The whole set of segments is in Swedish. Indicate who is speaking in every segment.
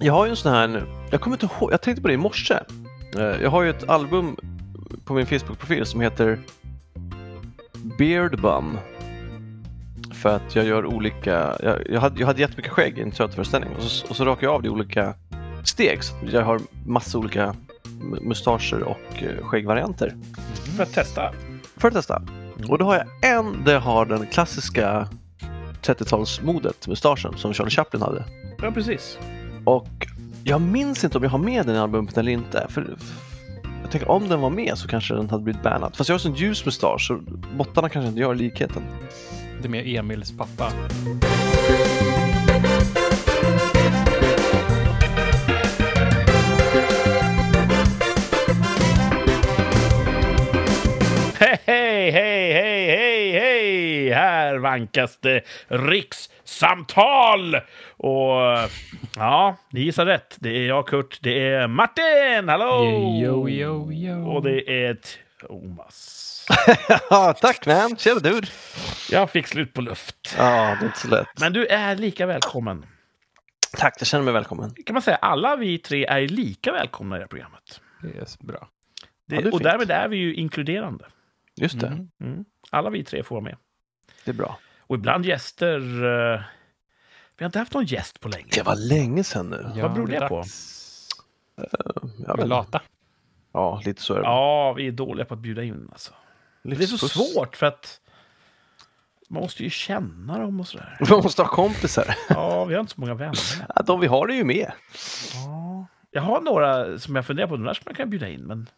Speaker 1: Jag har ju en sån här, jag kommer inte ihåg, jag tänkte på det i morse. Eh, Jag har ju ett album på min Facebook-profil som heter Beardbum. För att jag gör olika, jag, jag, hade, jag hade jättemycket skägg i en teaterföreställning och så, och så rakade jag av det i olika steg. Så att jag har massa olika mu- mustascher och eh, skäggvarianter
Speaker 2: För att testa.
Speaker 1: för att testa. Och då har jag en där jag har den klassiska 30-talsmodet, mustaschen som Charlie Chaplin hade.
Speaker 2: Ja, precis.
Speaker 1: Och jag minns inte om jag har med den i albumet eller inte. För jag tänker om den var med så kanske den hade blivit bannad. Fast jag har sån ljus mustasch så bottarna kanske inte gör likheten.
Speaker 3: Det är mer Emils pappa.
Speaker 2: Hej, hej, hej, hej, hej, hej! Här vankas det rikssamtal! Och ja, ni gissar rätt. Det är jag, Kurt. Det är Martin! Hallå! Oh.
Speaker 3: Yo, yo, yo.
Speaker 2: Och det är Thomas.
Speaker 1: Ja, tack man! Tjena dude!
Speaker 2: Jag fick slut på luft.
Speaker 1: Ja, det är inte så lätt.
Speaker 2: Men du är lika välkommen.
Speaker 1: Tack, jag känner mig välkommen.
Speaker 2: Kan man säga alla vi tre är lika välkomna i det här programmet.
Speaker 3: Det är så bra.
Speaker 2: Det,
Speaker 1: Ja, det är
Speaker 2: och
Speaker 1: fint.
Speaker 2: därmed är vi ju inkluderande.
Speaker 1: Just det,
Speaker 3: Mm.
Speaker 2: Mm. Alla vi tre får vara med.
Speaker 1: det är bra.
Speaker 2: Och ibland gäster. eh, vi har inte haft någon gäst på länge.
Speaker 1: Det var länge sedan nu.
Speaker 3: Ja,
Speaker 2: Vad beror det
Speaker 3: är
Speaker 2: på?
Speaker 3: dags.
Speaker 1: Ja,
Speaker 3: Vi är
Speaker 1: men-
Speaker 3: lata.
Speaker 1: ja lite så är det.
Speaker 2: Ja, vi är dåliga på att bjuda in. Alltså. Det är så
Speaker 1: Livspuss.
Speaker 2: svårt för att man måste ju känna dem och sådär.
Speaker 1: Man måste ha kompisar.
Speaker 2: Ja, vi har inte så många vänner.
Speaker 1: Ja, De vi har är ju med.
Speaker 2: Ja. Jag har några som jag funderar på, de där skulle man kunna bjuda in. Men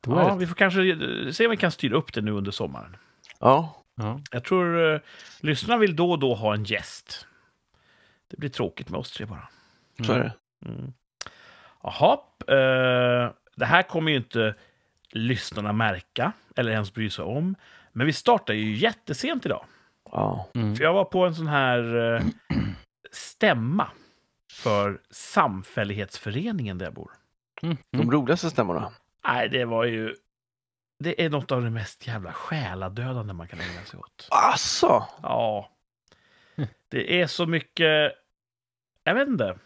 Speaker 3: Då är
Speaker 2: ja,
Speaker 3: det-
Speaker 2: vi får kanske eh, se om vi kan styra upp det nu under sommaren.
Speaker 1: Ja,
Speaker 3: Ja.
Speaker 2: Jag tror eh, lyssnarna vill då och då ha en gäst. Det blir tråkigt med oss tre bara.
Speaker 1: så är det.
Speaker 2: Mm. Jaha, eh, det här kommer ju inte lyssnarna märka eller ens bry sig om. Men vi startar ju jättesent idag.
Speaker 1: Ja.
Speaker 3: Mm.
Speaker 2: För jag var på en sån här eh, stämma för samfällighetsföreningen där jag bor.
Speaker 3: Mm.
Speaker 1: De
Speaker 3: Mm.
Speaker 1: roligaste stämmorna.
Speaker 2: Nej, det var ju... Det är något av det mest jävla själadödande man kan ägna sig åt.
Speaker 1: Asså!
Speaker 2: Ja. Det är så mycket... Jag vet inte.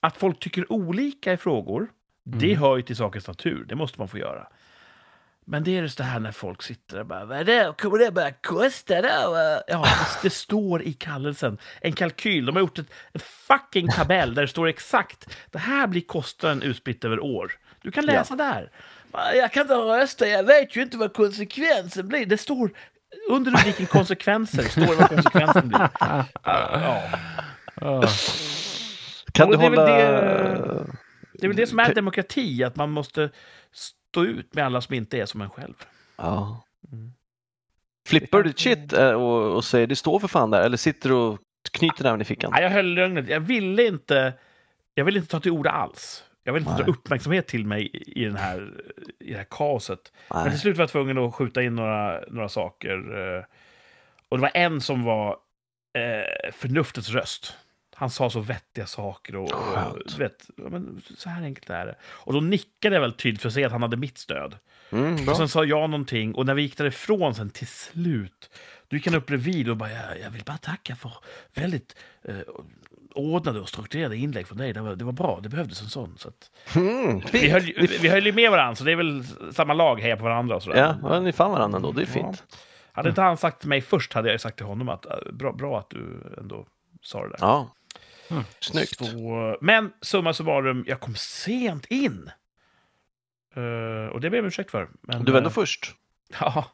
Speaker 2: Att folk tycker olika i frågor, det
Speaker 3: Mm.
Speaker 2: hör ju till sakens natur. Det måste man få göra. Men det är just det här när folk sitter och bara Vadå, kommer det bara kosta då? Ja, fast det står i kallelsen. En kalkyl. De har gjort ett, en fucking tabell där det står exakt. Det här blir kostnaden utspritt över år. Du kan läsa där. Jag kan inte rösta, jag vet ju inte vad konsekvensen blir. Det står under rubriken konsekvenser, står det vad konsekvensen blir. Ja, Ja.
Speaker 3: Ja.
Speaker 1: Kan
Speaker 2: Och
Speaker 1: du
Speaker 2: det är väl
Speaker 1: hålla...
Speaker 2: det- Det är väl det som är demokrati, att man måste stå ut med alla som inte är som en själv.
Speaker 1: Ja. Flippar du ditt shit eh, och, och säger det står för fan där eller sitter du och knyter näven i fickan?
Speaker 2: Nej, jag höll lögnet. Jag ville inte, jag ville inte ta till orda alls. Jag ville inte
Speaker 1: Nej.
Speaker 2: dra uppmärksamhet till mig i, den här, i det här kaoset. Men till
Speaker 1: Nej.
Speaker 2: slut var jag tvungen att skjuta in några, några saker. eh, Och det var en som var eh, förnuftets röst. Han sa så vettiga saker och, och
Speaker 1: Skönt.
Speaker 2: du vet, ja, men så här enkelt är det. Och då nickade jag väl tydligt för att se att han hade mitt stöd.
Speaker 1: Mm, bra.
Speaker 2: Och sen sa jag någonting och när vi gick därifrån sen till slut, du gick han upp bredvid och bara, jag, jag vill bara tacka för väldigt eh, ordnade och strukturerade inlägg från dig. Det var, det var bra, det behövdes en sån. Så att,
Speaker 1: Mm,
Speaker 2: vi,
Speaker 1: fint.
Speaker 2: höll, ju- vi höll ju med varandra, så det är väl samma lag, hejar på varandra och sådär.
Speaker 1: Ja, men ni fann varandra ändå. Det är fint.
Speaker 2: Hade inte han sagt till mig först hade jag ju sagt till honom att eh, bra, bra att du ändå sa det där.
Speaker 1: Ja. Snyggt.
Speaker 2: Så, men summa summarum, jag kom sent in. Eh, och det ber jag om ursäkt för. Men,
Speaker 1: Du var ändå
Speaker 2: eh,
Speaker 1: först.
Speaker 2: ja.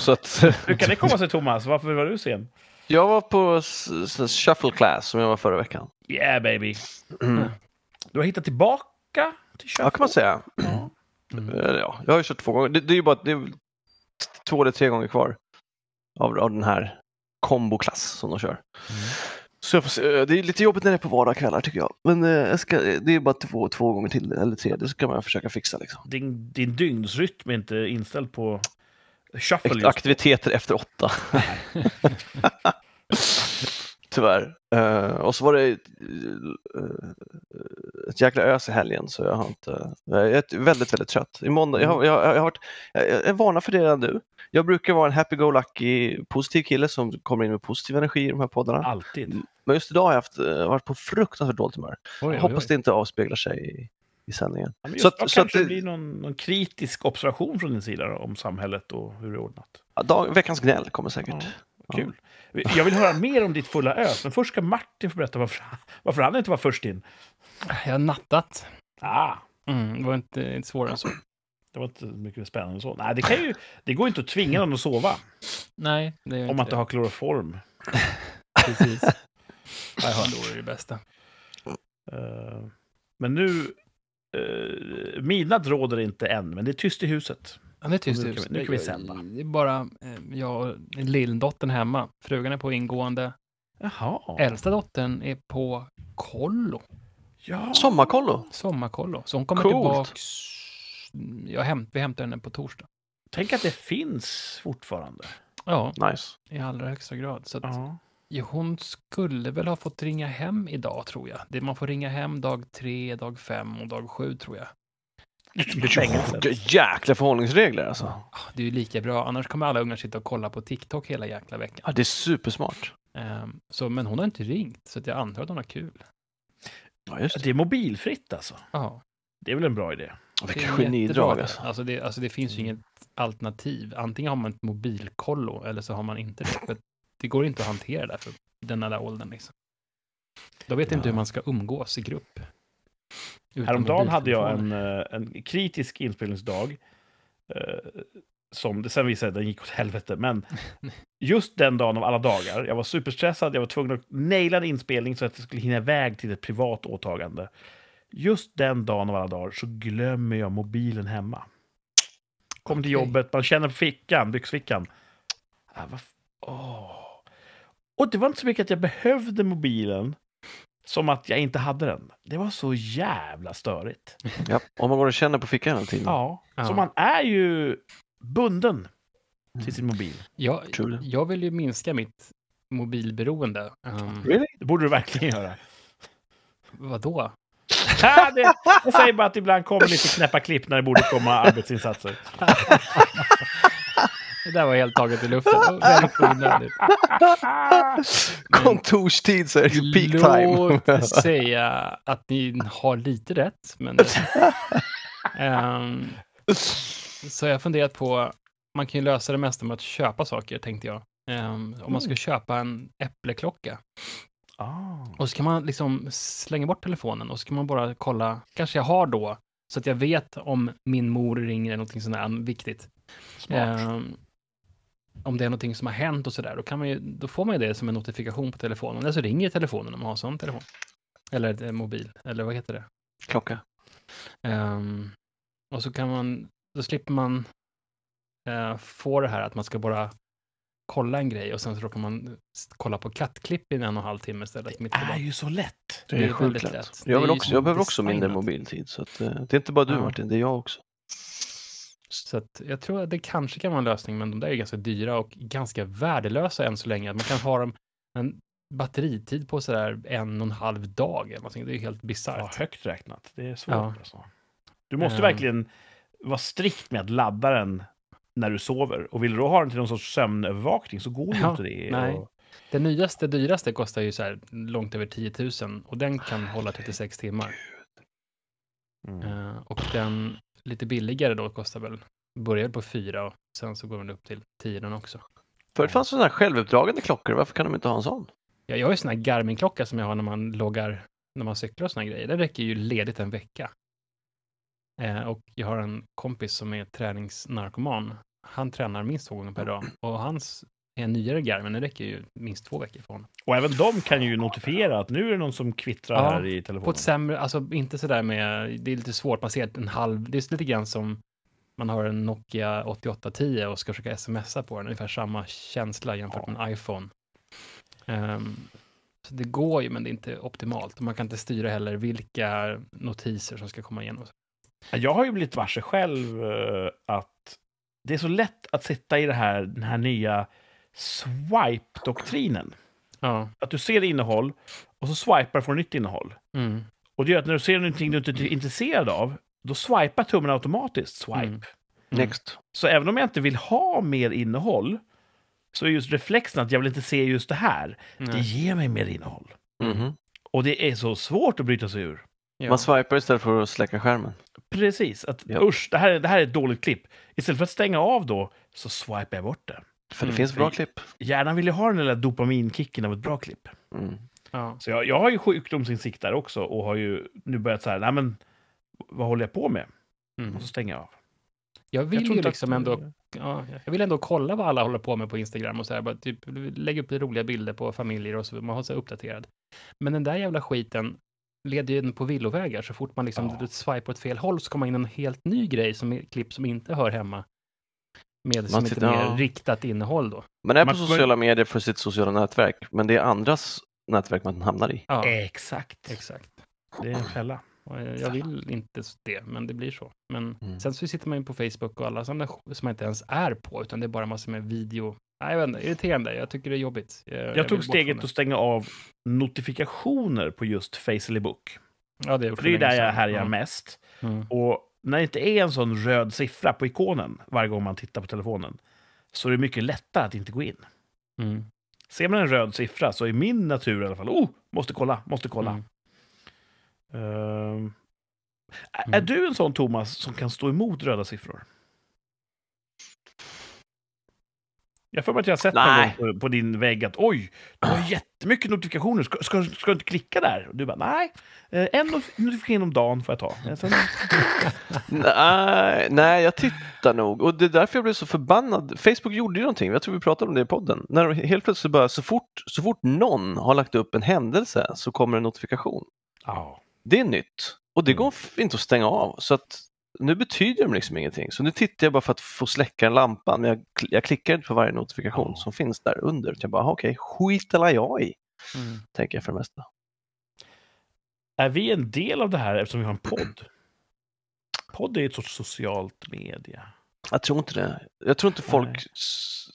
Speaker 1: Så att,
Speaker 2: Hur kan det komma sig, Thomas? Varför var du sen?
Speaker 1: jag var på s- s- shuffle class som jag var förra veckan.
Speaker 2: Yeah, baby.
Speaker 1: Mm.
Speaker 2: Du har hittat tillbaka till
Speaker 1: Ja,
Speaker 2: köket.
Speaker 1: kan man säga.
Speaker 2: Ja.
Speaker 1: Eller Eh, ja, jag har ju kört två gånger. Det, det är ju bara det är väl t- två eller tre gånger kvar av, av den här komboklass som de kör. Så jag får se, eh, det är lite jobbigt när det är på vardagskvällar tycker jag. Men eh, jag ska, det är bara två, två gånger till eller tre. Det ska man försöka fixa. Liksom.
Speaker 2: Din, din dygnsrytm är inte inställd på shuffle
Speaker 1: Akt-
Speaker 2: just
Speaker 1: Aktiviteter efter åtta. Tyvärr. Eh, och så var det eh, eh, ett jäkla ös i helgen så jag har inte... eh, Jag är väldigt, väldigt trött. I måndag, jag, har- jag, har- jag, har varit, jag, jag varnar för det redan nu. Jag brukar vara en happy-go-lucky positiv kille som kommer in med positiv energi i de här poddarna.
Speaker 2: Alltid.
Speaker 1: Men just idag har jag haft, eh, varit på fruktansvärt dåligt humör.
Speaker 3: Oj, oj, oj.
Speaker 1: Hoppas det inte avspeglar sig i, i sändningen.
Speaker 2: Ja, men just,
Speaker 1: Så
Speaker 2: så
Speaker 1: att- så att
Speaker 2: kanske
Speaker 1: det-
Speaker 2: det blir någon, någon kritisk observation från din sida då, om samhället och hur det är ordnat.
Speaker 1: Ja, Dag, veckans gnäll kommer
Speaker 2: Ja,
Speaker 1: säkert.
Speaker 2: kul. Jag vill höra mer om ditt fulla ös, men först ska Martin få berätta varför, varför han inte var först in.
Speaker 3: Jag har nattat.
Speaker 2: Ah,
Speaker 3: Mm, det var inte, inte svårare än så.
Speaker 2: det var inte mycket spännande så. Nej, det, kan ju, det går ju inte att tvinga någon att sova
Speaker 3: Nej, det gör
Speaker 2: om man inte
Speaker 3: det.
Speaker 2: har kloroform.
Speaker 3: Precis. Ja, jag hörde det, det bästa.
Speaker 2: Eh, men nu... Uh, midnatt råder inte än, men det är tyst i huset.
Speaker 3: Ja, det är tyst
Speaker 2: Nu kan
Speaker 3: hus.
Speaker 2: vi- nu kan vi
Speaker 3: Det-
Speaker 2: sända.
Speaker 3: Det är bara eh, jag och lilldottern hemma. Frugan är på ingående.
Speaker 2: Jaha.
Speaker 3: Äldsta dottern är på kollo.
Speaker 2: Ja.
Speaker 1: Sommarkollo.
Speaker 3: Sommarkollo. Så hon kommer
Speaker 1: Coolt.
Speaker 3: tillbaks. Jag hämt, vi hämtar henne på torsdag.
Speaker 2: Tänk att det finns fortfarande.
Speaker 3: Ja,
Speaker 1: Nice.
Speaker 3: i allra högsta grad. Så att,
Speaker 2: Ja.
Speaker 3: jo, hon skulle väl ha fått ringa hem idag, tror jag. Det, man får ringa hem dag tre, dag fem och dag sju, tror jag.
Speaker 2: Lite fängelse.
Speaker 1: J- typ Jäkla förhållningsregler alltså.
Speaker 3: Ah, Det är ju lika bra, annars kommer alla ungar sitta och kolla på TikTok hela jäkla veckan.
Speaker 1: Ja, det är supersmart.
Speaker 3: Ehm, så, men hon har inte ringt, så att jag antar att hon har kul.
Speaker 1: Ja, just det.
Speaker 2: Det är mobilfritt alltså.
Speaker 3: Ja.
Speaker 2: Det är väl en bra idé.
Speaker 3: Det är
Speaker 1: Vilket
Speaker 3: jättebra
Speaker 1: genidrag
Speaker 3: det.
Speaker 1: alltså.
Speaker 3: Alltså det, alltså det finns ju inget alternativ. Antingen har man ett mobilkollo eller så har man inte det. För det går inte att hantera där för den där åldern. Liksom. Då vet jag inte
Speaker 1: Ja.
Speaker 3: hur man ska umgås i grupp. Utan
Speaker 2: Häromdagen hade jag
Speaker 3: mobiltelefoner.
Speaker 2: en, eh, en kritisk inspelningsdag. Eh, som det sen visade sig, den gick åt helvete. Men just den dagen av alla dagar, jag var superstressad, jag var tvungen att naila en inspelning så att jag skulle hinna iväg till ett privat åtagande. Just den dagen av alla dagar så glömmer jag mobilen hemma. Kom till
Speaker 3: Okej.
Speaker 2: jobbet, man känner på fickan, byxfickan. Ah, vad f- åh. Och det var inte så mycket att jag behövde mobilen som att jag inte hade den. Det var så jävla störigt.
Speaker 1: Ja, om man går och känner på fickan hela tiden.
Speaker 2: Ja.
Speaker 3: Mm. Ja.
Speaker 2: Så man är ju bunden till sin
Speaker 3: Mm.
Speaker 2: mobil.
Speaker 3: Jag,
Speaker 1: Kul.
Speaker 3: jag vill ju minska mitt mobilberoende. Um,
Speaker 1: Really?
Speaker 2: Det borde du verkligen göra.
Speaker 3: vadå?
Speaker 2: Ja, det, jag säger bara att ibland kommer lite knäppa klipp när det borde komma arbetsinsatser.
Speaker 3: Det där var helt taget i luften. Det var väldigt onödigt.
Speaker 1: Kontorstid så är det peak time.
Speaker 3: Låt säga att ni har lite rätt, men... Ehm, så jag har funderat på, man kan ju lösa det mesta med att köpa saker, tänkte jag. Ehm, om man
Speaker 1: Mm.
Speaker 3: ska köpa en äppleklocka.
Speaker 2: Ah.
Speaker 3: Och så kan man liksom slänga bort telefonen och så kan man bara kolla, kanske jag har då, så att jag vet om min mor ringer eller någonting sånt där viktigt.
Speaker 2: Smart.
Speaker 3: Ehm, om det är någonting som har hänt och sådär, då, kan man ju- då får man ju det som en notifikation på telefonen. Eller så ringer telefonen om man har en sån telefon. Eller eh, mobil, eller vad heter det?
Speaker 1: Klocka.
Speaker 3: Ehm, och så kan man, då slipper man eh, få det här att man ska bara kolla en grej och sen så råkar man s- kolla på kattklipp i en och en halv timme istället. mitt på
Speaker 2: är
Speaker 3: dagen.
Speaker 2: ju så lätt.
Speaker 1: Det
Speaker 3: Det
Speaker 1: är
Speaker 3: är
Speaker 1: sjukt
Speaker 3: väldigt
Speaker 1: lätt.
Speaker 3: lätt.
Speaker 1: Jag, vill
Speaker 3: Det är ju
Speaker 1: också, jag behöver också mindre
Speaker 3: designat.
Speaker 1: mobiltid. Så att, eh, det är inte bara du
Speaker 3: Ja.
Speaker 1: Martin, det är jag också.
Speaker 3: Så att jag tror att det kanske kan vara en lösning, men de där är ganska dyra och ganska värdelösa än så länge. Man kan ha dem en batteritid på sådär en och en halv dag eller någonting. Det är ju helt
Speaker 2: Ja,
Speaker 3: bisarrt.
Speaker 2: högt räknat. Det är svårt.
Speaker 3: Ja.
Speaker 2: Alltså. Du måste
Speaker 3: Ehm.
Speaker 2: verkligen vara strikt med att ladda den när du sover. Och vill du då ha den till någon sorts sömnövervakning så går ju
Speaker 3: Ja,
Speaker 2: inte det.
Speaker 3: nej.
Speaker 2: Och...
Speaker 3: Den nyaste, dyraste kostar ju så här långt över 10 000 och den kan hålla 36 timmar.
Speaker 2: Mm.
Speaker 3: Eh, och den lite billigare då kostar väl, börjar på 4 och sen så går den upp till 10 den också.
Speaker 1: Förut fanns det sådana här självuppdragande klockor. Varför kan de inte ha en
Speaker 3: Mm.
Speaker 1: sån?
Speaker 3: Ja, jag har ju sån här Garmin-klocka som jag har när man loggar, när man cyklar och såna här grejer. Den räcker ju ledigt en vecka. Eh, och jag har en kompis som är träningsnarkoman. Han tränar minst två gånger per dag och hans är en nyare Garmin, den räcker ju minst två veckor för honom.
Speaker 2: Och även de kan ju notifiera att nu är det någon som kvittrar
Speaker 3: Ja,
Speaker 2: här i
Speaker 3: På
Speaker 2: telefonen.
Speaker 3: ett sämre, alltså inte sådär med, det är lite svårt, man ser en halv, det är lite grann som man har en Nokia 8810 och ska försöka smsa på den, ungefär samma känsla jämfört med en iPhone. Ehm, så det går ju, men det är inte optimalt. Och Man kan inte styra heller vilka notiser som ska komma igenom.
Speaker 2: Jag har ju blivit varse själv eh, att det är så lätt att sitta i det här, den här nya swipe-doktrinen.
Speaker 3: Ja.
Speaker 2: Att du ser innehåll och så swipar för nytt innehåll.
Speaker 3: Mm.
Speaker 2: Och det gör att när du ser någonting du inte är intresserad av, då swipar tummen automatiskt swipe.
Speaker 3: Mm.
Speaker 1: Next.
Speaker 2: Så även om jag inte vill ha mer innehåll så är just reflexen att jag vill inte se just det här. Det
Speaker 3: Nej.
Speaker 2: ger mig mer innehåll.
Speaker 1: Mhm.
Speaker 2: Och det är så svårt att bryta sig ur.
Speaker 3: Mm. Ja.
Speaker 1: Man swipar istället för att släcka skärmen.
Speaker 2: Precis, att
Speaker 1: Ja.
Speaker 2: usch, det här, är- det här är ett dåligt klipp. Istället för att stänga av då, så swipar jag bort det.
Speaker 1: För
Speaker 3: Mm,
Speaker 1: det finns bra
Speaker 2: för-
Speaker 1: klipp.
Speaker 2: Hjärnan vill ju ha den där dopaminkicken av ett bra klipp.
Speaker 1: Mm.
Speaker 3: Ja.
Speaker 2: Så jag, jag har ju sjukdomsinsikt där också och har ju nu börjat så här, nej men vad håller jag på med?
Speaker 3: Mm.
Speaker 2: Och så stänger jag av.
Speaker 3: Jag vill
Speaker 2: jag tror
Speaker 3: ju
Speaker 2: inte
Speaker 3: liksom
Speaker 2: att-
Speaker 3: ändå ja, jag vill ändå kolla vad alla håller på med på Instagram och så här, bara typ lägga upp roliga bilder på familjer och så man håller sig uppdaterad. Men den där jävla skiten leder ju in på villovägar så fort man liksom
Speaker 2: Ja.
Speaker 3: swipar åt fel håll så kommer man in en helt ny grej som är klipp som inte hör hemma med som lite
Speaker 1: tittar- ja.
Speaker 3: mer riktat innehåll då.
Speaker 1: Man är
Speaker 2: Man
Speaker 1: på
Speaker 2: får-
Speaker 1: sociala medier för sitt sociala nätverk, men det är andras nätverk man hamnar i.
Speaker 3: Ja,
Speaker 2: Exakt.
Speaker 3: exakt.
Speaker 2: Det är en fälla.
Speaker 3: Och jag jag vill inte s- det, men det blir så. Men
Speaker 1: Mm.
Speaker 3: sen så sitter man ju på Facebook och alla sådana sk- som man inte ens är på, utan det är bara massor med video. Nej, jag vet inte, irriterande. Jag tycker det är jobbigt.
Speaker 2: Jag,
Speaker 3: vill
Speaker 2: tog
Speaker 3: bort från
Speaker 2: steget
Speaker 3: det.
Speaker 2: att stänga av notifikationer på just Facely Book.
Speaker 3: Ja, det, har jag gjort
Speaker 2: För det är ju
Speaker 3: för länge
Speaker 2: där jag
Speaker 3: sedan.
Speaker 2: härjar
Speaker 3: Ja.
Speaker 2: mest.
Speaker 3: Mm.
Speaker 2: Och när det inte är en sån röd siffra på ikonen varje gång man tittar på telefonen så är det mycket lättare att inte gå in.
Speaker 3: Mm.
Speaker 2: Ser man en röd siffra så är min natur i alla fall, oh, måste kolla, måste kolla.
Speaker 3: Mm.
Speaker 2: Ehm, är-
Speaker 3: Mm.
Speaker 2: Är du en sån Thomas som kan stå emot röda siffror? Jag får mig att jag har sett
Speaker 1: Nej.
Speaker 2: någon gång på, på din vägg att oj, du har jättemycket notifikationer, ska, ska, ska du inte klicka där? Och du bara nej, eh, en not- notifikation om dagen får jag ta. Men Sen,
Speaker 1: Nej, nej, jag tittar nog. Och det är därför jag blev så förbannad. Facebook gjorde ju någonting, jag tror vi pratade om det i podden. När de helt plötsligt bara, så fort, så fort någon har lagt upp en händelse så kommer en notifikation.
Speaker 2: Ja.
Speaker 1: Det är nytt och det
Speaker 2: Mm.
Speaker 1: går f- inte att stänga av. Så att nu betyder de liksom ingenting. Så nu tittar jag bara för att få släcka en lampa, men jag, kl- jag klickar inte på varje notifikation
Speaker 2: Ja.
Speaker 1: som finns där under. Så Jag bara, "Aha, okej, skit eller jag i,
Speaker 3: Mm.
Speaker 1: tänker jag för det mesta.
Speaker 2: Är vi en del av det här eftersom vi har en podd? Podd är ett sorts socialt media.
Speaker 1: Jag tror inte det. Jag tror inte folk... s-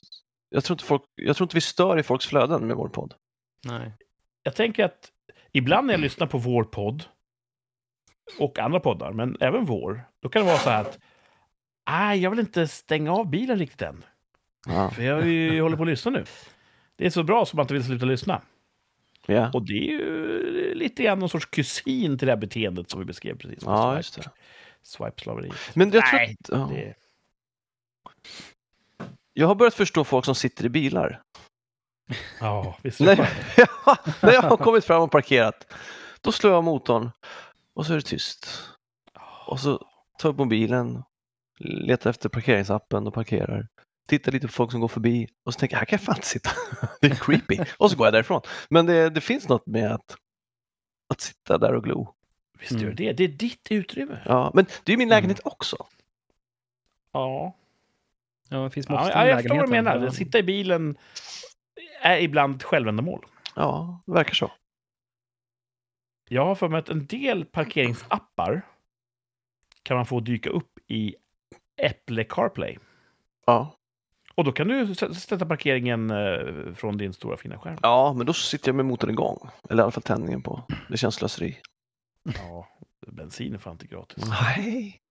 Speaker 1: Jag tror inte, folk, jag tror inte vi stör i folks flöden med vår podd.
Speaker 3: Nej.
Speaker 2: Jag tänker att ibland när jag lyssnar på vår podd och andra poddar, men även vår, då kan det vara så här att nej, jag vill inte stänga av bilen riktigt än,
Speaker 1: Ja.
Speaker 2: för jag, är ju- jag håller på att lyssna nu. Det är så bra som man inte vill sluta lyssna.
Speaker 1: Ja.
Speaker 2: Och det är ju lite grann någon sorts kusin till det här beteendet som vi beskrev precis. med
Speaker 1: ja,
Speaker 2: swipe-
Speaker 1: just det.
Speaker 2: Swipe-slaveri.
Speaker 1: Men jag, tror
Speaker 2: Nej,
Speaker 1: att, ja.
Speaker 2: Det-
Speaker 1: jag har börjat förstå folk som sitter i bilar.
Speaker 2: Ja, visst är det
Speaker 1: Nej,
Speaker 2: skönt.
Speaker 1: när jag har kommit fram och parkerat, då slår jag av motorn och så är det tyst. Och så tar jag upp mobilen, letar efter parkeringsappen och parkerar. Tittar lite på folk som går förbi och så tänker jag, här kan jag fan inte sitta. Det är creepy. Och så går jag därifrån. Men det, det finns något med att, att sitta där och glo.
Speaker 2: Visst
Speaker 1: Mm.
Speaker 2: gör det. Det är ditt utrymme.
Speaker 1: Ja, men det är ju min lägenhet också.
Speaker 2: Ja.
Speaker 3: Ja, det finns
Speaker 2: Ja,
Speaker 3: måste
Speaker 2: ja,
Speaker 3: i
Speaker 2: jag förstår vad du
Speaker 3: lägenheten.
Speaker 2: menar.
Speaker 3: Ja.
Speaker 2: Att sitta i bilen är ibland ett självändamål.
Speaker 1: Ja, det verkar så.
Speaker 2: Jag har för mig att en del parkeringsappar kan man få dyka upp i Apple CarPlay.
Speaker 1: Ja.
Speaker 2: Och då kan du s- sätta parkeringen eh, från din stora fina skärm.
Speaker 1: ja, men då sitter jag med motorn igång. Eller i alla fall tändningen på. Det känns slöseri.
Speaker 2: Ja, bensin är fan inte gratis.
Speaker 1: Mm. Nej.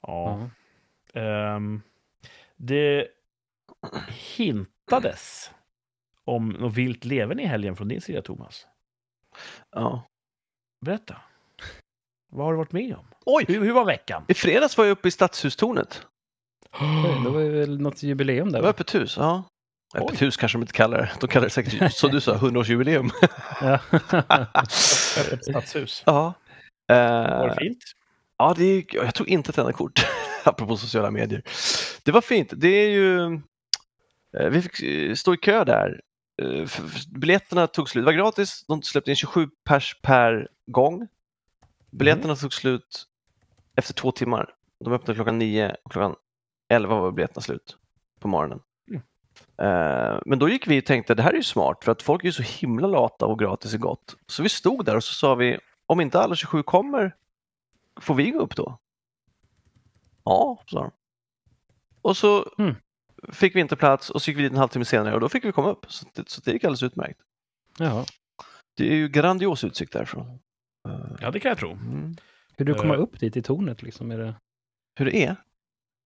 Speaker 2: Ja.
Speaker 3: Ja.
Speaker 2: Ehm, det hintades om något vilt leven i helgen från din sida, Thomas.
Speaker 1: Ja.
Speaker 2: Berätta. Vad har du varit med om?
Speaker 1: Oj!
Speaker 2: Hur, hur var veckan?
Speaker 1: I fredags var jag uppe i Stadshustornet.
Speaker 3: Oj, Det var ju väl något jubileum
Speaker 1: Det
Speaker 3: där.
Speaker 1: var
Speaker 3: va?
Speaker 1: öppet hus. Ja.
Speaker 2: Oj.
Speaker 1: Öppet hus kanske de inte kallar det. De kallar det säkert, som du sa, 100-årsjubileum.
Speaker 3: Ja.
Speaker 2: Öppet stadshus.
Speaker 1: ja. Eh,
Speaker 2: Var det fint?
Speaker 1: ja, det är, jag tog inte ett enda kort, apropå sociala medier. Det var fint. Det är ju... eh, Vi fick eh, stå i kö där. Eh, f- f- Biljetterna tog slut. Det var gratis. De släppte in 27 pers per gång. Biljetterna tog slut efter två timmar. De öppnade klockan 9 och klockan 11 var biljetterna slut på morgonen.
Speaker 2: Mm.
Speaker 1: Eh, Men då gick vi och tänkte det här är ju smart för att folk är ju så himla lata och gratis är gott. Så vi stod där och så sa vi om inte alla 27 kommer får vi gå upp då? Ja, sa de. Och så
Speaker 3: Mm.
Speaker 1: fick vi inte plats och så gick vi dit en halvtimme senare och då fick vi komma upp. Så det, så det gick alldeles utmärkt.
Speaker 3: ja.
Speaker 1: Det är ju grandios utsikt därifrån. Eh,
Speaker 2: Ja, det kan jag tro.
Speaker 1: Mm.
Speaker 3: Hur du kommer
Speaker 2: Eh.
Speaker 3: upp dit i tornet liksom? Är det,
Speaker 1: Hur det är?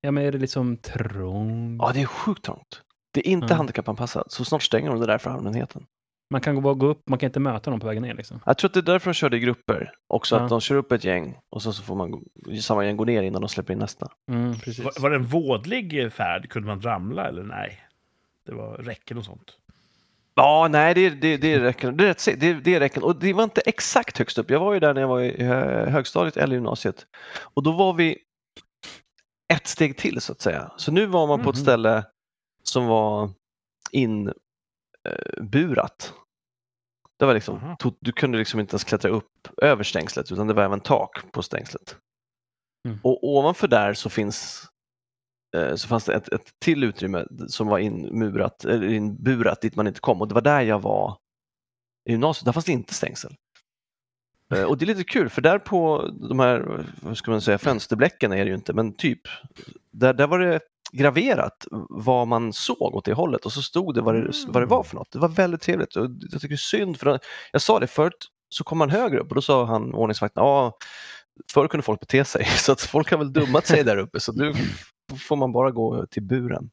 Speaker 3: ja, men är det liksom trångt?
Speaker 1: Ja, det är sjukt trångt. Det är inte
Speaker 3: Mm.
Speaker 1: handikappanpassat, så snart stänger de det där för allmänheten.
Speaker 3: Man kan gå- bara gå upp, man kan inte möta någon på vägen ner liksom.
Speaker 1: Jag tror att det är därför de kör det i grupper också,
Speaker 3: Ja.
Speaker 1: att de kör upp ett gäng och sen så får man gå- samma gäng gå ner innan de släpper in nästa.
Speaker 3: Mm, precis.
Speaker 2: Var, var det en vådlig färd? Kunde man ramla eller nej? Det var räcken och sånt.
Speaker 1: Ja, nej, det, det, det räcker. Det är, rätt, se- det, det räcker. Och det var inte exakt högst upp. Jag var ju där när jag var i hö- högstadiet eller gymnasiet. Och då var vi ett steg till så att säga. Så nu var man på ett
Speaker 3: Mhm.
Speaker 1: ställe som var inburat. Det var liksom,
Speaker 2: Aha.
Speaker 1: to- du kunde liksom inte ens klättra upp över stängslet utan det var även tak på stängslet.
Speaker 3: Mm.
Speaker 1: Och ovanför där så finns eh, så fanns det ett, ett till utrymme som var inmurat, eller inburat dit man inte kom och det var där jag var i gymnasiet. Där fanns det inte stängsel. Eh, Och det är lite kul för där på de här, vad ska man säga, fönsterbläcken är det ju inte, men typ. Där, där var det graverat vad man såg åt det hållet och så stod det vad det, vad det var för något. Det var väldigt trevligt. Och jag tycker synd, för jag sa det förut, så kom han högre upp och då sa han ordningsvakten, ja, förr kunde folk bete sig, så att folk har väl dummat sig där uppe, så nu f- får man bara gå till buren.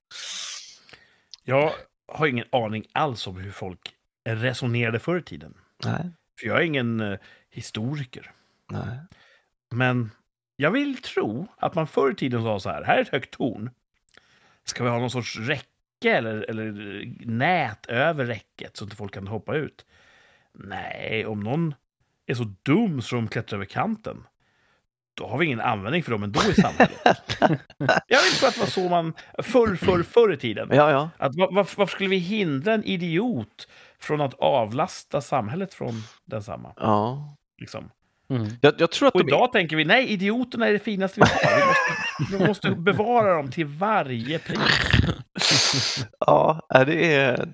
Speaker 2: Jag har ingen aning alls om hur folk resonerade förr i tiden.
Speaker 1: Nej,
Speaker 2: För jag är ingen eh, historiker.
Speaker 1: nej.
Speaker 2: Men jag vill tro att man förr i tiden sa så här, här är ett högt torn. Ska vi ha någon sorts räcke eller, eller nät över räcket så att folk kan hoppa ut? Nej, om någon är så dum så de klättrar över kanten, då har vi ingen användning för dem ändå i samhället. jag vill tro att det var så man förr, förr, förr i tiden.
Speaker 1: Ja, ja.
Speaker 2: Att, var, varför, varför skulle vi hindra en idiot från att avlasta samhället från densamma?
Speaker 1: ja.
Speaker 2: Liksom?
Speaker 3: Mm.
Speaker 1: Jag, jag tror att
Speaker 2: Och
Speaker 1: de
Speaker 2: idag tänker vi, nej, idioterna är det finaste vi har. Vi måste, vi måste bevara dem till varje pris.
Speaker 1: Ja, nej, det är...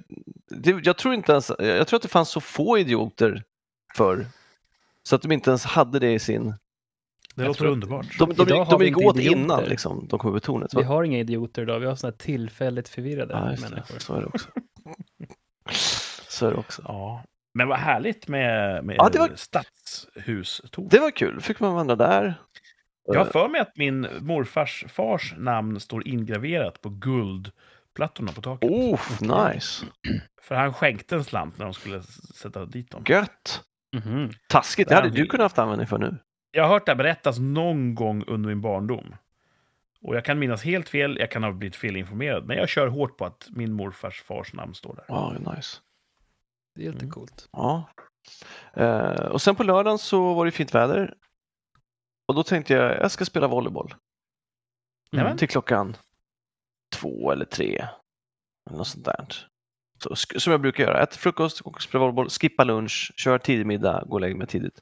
Speaker 1: Det, jag tror inte ens... Jag tror att det fanns så få idioter förr så att de inte ens hade det i sin...
Speaker 2: Det
Speaker 3: Jag
Speaker 2: låter
Speaker 3: tror-
Speaker 2: underbart.
Speaker 1: De, de,
Speaker 3: Idag
Speaker 1: de,
Speaker 3: har vi
Speaker 1: gick
Speaker 3: inte
Speaker 1: åt
Speaker 3: idioter.
Speaker 1: innan liksom, de kom över tornet.
Speaker 3: Vi har inga idioter idag, vi har sådana här tillfälligt förvirrade
Speaker 1: ja, just det.
Speaker 3: människor.
Speaker 1: Så är det också. så är det också.
Speaker 2: Ja. Men vad härligt med, med
Speaker 1: Ja, det var-
Speaker 2: stadshustorn.
Speaker 1: Det var kul. fick man vandra där.
Speaker 2: Jag har för mig att min morfars fars namn står ingraverat på guldplattorna på taket.
Speaker 1: Oh, nice.
Speaker 2: För han skänkte en slant när de skulle s- sätta dit dem.
Speaker 1: Gött.
Speaker 3: Mhm.
Speaker 1: Taskigt. Det
Speaker 2: Där
Speaker 1: hade du
Speaker 2: vi-
Speaker 1: kunnat haft användning för nu.
Speaker 2: Jag har hört det här berättas någon gång under min barndom. Och jag kan minnas helt fel, jag kan ha blivit felinformerad. Men jag kör hårt på att min morfars fars namn står där.
Speaker 1: Ja, nice.
Speaker 3: Det är lite
Speaker 2: Mm.
Speaker 3: coolt.
Speaker 1: Ja. Eh, och sen på lördagen så var det fint väder. Och då tänkte jag, jag ska spela volleyboll.
Speaker 2: Nämen.
Speaker 1: till klockan två eller tre. Eller något sånt där. Så, sk- som jag brukar göra. Äta frukost, gå och spela volleyboll, skippa lunch, köra tidig middag, gå och lägga mig tidigt.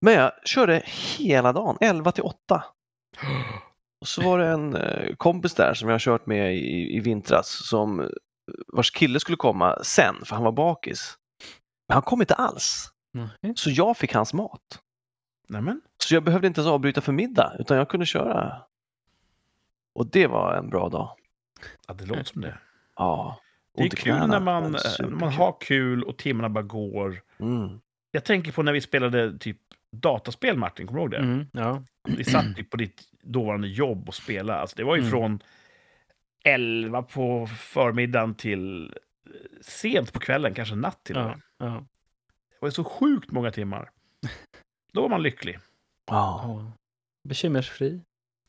Speaker 1: Men jag körde hela dagen, 11 till 8. Och så var det en eh, kompis där som jag har kört med i, i vintras som eh, vars kille skulle komma sen, för han var bakis. Men han kom inte alls,
Speaker 3: Mhm.
Speaker 1: så jag fick hans mat.
Speaker 2: Nämen.
Speaker 1: Så jag behövde inte ens avbryta för middag, utan jag kunde köra. Och det var en bra dag.
Speaker 2: Ja, det låter som det.
Speaker 1: Ja.
Speaker 2: Mm. Det är
Speaker 1: Ont i
Speaker 2: kul
Speaker 1: knäna,
Speaker 2: när man,
Speaker 1: men
Speaker 2: när
Speaker 1: superkul.
Speaker 2: man har kul och timmarna bara går.
Speaker 1: Mm.
Speaker 2: Jag tänker på när vi spelade typ dataspel, Martin. Kommer du ihåg det?
Speaker 3: Mm. Ja.
Speaker 2: Vi satt typ på ditt dåvarande jobb och spelade. Alltså, det var ju
Speaker 3: Mm.
Speaker 2: från 11 på förmiddagen till eh, sent på kvällen, kanske natt till och med.
Speaker 3: Ja. Ja.
Speaker 2: Det var ju så sjukt många timmar. Då var man lycklig.
Speaker 1: Ja.
Speaker 3: Ja. Bekymmersfri.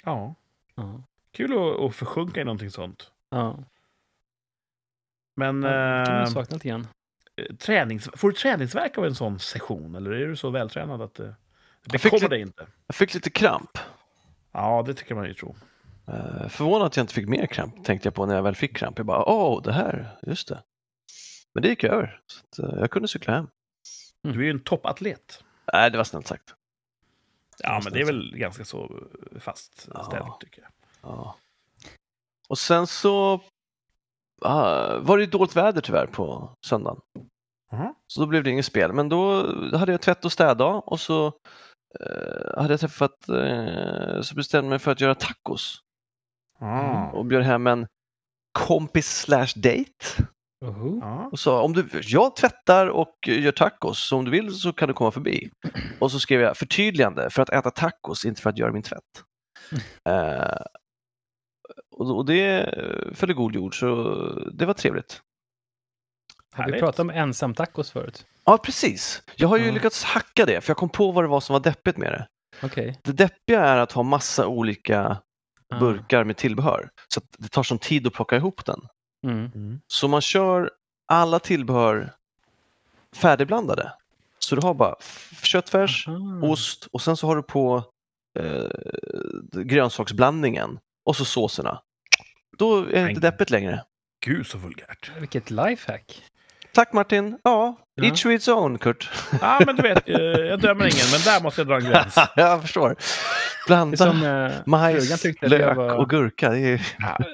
Speaker 2: Ja.
Speaker 3: Ja.
Speaker 2: Kul att, att försjunka i någonting sånt.
Speaker 3: Ja.
Speaker 2: Men
Speaker 3: Det kan man
Speaker 2: eh,
Speaker 3: sakna lite grann.
Speaker 2: tränings, får du träningsvärk av en sån session? Eller är du så vältränad att det, det
Speaker 1: Jag fick
Speaker 2: bekommer
Speaker 1: lite-
Speaker 2: dig inte?
Speaker 1: Jag fick lite kramp.
Speaker 2: Ja, det tycker man ju tro.
Speaker 1: Eh, förvånad att jag inte fick mer kramp, tänkte jag på när jag väl fick kramp. Jag bara, åh, det här, just det. Men det gick över, så att, eh, jag kunde cykla hem.
Speaker 2: Du är ju en toppatlet.
Speaker 1: Nej, det var snällt sagt.
Speaker 2: Ja, men det är
Speaker 1: Någonstans.
Speaker 2: väl ganska så fastställt,
Speaker 1: Ja.
Speaker 2: tycker jag.
Speaker 1: Ja. Och sen så ah, var det ju dåligt väder tyvärr på söndagen.
Speaker 2: Mhm.
Speaker 1: Så då blev det inget spel. Men då hade jag tvätt och städdag och så eh, hade jag träffat, eh, så bestämde jag mig för att göra tacos
Speaker 2: Ja. Mm.
Speaker 1: och bjöd hem en kompis slash date
Speaker 3: Oho.
Speaker 2: Ja.
Speaker 1: och sa om du, jag tvättar och gör tacos, så om du vill så kan du komma förbi. Och så skrev jag förtydligande, för att äta tacos, inte för att göra min tvätt. Eh, Och, och det eh, föll i god jord, så det var trevligt.
Speaker 3: Har vi
Speaker 2: Härligt.
Speaker 3: pratat om ensamtacos förut?
Speaker 1: Ja, precis. Jag har ju
Speaker 3: Ja.
Speaker 1: lyckats hacka det, för jag kom på vad det var som var deppigt med det.
Speaker 3: Okej.
Speaker 1: Det deppiga är att ha massa olika burkar med tillbehör, så att det tar sån tid att plocka ihop den.
Speaker 3: Ah. Mm.
Speaker 1: Så man kör alla tillbehör färdigblandade. Så du har bara f- köttfärs,
Speaker 3: Aha.
Speaker 1: ost och sen så har du på eh, grönsaksblandningen och så såserna. Då är det
Speaker 2: Men-
Speaker 1: inte deppigt längre.
Speaker 2: Gud så vulgärt.
Speaker 3: Vilket lifehack.
Speaker 1: Tack Martin! Ja,
Speaker 3: Ja.
Speaker 1: each with its own Kurt.
Speaker 2: Ja, men du vet, eh, jag dömer ingen, men där måste jag dra en gräns.
Speaker 1: jag förstår.
Speaker 3: Det är
Speaker 1: Blanda
Speaker 3: som eh, frugan
Speaker 1: majs,
Speaker 3: tyckte att jag
Speaker 1: lök
Speaker 3: var,
Speaker 1: och gurka. Det är...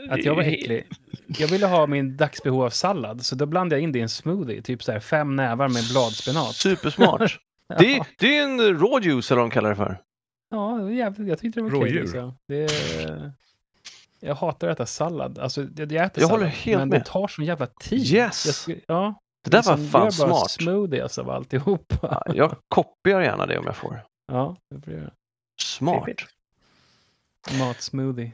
Speaker 3: att jag var
Speaker 2: Eh,
Speaker 3: äcklig. Jag ville ha min dagsbehov av sallad, så då blandade jag in det i en smoothie. Typ så här fem nävar med bladspenat.
Speaker 1: Supersmart. det,
Speaker 3: Ja.
Speaker 1: är, det är en raw juice eller vad de kallar det för.
Speaker 3: Ja, det var jävligt, jag tyckte det var okej.
Speaker 2: Rådjur.
Speaker 3: liksom. Det, jag hatar att äta sallad. Alltså, jag, jag äter
Speaker 1: Jag
Speaker 3: sallad,
Speaker 1: håller helt
Speaker 3: men det
Speaker 1: med.
Speaker 3: tar sån jävla tid.
Speaker 1: Yes.
Speaker 3: Jag skulle- ja,
Speaker 1: Det där var
Speaker 3: liksom, gör
Speaker 1: fan
Speaker 3: bara
Speaker 1: smart.
Speaker 3: smoothie alltså, av alltihopa.
Speaker 1: Ja, Jag kopiar gärna det om jag får.
Speaker 3: Ja, det får jag göra.
Speaker 1: Smart.
Speaker 2: Trevligt.
Speaker 3: Matsmoothie.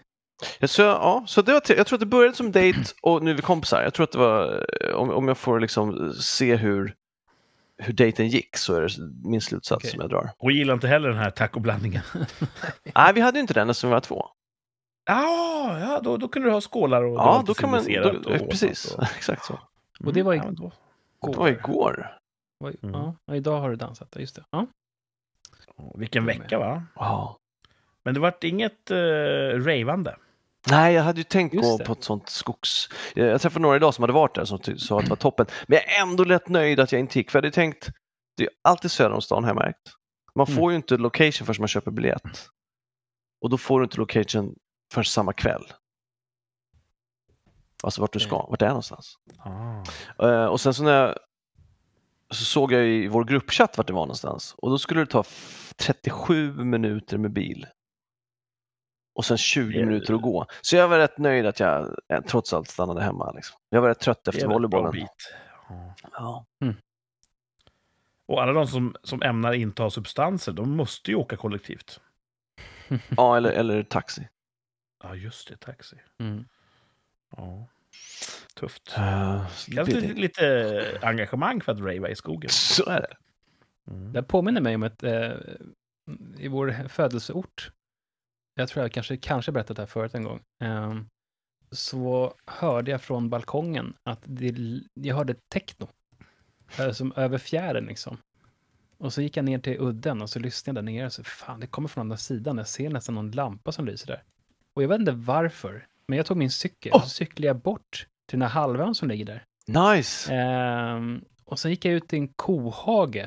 Speaker 1: Ja, Så, ja, så det var te- jag tror att det började som dejt och nu är vi kompisar. Jag tror att det var, eh, om, om jag får liksom se hur, hur dejten gick så är det min slutsats
Speaker 3: Okej.
Speaker 1: som jag drar.
Speaker 2: Och gillar inte heller den här tacoblandningen.
Speaker 1: Nej, vi hade ju inte den eftersom vi var två.
Speaker 2: Ah, ja, då, då kunde du ha skålar och... det var
Speaker 1: ja,
Speaker 2: lite
Speaker 1: då kan man... Då,
Speaker 2: civiliserat och
Speaker 1: eh,
Speaker 2: ordnat
Speaker 1: precis,
Speaker 2: och-
Speaker 1: exakt så.
Speaker 3: Och det var
Speaker 2: ja, men då-
Speaker 1: Det var igår.
Speaker 3: Oj,
Speaker 2: Mm.
Speaker 3: ja, ja, idag har du dansat, ja, just det. Ja.
Speaker 2: Vilken vecka, va?
Speaker 1: Ja.
Speaker 2: Men det vart inget eh, ravande.
Speaker 1: Nej, jag hade ju tänkt
Speaker 3: Just
Speaker 1: gå
Speaker 3: det.
Speaker 1: på ett sånt skogs... eh, Jag träffade några idag som hade varit där som ty- sa att det var toppen. Men jag är ändå lätt nöjd att jag inte gick, för jag hade tänkt... Det är ju alltid söder om stan har jag märkt. Man får
Speaker 3: Mm.
Speaker 1: ju inte location förrän man köper biljett. Och då får du inte location förrän samma kväll. Alltså vart du ska, vart det är någonstans.
Speaker 2: Ah.
Speaker 1: Eh, Och sen så när jag... Så såg jag i vår gruppchatt vart det var någonstans. Och då skulle det ta f- 37 minuter med bil. Och sen 20
Speaker 2: Det är-
Speaker 1: minuter att gå. Så jag var rätt nöjd att jag eh, trots allt stannade hemma. Liksom. Jag var rätt trött
Speaker 2: Det är
Speaker 1: efter
Speaker 2: väl ett bra
Speaker 1: volleybollen.
Speaker 2: bit.
Speaker 1: Ja.
Speaker 2: Och alla de som, som ämnar inta substanser, de måste ju åka kollektivt.
Speaker 1: ja, eller, eller taxi.
Speaker 2: Ja, just det, taxi.
Speaker 3: Mm.
Speaker 2: Ja. Tufft.
Speaker 1: Eh, så
Speaker 2: Krävs lite,
Speaker 1: billigt.
Speaker 2: lite engagemang för att rava i skogen.
Speaker 1: Så är det.
Speaker 2: Mm.
Speaker 3: Det här påminner mig om ett, eh, i vår födelseort, jag tror jag kanske, kanske berättat det här förut en gång, eh, så hörde jag från balkongen att det, jag hörde techno, eh, som över fjärden liksom. Och så gick jag ner till udden och så lyssnade jag där nere och så fan, det kommer från andra sidan, jag ser nästan någon lampa som lyser där. Och jag vet inte varför, men jag tog min cykel och
Speaker 1: Oh!
Speaker 3: så cyklade jag bort till den här halvön som ligger där.
Speaker 1: Nice!
Speaker 3: Ehm, och sen gick jag ut i en kohage,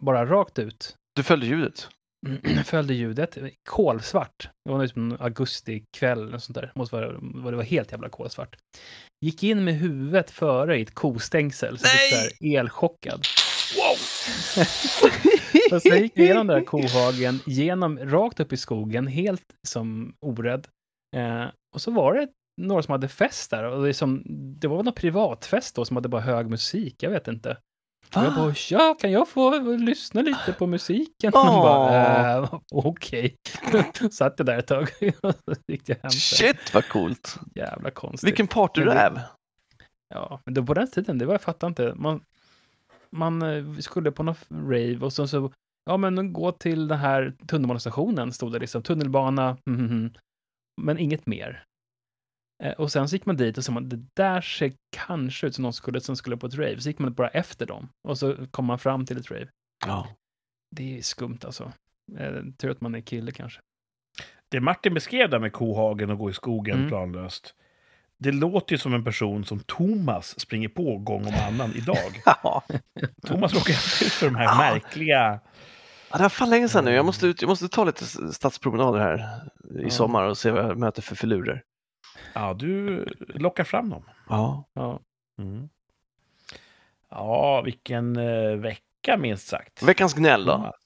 Speaker 3: bara rakt ut.
Speaker 1: Du följde ljudet.
Speaker 3: Följde ljudet, kolsvart. Det var typ en augustikväll eller sånt där. Måste vara, det var helt jävla kolsvart. Gick in med huvudet före i ett kostängsel, så jag fick
Speaker 1: Nej!
Speaker 3: så här elchockad. Och sen gick jag igenom den där kohagen, genom, rakt upp i skogen, helt som orädd. Eh, och så var det några som hade fest där. Och det, är som, det var väl någon privatfest då som hade bara hög musik, jag vet inte. Och jag bara,
Speaker 1: Va?
Speaker 3: ja, kan jag få lyssna lite på musiken?
Speaker 1: Åh.
Speaker 3: Och hon bara, eh, okej. Satt jag där ett tag och så gick jag hem. Så
Speaker 1: Shit vad coolt!
Speaker 3: jävla konstigt.
Speaker 1: Vilken partyräv!
Speaker 3: Ja, men då på den tiden, det var, jag fattar inte. Man, man eh, skulle på någon rave och sen så, ja men gå till den här tunnelbanestationen, stod det liksom. Tunnelbana, mhm, mhm. men inget mer. Eh, Och sen så gick man dit och sa man, det där ser kanske ut som någon skulle, som skulle på ett rave. Så gick man bara efter dem och så kom man fram till ett rave.
Speaker 1: Ja.
Speaker 3: Det är skumt alltså. Eh, tur att man är kille kanske.
Speaker 2: Det Martin beskrev där med kohagen och gå i skogen
Speaker 3: Mm.
Speaker 2: planlöst. Det låter ju som en person som Thomas springer på gång om annan idag.
Speaker 1: Ja.
Speaker 2: Thomas råkar ut för de här
Speaker 1: Ah.
Speaker 2: märkliga...
Speaker 1: Ja, det var fan länge sedan nu. Jag måste, ut, jag måste ta lite s- stadspromenader här i
Speaker 2: Ja.
Speaker 1: sommar och se vad jag möter för filurer.
Speaker 2: Ja, du lockar fram dem. Mm.
Speaker 1: Ja.
Speaker 3: Ja.
Speaker 2: Ja, vilken eh, vecka minst sagt.
Speaker 1: Veckans gnäll då?
Speaker 2: Thomas.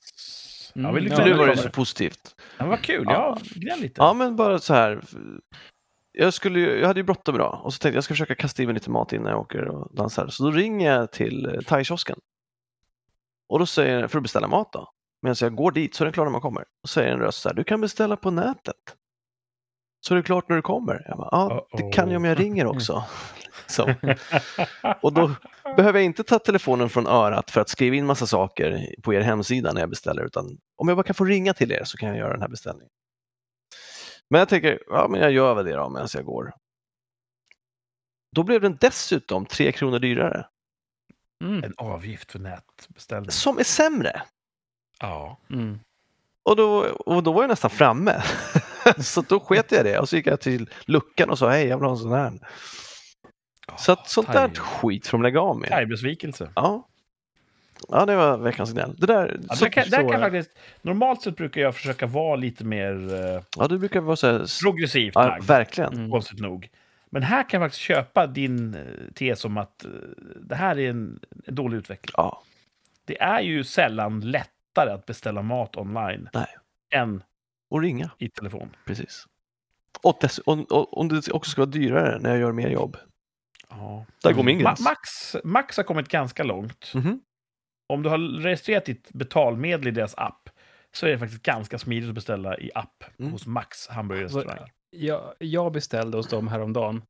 Speaker 3: Mm,
Speaker 2: Ja, vi
Speaker 3: ja,
Speaker 1: För
Speaker 2: lyckades
Speaker 1: nu
Speaker 3: det
Speaker 1: var det
Speaker 2: med
Speaker 1: så positivt.
Speaker 2: Ja, vad kul, ja.
Speaker 1: Ja.
Speaker 2: Gnäll lite.
Speaker 1: Ja, men bara så här. Jag, skulle, ju- jag hade ju bråttom idag och så tänkte jag jag ska försöka kasta i mig lite mat innan jag åker och dansar. Så då ringer jag till eh, thaikiosken. Och då säger för att beställa mat då. Medan jag går dit så är den klar när man kommer. Och säger en röst så här, du kan beställa på nätet. så är det klart när du kommer. Jag bara, ja, det kan jag om jag ringer också. Så. Och då behöver jag inte ta telefonen från örat för att skriva in massa saker på er hemsida när jag beställer, utan om jag bara kan få ringa till er så kan jag göra den här beställningen. Men jag tänker, ja men jag gör väl det då medan jag går. Då blev den dessutom 3 kronor dyrare,
Speaker 3: Mm.
Speaker 2: En avgift för nätbeställning.
Speaker 1: som är sämre.
Speaker 2: Ja.
Speaker 3: Mm.
Speaker 1: Och då, och då var jag nästan framme. så då sket jag i det och så gick jag till luckan och sa hej, jag vill ha en sån här. Så att sånt där skit får de lägga av med.
Speaker 2: Thai-besvikelse.
Speaker 1: Ja. ja, det var veckans gnäll. Det där,
Speaker 2: Ja,
Speaker 1: så,
Speaker 2: där kan, där
Speaker 3: förstår
Speaker 2: kan
Speaker 3: jag.
Speaker 2: faktiskt, normalt sett brukar jag försöka vara lite mer eh,
Speaker 1: ja, du brukar vara så här,
Speaker 2: progressivt
Speaker 1: ja,
Speaker 2: lagd,
Speaker 1: verkligen.
Speaker 3: Mm.
Speaker 2: konstigt nog. Men här kan jag faktiskt köpa din eh, tes om att eh, det här är en, en dålig utveckling.
Speaker 1: Ja,
Speaker 2: Det är ju sällan lättare att beställa mat online
Speaker 1: Nej.
Speaker 2: än
Speaker 1: och ringa,
Speaker 2: i telefon.
Speaker 1: precis. Och, dess, och, och om det också ska vara dyrare när jag gör mer jobb.
Speaker 2: Ja.
Speaker 1: Där går min gräns.
Speaker 2: Ma- Max, Max har kommit ganska långt.
Speaker 1: Mhm.
Speaker 2: Om du har registrerat ditt betalmedel i deras app så är det faktiskt ganska smidigt att beställa i app
Speaker 1: Mm.
Speaker 2: hos Max hamburgerrestaurang.
Speaker 3: Jag, jag beställde hos dem häromdagen.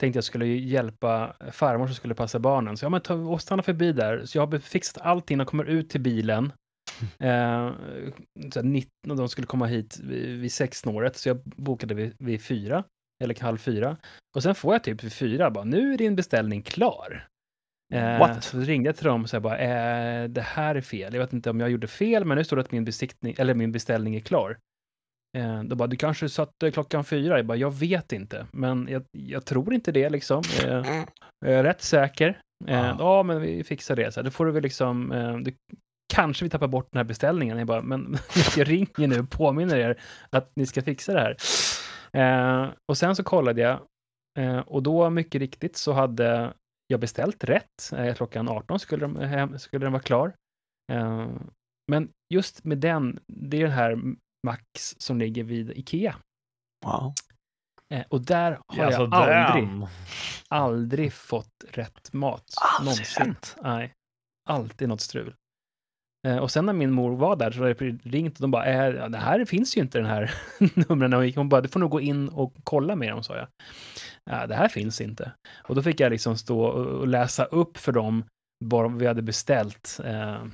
Speaker 3: Tänkte jag skulle hjälpa farmor som skulle passa barnen. Så ja, men ta och stanna förbi där. Så jag har be- fixat allting. De kommer ut till bilen. Eh, så här 19, de skulle komma hit vid, vid sexsnåret. Så jag bokade vid, vid fyra. Eller halv fyra. Och sen får jag typ vid fyra bara, nu är din beställning klar. Eh,
Speaker 1: What?
Speaker 3: Så ringde jag till dem och sa bara, eh, det här är fel. Jag vet inte om jag gjorde fel, men nu står det att min, besiktning, eller min beställning är klar. Eh, De bara, du kanske satte klockan fyra? Jag bara, jag vet inte, men jag, jag tror inte det liksom. Eh, Jag är rätt säker. Eh,
Speaker 2: Ja.
Speaker 3: Ja, men vi fixar det. Så här, då får du väl liksom, eh, du, kanske vi tappar bort den här beställningen. Jag bara, men jag ringer nu och påminner er att ni ska fixa det här. Eh, Och sen så kollade jag eh, och då mycket riktigt så hade jag beställt rätt. Eh, Klockan 18 skulle, de hem, skulle den vara klar. Eh, Men just med den, det är den här Max som ligger vid Ikea.
Speaker 1: Ja.
Speaker 3: Eh, Och där har
Speaker 2: Alltså,
Speaker 3: jag aldrig,
Speaker 2: damn.
Speaker 3: aldrig fått rätt mat.
Speaker 2: Ah,
Speaker 1: Aldrig
Speaker 3: någonsin.
Speaker 1: hänt.
Speaker 3: Nej, alltid något strul. Eh, Och sen när min mor var där så hade jag ringt och de bara, äh, ja, det här finns ju inte den här numren. Och hon bara, du får nog gå in och kolla med dem, sa jag. Ja, det här finns inte. Och då fick jag liksom stå och och läsa upp för dem vad vi hade beställt eh,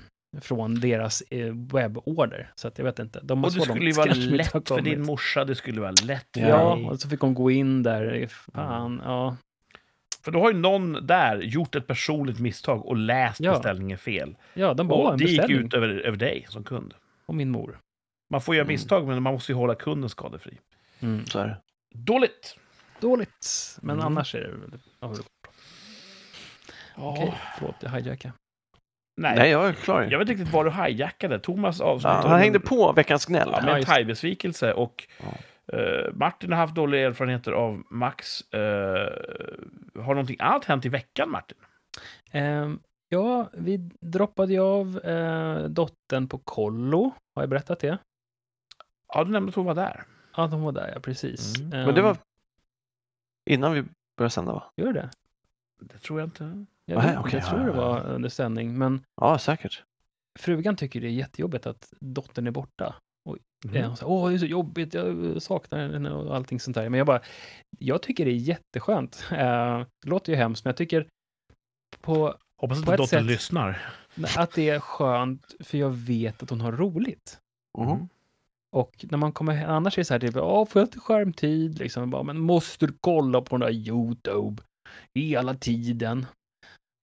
Speaker 3: från deras eh, webborder. Så att jag vet inte. De
Speaker 2: Och det
Speaker 3: så långt
Speaker 2: skulle ju vara
Speaker 3: kanske vi inte
Speaker 2: lätt
Speaker 3: har
Speaker 2: för din
Speaker 3: kommit.
Speaker 2: morsa, det skulle vara lätt för
Speaker 3: Ja,
Speaker 2: dig.
Speaker 3: och så fick hon gå in där. Fan, ja.
Speaker 2: För då har ju någon där gjort ett personligt misstag och läst
Speaker 3: Ja.
Speaker 2: beställningen fel.
Speaker 3: Ja, de bara, "Åh, en
Speaker 2: Och det gick
Speaker 3: beställning.
Speaker 2: ut över, över dig som kund.
Speaker 3: Och min mor.
Speaker 2: Man får göra
Speaker 1: Mm.
Speaker 2: misstag, men man måste ju hålla kunden skadefri.
Speaker 3: Mm.
Speaker 1: Så är det.
Speaker 2: Dåligt!
Speaker 3: Dåligt, men
Speaker 2: Mm.
Speaker 3: annars är det väl... Ja, det- Okej, förlåt, jag hijackade.
Speaker 2: Nej,
Speaker 1: Nej, jag är klar.
Speaker 2: jag vet inte riktigt var du hijackade. Thomas avslutade...
Speaker 1: Ja, han hängde på veckans gnäll.
Speaker 2: Ja,
Speaker 3: Ja,
Speaker 2: med en
Speaker 3: just-
Speaker 2: thai-besvikelse. Och eh, Martin har haft dåliga erfarenheter av Max. Eh, har någonting annat hänt i veckan, Martin?
Speaker 3: Ehm, ja, vi droppade ju av eh, dottern på kollo. Har jag berättat det?
Speaker 2: Ja, du nämnde att hon var där.
Speaker 3: Ja, de var där, ja, precis.
Speaker 2: Mm.
Speaker 1: Men det
Speaker 3: Ehm,
Speaker 1: var innan vi började sända va?
Speaker 3: Gör det?
Speaker 2: Det tror jag inte.
Speaker 3: Jag,
Speaker 1: Nej,
Speaker 3: vet, inte,
Speaker 1: okej,
Speaker 3: jag
Speaker 1: ja,
Speaker 3: tror det
Speaker 1: ja, ja.
Speaker 3: var under sändning, men
Speaker 1: Ja, säkert.
Speaker 3: frugan tycker det är jättejobbigt att dottern är borta.
Speaker 2: Mhm.
Speaker 3: Mm. Hon säger, åh, det är så jobbigt, jag saknar henne och allting sånt där. Men jag bara, jag tycker det är jätteskönt. Eh, det låter ju hemskt, men jag tycker på
Speaker 2: Hoppas
Speaker 3: På
Speaker 2: inte
Speaker 3: ett
Speaker 2: dottern
Speaker 3: sätt-
Speaker 2: lyssnar.
Speaker 3: Nej, Att det är skönt, för jag vet att hon har roligt.
Speaker 2: Mm.
Speaker 1: Mhm.
Speaker 3: Och när man kommer hem, annars är det så här typ, ja, får jag lite skärmtid? Liksom, Jag bara, men måste du kolla på den där YouTube hela tiden?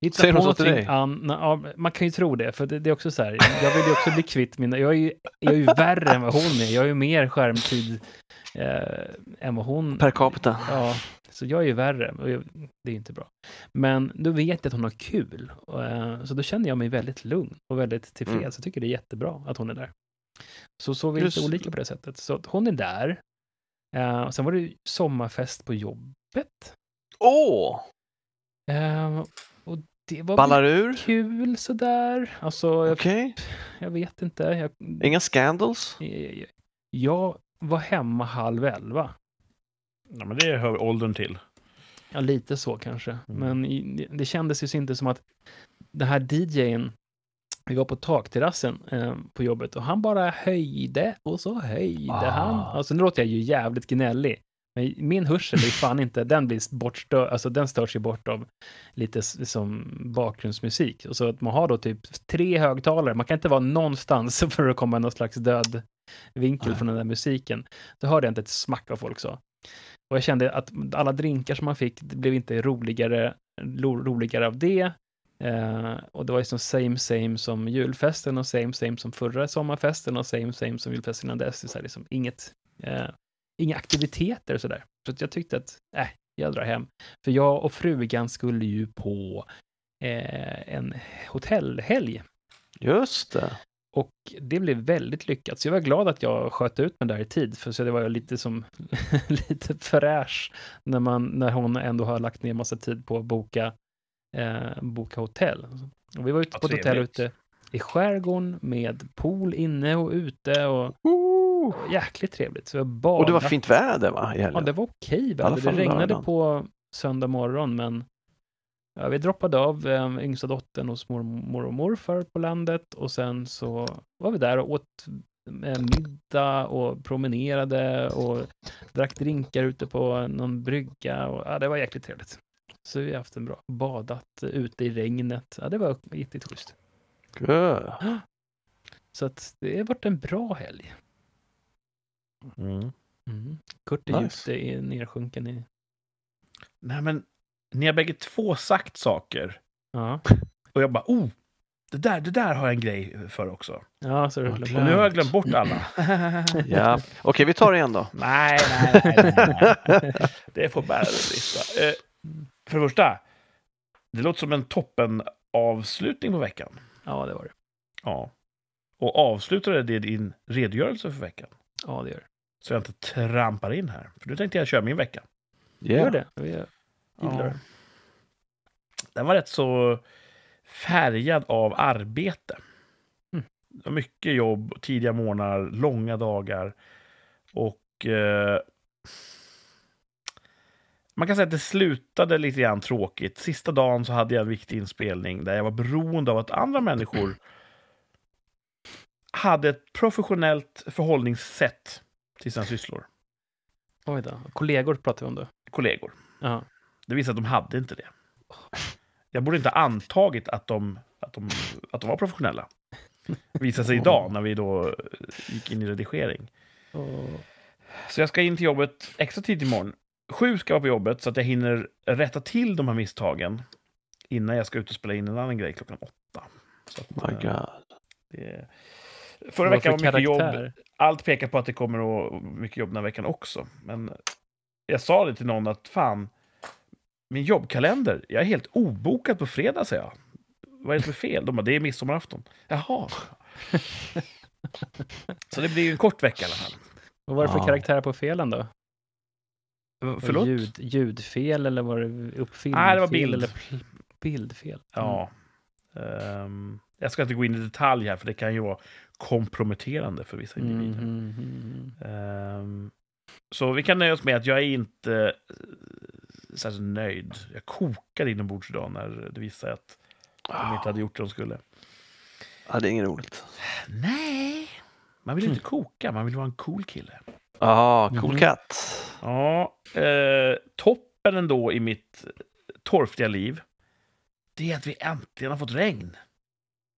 Speaker 3: Hitta
Speaker 1: Säger
Speaker 3: på
Speaker 1: hon så till
Speaker 3: någonting
Speaker 1: dig?
Speaker 3: ann- ja, men man kan ju tro det, för det, det är också så här, jag vill ju också bli kvitt mina, jag är ju, jag är ju värre än vad hon är, jag är ju mer skärmtid eh, än vad hon
Speaker 1: Per capita.
Speaker 3: Ja, så jag är ju värre. Och jag, det är ju inte bra. Men då vet jag att hon har kul. Och, eh, så då känner jag mig väldigt lugn och väldigt tillfreds.
Speaker 1: Mm.
Speaker 3: Jag tycker det är jättebra att hon är där. Så så är vi
Speaker 1: Du
Speaker 3: lite
Speaker 1: s-
Speaker 3: olika på det sättet. Så att hon är där. Eh, och sen var det ju sommarfest på jobbet.
Speaker 1: Åh!
Speaker 3: Eh, och det var väl
Speaker 1: ballar ur?
Speaker 3: kul sådär. Alltså, jag,
Speaker 1: Okej.
Speaker 3: jag vet inte. Jag,
Speaker 1: Inga scandals?
Speaker 3: jag, jag var hemma halv elva.
Speaker 2: Ja, men det hör åldern till.
Speaker 3: Ja, lite så kanske.
Speaker 1: Mm.
Speaker 3: Men i- det kändes ju inte som att den här DJn, vi var på takterrassen eh, på jobbet och han bara höjde och så höjde
Speaker 1: Ah.
Speaker 3: han. Alltså nu låter jag ju jävligt gnällig, Men min hörsel är fan inte, den blir bortstör, alltså den störs ju bort av lite s- som bakgrundsmusik. Och så att man har då typ tre högtalare, man kan inte vara någonstans för att komma i någon slags död vinkel
Speaker 1: Nej.
Speaker 3: från den där musiken. Då hörde jag inte ett smack av folk sa. Och jag kände att alla drinkar som man fick, det blev inte roligare, lo- roligare av det. Eh, och det var ju som same same som julfesten och same same som förra sommarfesten och same same som julfesten innan dess. Det är så här liksom inget, eh, inga aktiviteter och sådär. Så att jag tyckte att, äh, jag drar hem. För jag och frugan skulle ju på eh, en hotellhelg
Speaker 1: Just det.
Speaker 3: och det blev väldigt lyckat. Så jag var glad att jag sköt ut mig där i tid, för så det var jag lite som lite fräsch när, man, när hon ändå har lagt ner massa tid på att boka, eh, boka hotell. Och vi var ute
Speaker 2: Vad
Speaker 3: på ett hotell
Speaker 2: trevligt.
Speaker 3: ute i skärgården med pool inne och ute och
Speaker 1: Woo!
Speaker 3: och jäkligt trevligt. Så jag bad
Speaker 1: Och det var fint väder va? I
Speaker 3: Ja,
Speaker 1: helgen?
Speaker 3: det var okej
Speaker 1: alla
Speaker 3: väder. Det
Speaker 1: fall
Speaker 3: regnade
Speaker 1: lördagen.
Speaker 3: på söndag morgon, men ja, vi droppade av eh, yngsta dottern hos mormor och morfar på landet och sen så var vi där och åt eh, middag och promenerade och drack drinkar ute på någon brygga. Och, ja, det var jäkligt trevligt. Så vi har haft en bra badat eh, ute i regnet. Ja, det var riktigt schysst.
Speaker 1: Gud.
Speaker 3: Så att det har varit en bra helg.
Speaker 2: Mm.
Speaker 3: Mm. Kurt är
Speaker 1: Nice.
Speaker 3: djupt eh, i- nersjunken i...
Speaker 2: Nej, men ni har bägge två sagt saker.
Speaker 3: Ja,
Speaker 2: Och jag bara, oh, det där, det där har jag en grej för också. Och
Speaker 3: ja så
Speaker 1: Ja,
Speaker 3: det
Speaker 1: klart.
Speaker 2: nu har jag glömt bort alla.
Speaker 1: Ja. Okej, vi tar det igen då.
Speaker 2: nej, nej, nej, nej. Det får bära det sista. Eh, för det första, det låter som en toppen avslutning på veckan.
Speaker 3: Ja, det var det.
Speaker 2: Ja. Och avslutade det din redogörelse för veckan.
Speaker 3: Ja, det gör det.
Speaker 2: Så jag inte trampar in här. För nu tänkte jag köra min vecka.
Speaker 1: Yeah.
Speaker 3: Gör det. Vi gör- Gillar det.
Speaker 2: Den var rätt så färgad av arbete.
Speaker 3: Mm.
Speaker 2: Det var mycket jobb, tidiga morgnar, långa dagar. Och eh, man kan säga att det slutade lite grann tråkigt. Sista dagen så hade jag en viktig inspelning där jag var beroende av att andra människor hade ett professionellt förhållningssätt till sina sysslor.
Speaker 3: Oj då. Kollegor pratar vi om då.
Speaker 2: Kollegor.
Speaker 3: Ja.
Speaker 2: Det visade att de hade inte det. Jag borde inte ha antagit att de, att de, att de var professionella. Visade sig idag när vi då eh, gick in i redigering.
Speaker 3: Och,
Speaker 2: Så jag ska in till jobbet extra tidigt imorgon. Sju ska jag vara på jobbet så att jag hinner rätta till de här misstagen innan jag ska ut och spela in en annan grej klockan åtta. Så att,
Speaker 1: Oh My
Speaker 2: eh,
Speaker 1: God.
Speaker 2: det-
Speaker 3: Vad
Speaker 2: Förra veckan var
Speaker 3: för
Speaker 2: mycket jobb
Speaker 3: karaktär?
Speaker 2: allt pekar på att det kommer att mycket jobb den här veckan också. Men jag sa det till någon att fan, min jobbkalender, jag är helt obokad på fredag, säger jag. Vad är det som är fel? De bara, det är midsommarafton. Jaha. Så det blir ju en kort vecka i alla fall.
Speaker 3: Vad var det för
Speaker 1: Ja.
Speaker 3: karaktär på felen då? Var det
Speaker 2: Förlåt?
Speaker 3: Ljud, ljudfel eller var det uppfilmning?
Speaker 2: Nej, det var bild.
Speaker 3: Eller pl- bildfel? Mm.
Speaker 2: Ja. Ehm, jag ska inte gå in i detalj här, för det kan ju vara komprometterande för vissa individer.
Speaker 3: Mm, mm, mm, mm.
Speaker 2: Ehm, så vi kan nöja oss med att jag är inte eh, särskilt nöjd. Jag kokade inombords idag när det visade sig att de inte hade gjort det de skulle.
Speaker 1: Ja, det är inget roligt.
Speaker 2: Nej, Mm. man vill inte koka, man vill vara en cool kille.
Speaker 1: Ah, cool
Speaker 3: Mhm.
Speaker 1: cat.
Speaker 2: Ja, eh, toppen ändå i mitt torftiga liv, det är att vi äntligen har fått regn.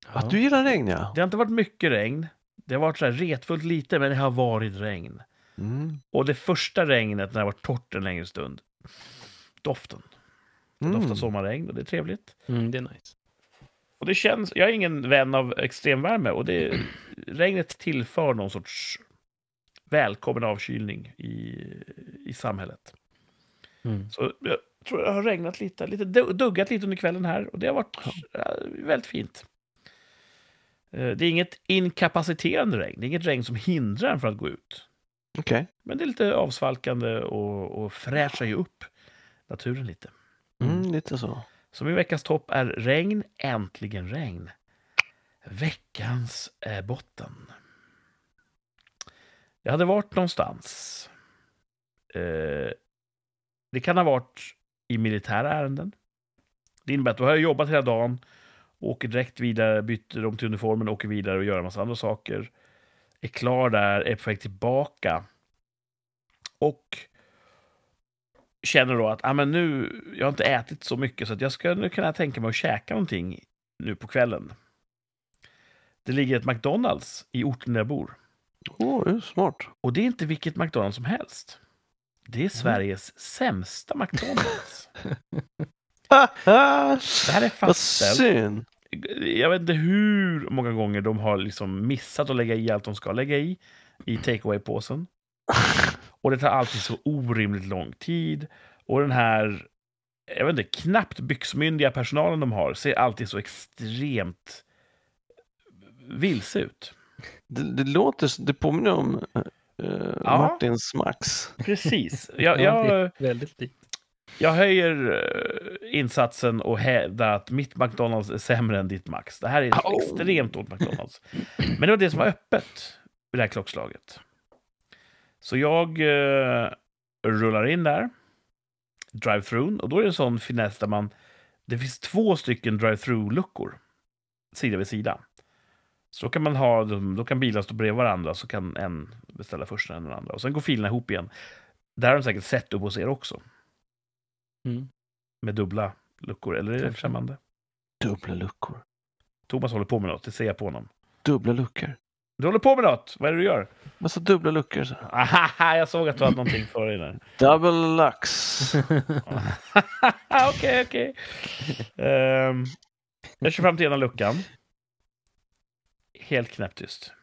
Speaker 1: Att du gillar regn ja.
Speaker 2: Det har inte varit mycket regn. Det har varit så här retfullt lite, men det har varit regn.
Speaker 1: Mm.
Speaker 2: Och det första regnet, när det har varit torrt en längre stund, doften. Det
Speaker 1: Mm.
Speaker 2: doftar sommarregn och det är trevligt.
Speaker 3: Mm, det är nice.
Speaker 2: Och det känns, jag är ingen vän av extremvärme och det, regnet tillför någon sorts välkommen avkylning i, i samhället.
Speaker 3: Mm.
Speaker 2: Så jag tror jag har regnat lite, lite du- duggat lite under kvällen här och det har varit eh, väldigt fint. Eh, Det är inget inkapaciterande regn, det är inget regn som hindrar en från att gå ut.
Speaker 1: Okej.
Speaker 2: Men det är lite avsvalkande och, och fräschar ju upp naturen lite.
Speaker 1: Mm, lite så.
Speaker 2: Så min veckans topp är regn, äntligen regn. Veckans eh, botten. Jag hade varit någonstans. Eh, det kan ha varit i militära ärenden. Det innebär att då har jag jobbat hela dagen, åker direkt vidare, byter om till uniformen, åker vidare och gör en massa andra saker. Är klar där, är på väg tillbaka. Och känner då att ah, men nu, jag har inte ätit så mycket så att jag ska nu kunna tänka mig att käka någonting nu på kvällen. Det ligger ett McDonalds i orten där jag bor.
Speaker 1: Åh, det är smart.
Speaker 2: Och det är inte vilket McDonalds som helst. Det är Sveriges sämsta McDonalds. Det här är
Speaker 1: Vad
Speaker 2: fastställt.
Speaker 1: synd.
Speaker 2: jag vet inte hur många gånger de har liksom missat att lägga i allt de ska lägga i, i takeaway-påsen. Och det tar alltid så orimligt lång tid. Och den här, jag vet inte, knappt byxmyndiga personalen de har ser alltid så extremt vilse ut.
Speaker 1: Det, det låter, s- det påminner om eh,
Speaker 2: Ja.
Speaker 1: Martins Max.
Speaker 2: Precis. Jag,
Speaker 3: Ja,
Speaker 2: jag,
Speaker 3: det är väldigt likt.
Speaker 2: jag höjer eh, insatsen och hävdar att mitt McDonalds är sämre än ditt Max. Det här är ett
Speaker 1: Au.
Speaker 2: extremt ont McDonalds. Men det var det som var öppet vid det här klockslaget. Så jag eh, rullar in där, drive-thrun, och då är det en sån finess där man... Det finns två stycken drive-through-luckor sida vid sida. Så då kan man ha, dem- då kan bilarna stå bredvid varandra, så kan en beställa först än den andra. Och sen går filerna ihop igen. Där har de säkert sett upp hos er också
Speaker 3: Mm.
Speaker 2: med dubbla luckor, eller är det
Speaker 3: Kanske.
Speaker 2: främmande?
Speaker 1: Dubbla luckor.
Speaker 2: Thomas håller på med något, det ser jag på honom.
Speaker 1: Dubbla luckor.
Speaker 2: Du håller på med något, vad är det du gör?
Speaker 1: Massa dubbla luckor. så här.
Speaker 2: Aha, jag såg att du hade någonting för dig där.
Speaker 1: Double lux.
Speaker 2: Ah, Okej, okej. Ehm, Jag kör fram till ena luckan. Helt knäpptyst.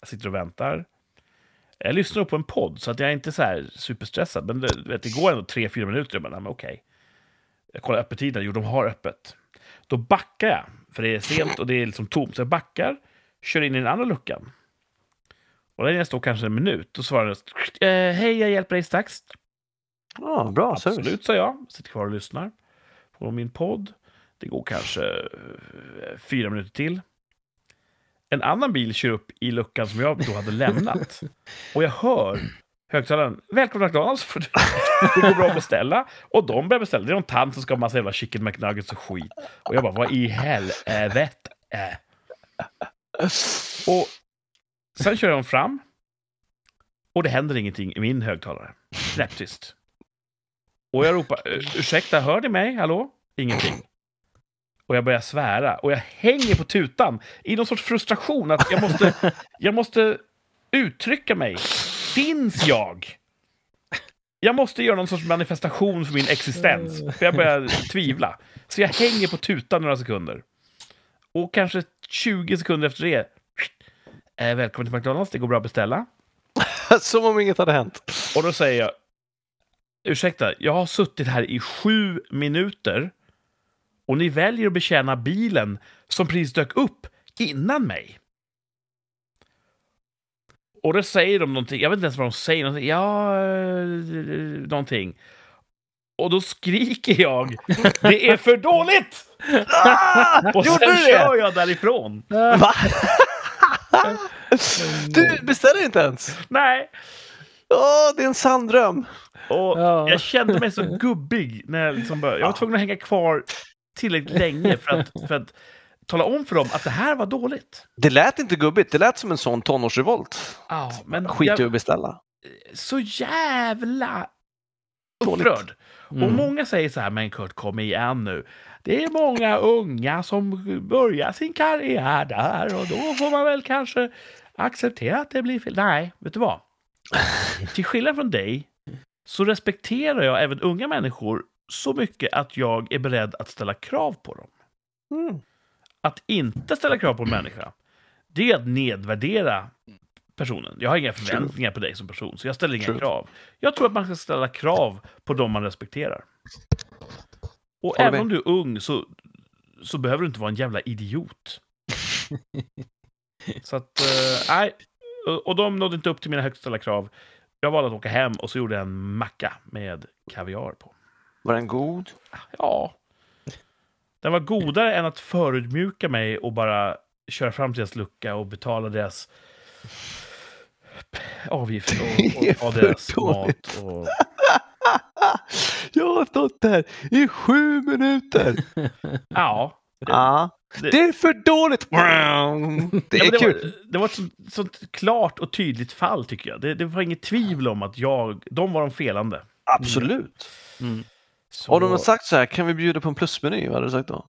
Speaker 2: Jag sitter och väntar. Jag lyssnar på en podd, så att jag är inte så här superstressad. Men det, du vet, det går ändå tre, fyra minuter. Jag bara, nej, men okej. Jag kollar öppettiden. Jo, de har öppet. Då backar jag, för det är sent och det är liksom tomt. Så jag backar, kör in i den andra luckan. Och där jag står kanske en minut, och svarar den, eh, hej, jag hjälper dig strax.
Speaker 1: Ja, bra service.
Speaker 2: Absolut, sa jag. Sitter kvar och lyssnar på min podd. Det går kanske eh, fyra minuter till. En annan bil kör upp i luckan som jag då hade lämnat. Och jag hör högtalaren. Välkomna till McDonalds. För det går bra att beställa. Och de börjar beställa. Det är någon tant som ska ha massa jävla chicken McNuggets och skit. Och jag bara, vad i helvete? Och sen kör de fram. Och det händer ingenting i min högtalare. Knäpptyst. Och jag ropar, "Ur- ursäkta, hör ni mig? Hallå? Ingenting. Och jag börjar svära. Och jag hänger på tutan i någon sorts frustration att jag måste, jag måste uttrycka mig. Finns jag? Jag måste göra någon sorts manifestation för min existens. För jag börjar tvivla. Så jag hänger på tutan några sekunder. Och kanske 20 sekunder efter det. Eh, välkommen till McDonalds, det går bra att beställa.
Speaker 1: Som om inget hade hänt.
Speaker 2: Och då säger jag, ursäkta, jag har suttit här i sju minuter och ni väljer att betjäna bilen som precis dök upp innan mig. Och då säger de någonting, jag vet inte ens vad de säger, någonting, ja, eh, någonting. Och då skriker jag, det är för dåligt! Och sen
Speaker 1: Gjorde du det?
Speaker 2: kör jag därifrån.
Speaker 1: Va? du beställer inte ens?
Speaker 2: Nej.
Speaker 1: Åh, det är en sanddröm.
Speaker 2: Och
Speaker 3: Ja.
Speaker 2: jag kände mig så gubbig när jag liksom började. Jag var tvungen att hänga kvar tillräckligt länge för att, för att tala om för dem att det här var dåligt.
Speaker 1: Det lät inte gubbigt. Det lät som en sån tonårsrevolt.
Speaker 2: Ja, men
Speaker 1: Skit i
Speaker 2: jag,
Speaker 1: att beställa.
Speaker 2: så jävla
Speaker 1: Dåligt.
Speaker 2: upprörd. Och
Speaker 3: Mm.
Speaker 2: många säger så här, men Kurt kom igen nu. Det är många unga som börjar sin karriär där och då får man väl kanske acceptera att det blir fel. Nej, vet du vad? Till skillnad från dig så respekterar jag även unga människor så mycket att jag är beredd att ställa krav på dem.
Speaker 1: Mm.
Speaker 2: Att inte ställa krav på en människa, det är att nedvärdera personen. Jag har inga förväntningar på dig som person, så jag ställer inga
Speaker 1: True.
Speaker 2: krav. Jag tror att man ska ställa krav på dem man respekterar. Och
Speaker 1: Håller
Speaker 2: även
Speaker 1: med.
Speaker 2: om du är ung så, så behöver du inte vara en jävla idiot. så att, eh, nej. Och- och de nådde inte upp till mina högt ställda krav. Jag valde att åka hem och så gjorde jag en macka med kaviar på.
Speaker 1: Var den god?
Speaker 2: Ja. Den var godare än att förutmjuka mig och bara köra fram till deras lucka och betala deras avgift och,
Speaker 1: Det är
Speaker 2: och, och deras
Speaker 1: för
Speaker 2: mat. Och...
Speaker 1: Jag har stått här i sju minuter.
Speaker 2: Ja.
Speaker 1: Ja.
Speaker 2: Det-
Speaker 1: Det är för dåligt! Det
Speaker 2: Ja, men
Speaker 1: är
Speaker 2: det,
Speaker 1: kul.
Speaker 2: var, det var ett sånt, sånt klart och tydligt fall, tycker jag. Det, det var inget tvivel om att jag, de var de felande.
Speaker 1: Absolut.
Speaker 3: Mm.
Speaker 2: Så,
Speaker 1: Om de hade sagt så här, kan vi bjuda på en plusmeny? Vad hade du sagt då?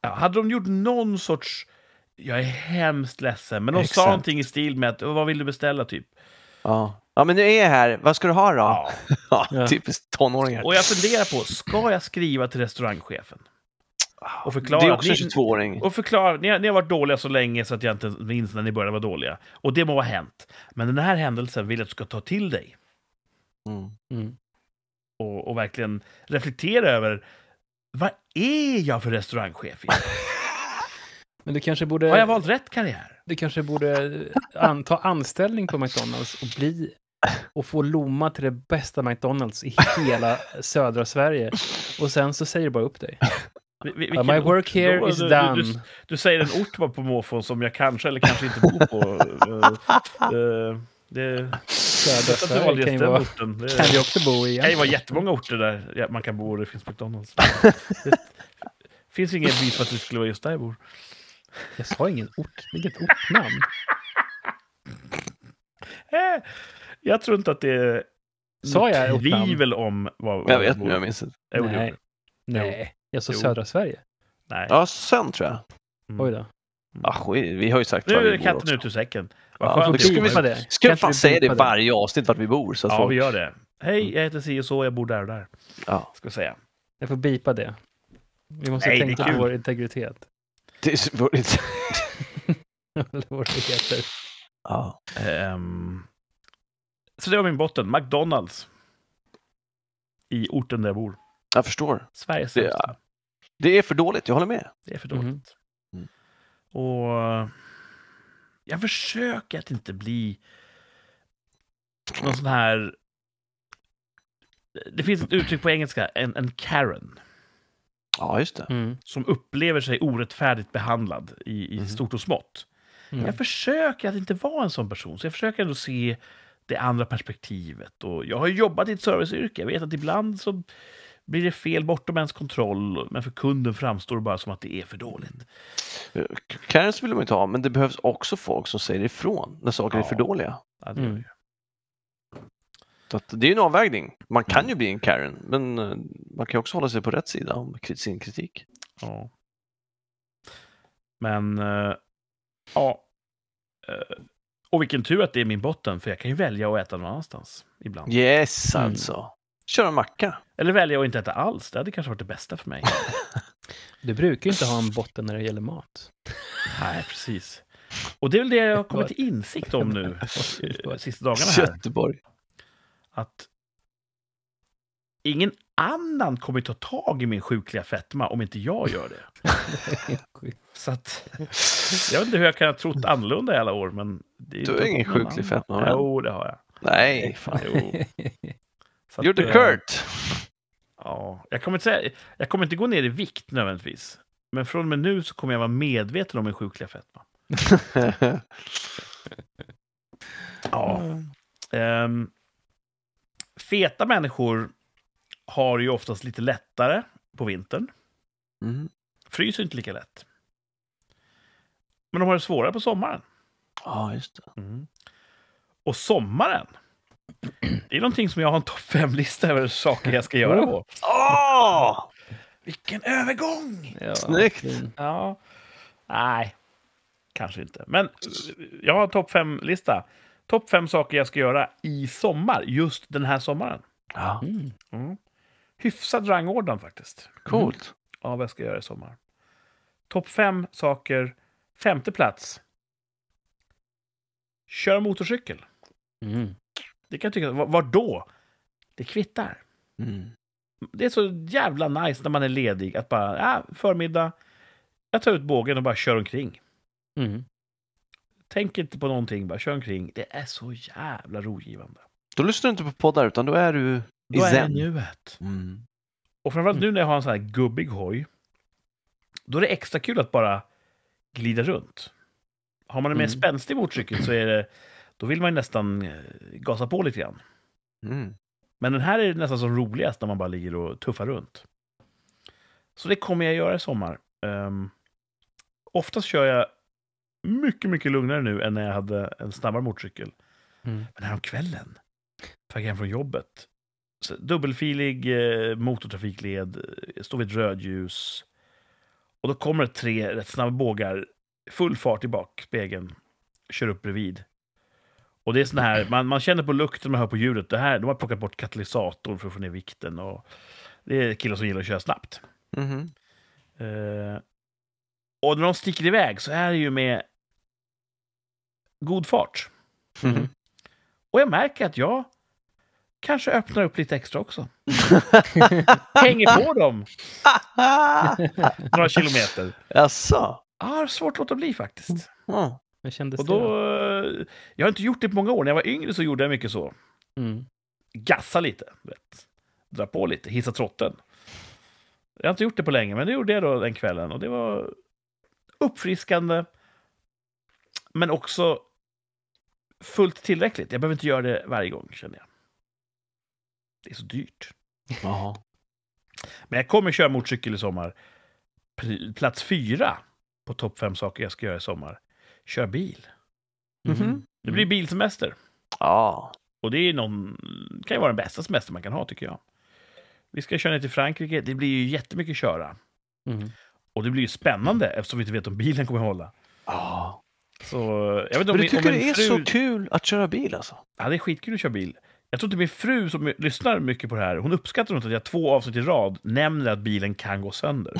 Speaker 2: ja, hade de gjort någon sorts... Jag är hemskt ledsen, men de
Speaker 1: Exakt.
Speaker 2: sa någonting i stil med att "Åh, vad vill du beställa typ?
Speaker 1: Ja. ja, men nu är jag här. Vad ska du ha då?
Speaker 2: Ja.
Speaker 1: Ja,
Speaker 3: Ja.
Speaker 1: typiskt tonåringar.
Speaker 2: Och jag funderar på, ska jag skriva till restaurangchefen? Och förklara
Speaker 1: det Ah, är
Speaker 2: att
Speaker 1: också
Speaker 2: ni-
Speaker 1: en 22-åring.
Speaker 2: Och förklara, ni har, ni har varit dåliga så länge så att jag inte minns när ni började vara dåliga. Och det må ha hänt. Men den här händelsen vill jag att du ska ta till dig.
Speaker 1: Mm.
Speaker 3: Mm.
Speaker 2: Och, och verkligen reflektera över, vad är jag för restaurangchef? egentligen?
Speaker 3: Men du kanske borde...
Speaker 2: Har jag valt rätt karriär?
Speaker 3: Du kanske borde eh, an, ta anställning på McDonalds och bli och få Lomma till det bästa McDonalds i hela södra Sverige. Och sen så säger du bara upp dig.
Speaker 2: Vi- vi-
Speaker 3: Uh,
Speaker 2: vilken
Speaker 3: my
Speaker 2: ort?
Speaker 3: work here
Speaker 2: Då-
Speaker 3: is
Speaker 2: du-
Speaker 3: done.
Speaker 2: Du, du, du säger en ort bara på måfå som jag kanske eller kanske inte bor på. Eh, eh, det,
Speaker 3: södra
Speaker 2: jag tror att det var just
Speaker 3: Sverige kan ju
Speaker 2: den
Speaker 3: vara,
Speaker 2: orten. Det,
Speaker 3: kan vi också bo i.
Speaker 2: Det kan ju vara jättemånga orter där ja, man kan bo och det finns McDonalds. Det finns ingen bevis för att det skulle vara just där jag bor.
Speaker 3: Jag sa ingen ort, inget ortnamn.
Speaker 2: Eh, Jag tror inte att det är
Speaker 3: Sa jag
Speaker 2: något
Speaker 3: ortnamn?
Speaker 2: tvivel om vad... vad
Speaker 1: Jag vet
Speaker 2: vad-
Speaker 1: inte, jag minns inte.
Speaker 2: Jo, det
Speaker 3: Nej.
Speaker 2: gjorde
Speaker 3: Nej, jag sa
Speaker 2: Jo.
Speaker 3: södra Sverige.
Speaker 2: jag. Nej.
Speaker 1: Ja, sen tror jag.
Speaker 2: Mm.
Speaker 3: Oj då.
Speaker 1: Ah, skit, vi har ju sagt var
Speaker 2: Nu är
Speaker 1: vi bor
Speaker 2: katten
Speaker 1: också.
Speaker 2: ut ur säcken.
Speaker 1: Ja,
Speaker 2: Vad skönt.
Speaker 1: då ska vi-
Speaker 2: det var.
Speaker 3: Beepa det.
Speaker 1: Ska
Speaker 3: Kan
Speaker 1: vi
Speaker 3: inte
Speaker 1: fan
Speaker 3: du
Speaker 1: säga det i
Speaker 3: beepa
Speaker 1: varje avsnitt vart vi bor? Så att
Speaker 2: Ja,
Speaker 1: folk...
Speaker 2: vi gör det. Hej, jag heter si och så, jag bor där och där.
Speaker 1: ja.
Speaker 2: Ska jag säga.
Speaker 3: Jag får bipa det. Vi måste
Speaker 2: Nej, det är
Speaker 3: tänka
Speaker 2: kul.
Speaker 3: på vår integritet.
Speaker 1: Det är svårt.
Speaker 3: Eller vad det heter.
Speaker 1: ja.
Speaker 2: Ehm, Så det var min botten. McDonalds. I orten där jag bor.
Speaker 1: Jag förstår.
Speaker 2: Sveriges
Speaker 1: Det är-
Speaker 2: sämsta.
Speaker 1: Det är för dåligt, jag håller med.
Speaker 2: Det är för dåligt.
Speaker 3: Mhm.
Speaker 1: Mm.
Speaker 2: Och jag försöker att inte bli någon sån här... Det finns ett uttryck på engelska, en, en Karen,
Speaker 1: Ja, just det.
Speaker 3: Mm.
Speaker 2: som upplever sig orättfärdigt behandlad i, i stort och smått.
Speaker 3: Mm.
Speaker 2: Jag försöker att inte vara en sån person, så jag försöker ändå se det andra perspektivet. Och jag har jobbat i ett serviceyrke, jag vet att ibland så blir det fel bortom ens kontroll, men för kunden framstår det bara som att det är för dåligt.
Speaker 1: Karens vill man ju inte ha, men det behövs också folk som säger ifrån när saker
Speaker 2: Ja.
Speaker 1: är för dåliga.
Speaker 2: Ja, det gör
Speaker 3: Mm.
Speaker 2: jag.
Speaker 1: Så att det är ju en avvägning. Man
Speaker 2: Mm.
Speaker 1: kan ju bli en Karen, men eh, man kan ju också hålla sig på rätt sida om kri- sin kritik.
Speaker 2: Ja. Men, eh, ja. Eh, och vilken tur att det är min botten, för jag kan ju välja att äta någon annanstans ibland.
Speaker 1: Yes,
Speaker 3: Mm.
Speaker 1: alltså. Kör en macka.
Speaker 2: Eller välja att inte äta alls, det hade kanske varit det bästa för mig.
Speaker 3: Du brukar ju inte ha en botten när det gäller mat.
Speaker 2: Nej, precis. Och det är väl det jag har kommit till insikt om nu, eh, sista dagarna här.
Speaker 1: Göteborg.
Speaker 2: Att ingen annan kommer ta tag i min sjukliga fetma om inte jag gör det. Så att, jag vet inte hur jag kan ha trott annorlunda i alla år, men... Det är
Speaker 1: Du
Speaker 2: inte
Speaker 1: har ingen
Speaker 2: någon
Speaker 1: sjuklig
Speaker 2: annan.
Speaker 1: fetma, va?
Speaker 2: Jo, det har jag.
Speaker 1: Nej, fan.
Speaker 2: Jo. Så
Speaker 1: You're
Speaker 2: att,
Speaker 1: the
Speaker 2: eh,
Speaker 1: Kurt.
Speaker 2: Ja, jag kommer, inte säga, jag kommer inte gå ner i vikt nödvändigtvis. Men från och med nu så kommer jag vara medveten om min sjukliga fetma. Ja. Mm. Ehm, feta människor har ju oftast lite lättare på vintern.
Speaker 1: mm.
Speaker 2: Fryser inte lika lätt. Men de har det svårare på sommaren.
Speaker 1: Ja, just det.
Speaker 2: Mm. Och sommaren, det är någonting som jag har en topp fem-lista över saker jag ska göra på. Ah!
Speaker 1: Åh!
Speaker 2: Vilken övergång!
Speaker 3: Ja,
Speaker 1: Snyggt.
Speaker 3: fin.
Speaker 2: Ja. Nej, kanske inte. Men eh, jag har en topp fem-lista. Topp fem saker jag ska göra i sommar, just den här sommaren.
Speaker 1: Ja,
Speaker 3: Mm.
Speaker 2: Hyfsad rangordnad faktiskt,
Speaker 1: coolt.
Speaker 2: av vad jag ska göra i sommar. Topp fem saker, femte plats. Kör motorcykel.
Speaker 3: Mm.
Speaker 2: Det kan jag tycka, var var då? Det kvittar.
Speaker 1: Mm.
Speaker 2: Det är så jävla nice när man är ledig att bara, ah, förmiddag, jag tar ut bågen och bara kör omkring.
Speaker 3: Mm.
Speaker 2: Tänk inte på någonting, bara kör omkring. Det är så jävla rogivande.
Speaker 1: Då lyssnar du inte på poddar, utan då är du i
Speaker 2: Då är det
Speaker 1: zen.
Speaker 2: nuet.
Speaker 1: Mm.
Speaker 2: Och framförallt nu när jag har en sån här gubbig hoj, då är det extra kul att bara glida runt. Har man en mer
Speaker 3: Mm.
Speaker 2: spänstig motorcykel så är det, då vill man ju nästan eh, gasa på lite grann.
Speaker 1: Mm.
Speaker 2: Men den här är nästan som roligast när man bara ligger och tuffar runt. Så det kommer jag göra i sommar. Um, oftast kör jag mycket, mycket lugnare nu än när jag hade en snabbare motorcykel.
Speaker 3: Mm.
Speaker 2: Men häromkvällen på väg hem från jobbet Så Dubbelfilig eh, motortrafikled, eh, står vid ett rödljus. Och då kommer det tre rätt snabba bågar, full fart i backspegeln, kör upp bredvid. Och det är sån här, man, man känner på lukten, man hör på ljudet. Det här, de har plockat bort katalysatorn för att få ner vikten. Och det är killar som gillar att köra snabbt.
Speaker 1: Mhm.
Speaker 2: Eh, och när de sticker iväg så är det ju med god fart. Mm.
Speaker 1: Mhm.
Speaker 2: Och jag märker att jag kanske öppnar upp lite extra också. Hänger på dem några kilometer.
Speaker 1: Ah! Jaså?
Speaker 2: Ja, det är svårt att låta bli faktiskt.
Speaker 1: Ja.
Speaker 3: Hur kändes
Speaker 2: Och
Speaker 3: det? Då...
Speaker 2: då, eh, jag har inte gjort det på många år. När jag var yngre så gjorde jag mycket så.
Speaker 3: Mm.
Speaker 2: Gassa lite, du vet. dra på lite, hissa trotten. Jag har inte gjort det på länge, men det gjorde jag då den kvällen. Och det var uppfriskande, men också fullt tillräckligt. Jag behöver inte göra det varje gång, känner jag. Det är så dyrt.
Speaker 1: Jaha.
Speaker 2: Men jag kommer köra motorcykel i sommar. Pl- Plats fyra på topp fem saker jag ska göra i sommar. Kör bil.
Speaker 3: Mm.
Speaker 1: Mhm.
Speaker 2: Det blir bilsemester.
Speaker 1: Ja.
Speaker 2: Och det är någon, kan ju vara den bästa semester man kan ha, tycker jag. Vi ska köra ner till Frankrike. Det blir ju jättemycket köra.
Speaker 3: Mm.
Speaker 2: Och det blir ju spännande eftersom vi inte vet om bilen kommer hålla.
Speaker 1: Ja.
Speaker 2: Så jag vet inte
Speaker 1: Men
Speaker 2: om
Speaker 1: du
Speaker 2: min- om
Speaker 1: tycker
Speaker 2: min
Speaker 1: det är
Speaker 2: fru...
Speaker 1: så kul att köra bil alltså?
Speaker 2: Ja, det är skitkul att köra bil. Jag tror inte min fru som lyssnar mycket på det här, hon uppskattar nog inte att jag två avsnitt i rad nämner att bilen kan gå sönder.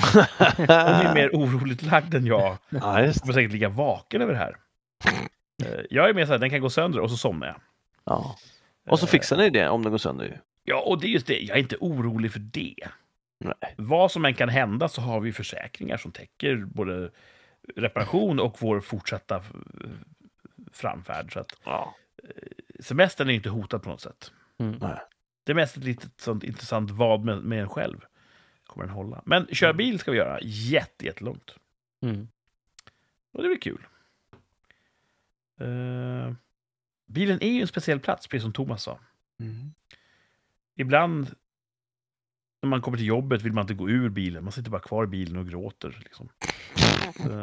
Speaker 2: Hon är mer oroligt lagd än jag.
Speaker 1: Ja, just
Speaker 2: Hon kommer säkert ligga vaken över det här. Eh, Jag är mer så här, den kan gå sönder och så somnar jag.
Speaker 1: Ja. Och så
Speaker 2: Eh,
Speaker 1: fixar ni det om den går sönder ju.
Speaker 2: Ja, och det är just det. Jag är inte orolig för det.
Speaker 1: Nej.
Speaker 2: Vad som än kan hända så har vi försäkringar som täcker både reparation och vår fortsatta eh, framfärd. Så att
Speaker 1: Ja.
Speaker 2: semestern är inte hotad på något sätt.
Speaker 3: Mm.
Speaker 1: Nej.
Speaker 2: Det är mest ett litet sånt intressant vad med, med en själv. Kommer den hålla? Men köra bil ska vi göra jätte, jättelångt.
Speaker 3: Mm.
Speaker 2: Och det blir kul. Eh, bilen är ju en speciell plats, precis som Thomas sa.
Speaker 1: Mm.
Speaker 2: ibland när man kommer till jobbet vill man inte gå ur bilen. Man sitter bara kvar i bilen och gråter. Liksom. Så,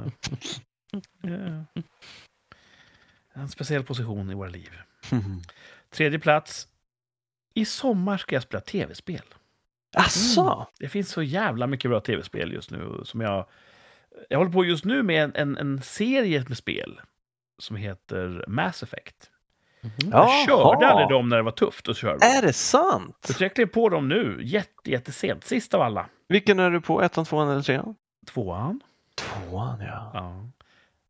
Speaker 2: eh, en speciell position i våra liv.
Speaker 1: Mm.
Speaker 2: Tredje plats. I sommar ska jag spela tv-spel.
Speaker 1: Asså?
Speaker 2: Det finns så jävla mycket bra tv-spel just nu. Som jag, jag håller på just nu med en, en, en serie med spel som heter Mass Effect.
Speaker 3: Mhm.
Speaker 2: Jag körde
Speaker 1: Jaha.
Speaker 2: aldrig dem när det var tufft att köra. dem.
Speaker 1: Är det sant?
Speaker 2: Så jag klev på dem nu, jätte, jättesent. Sist av alla.
Speaker 1: Vilken är du på? Ettan, tvåan eller trean?
Speaker 2: Tvåan.
Speaker 1: Tvåan, ja.
Speaker 2: Ja.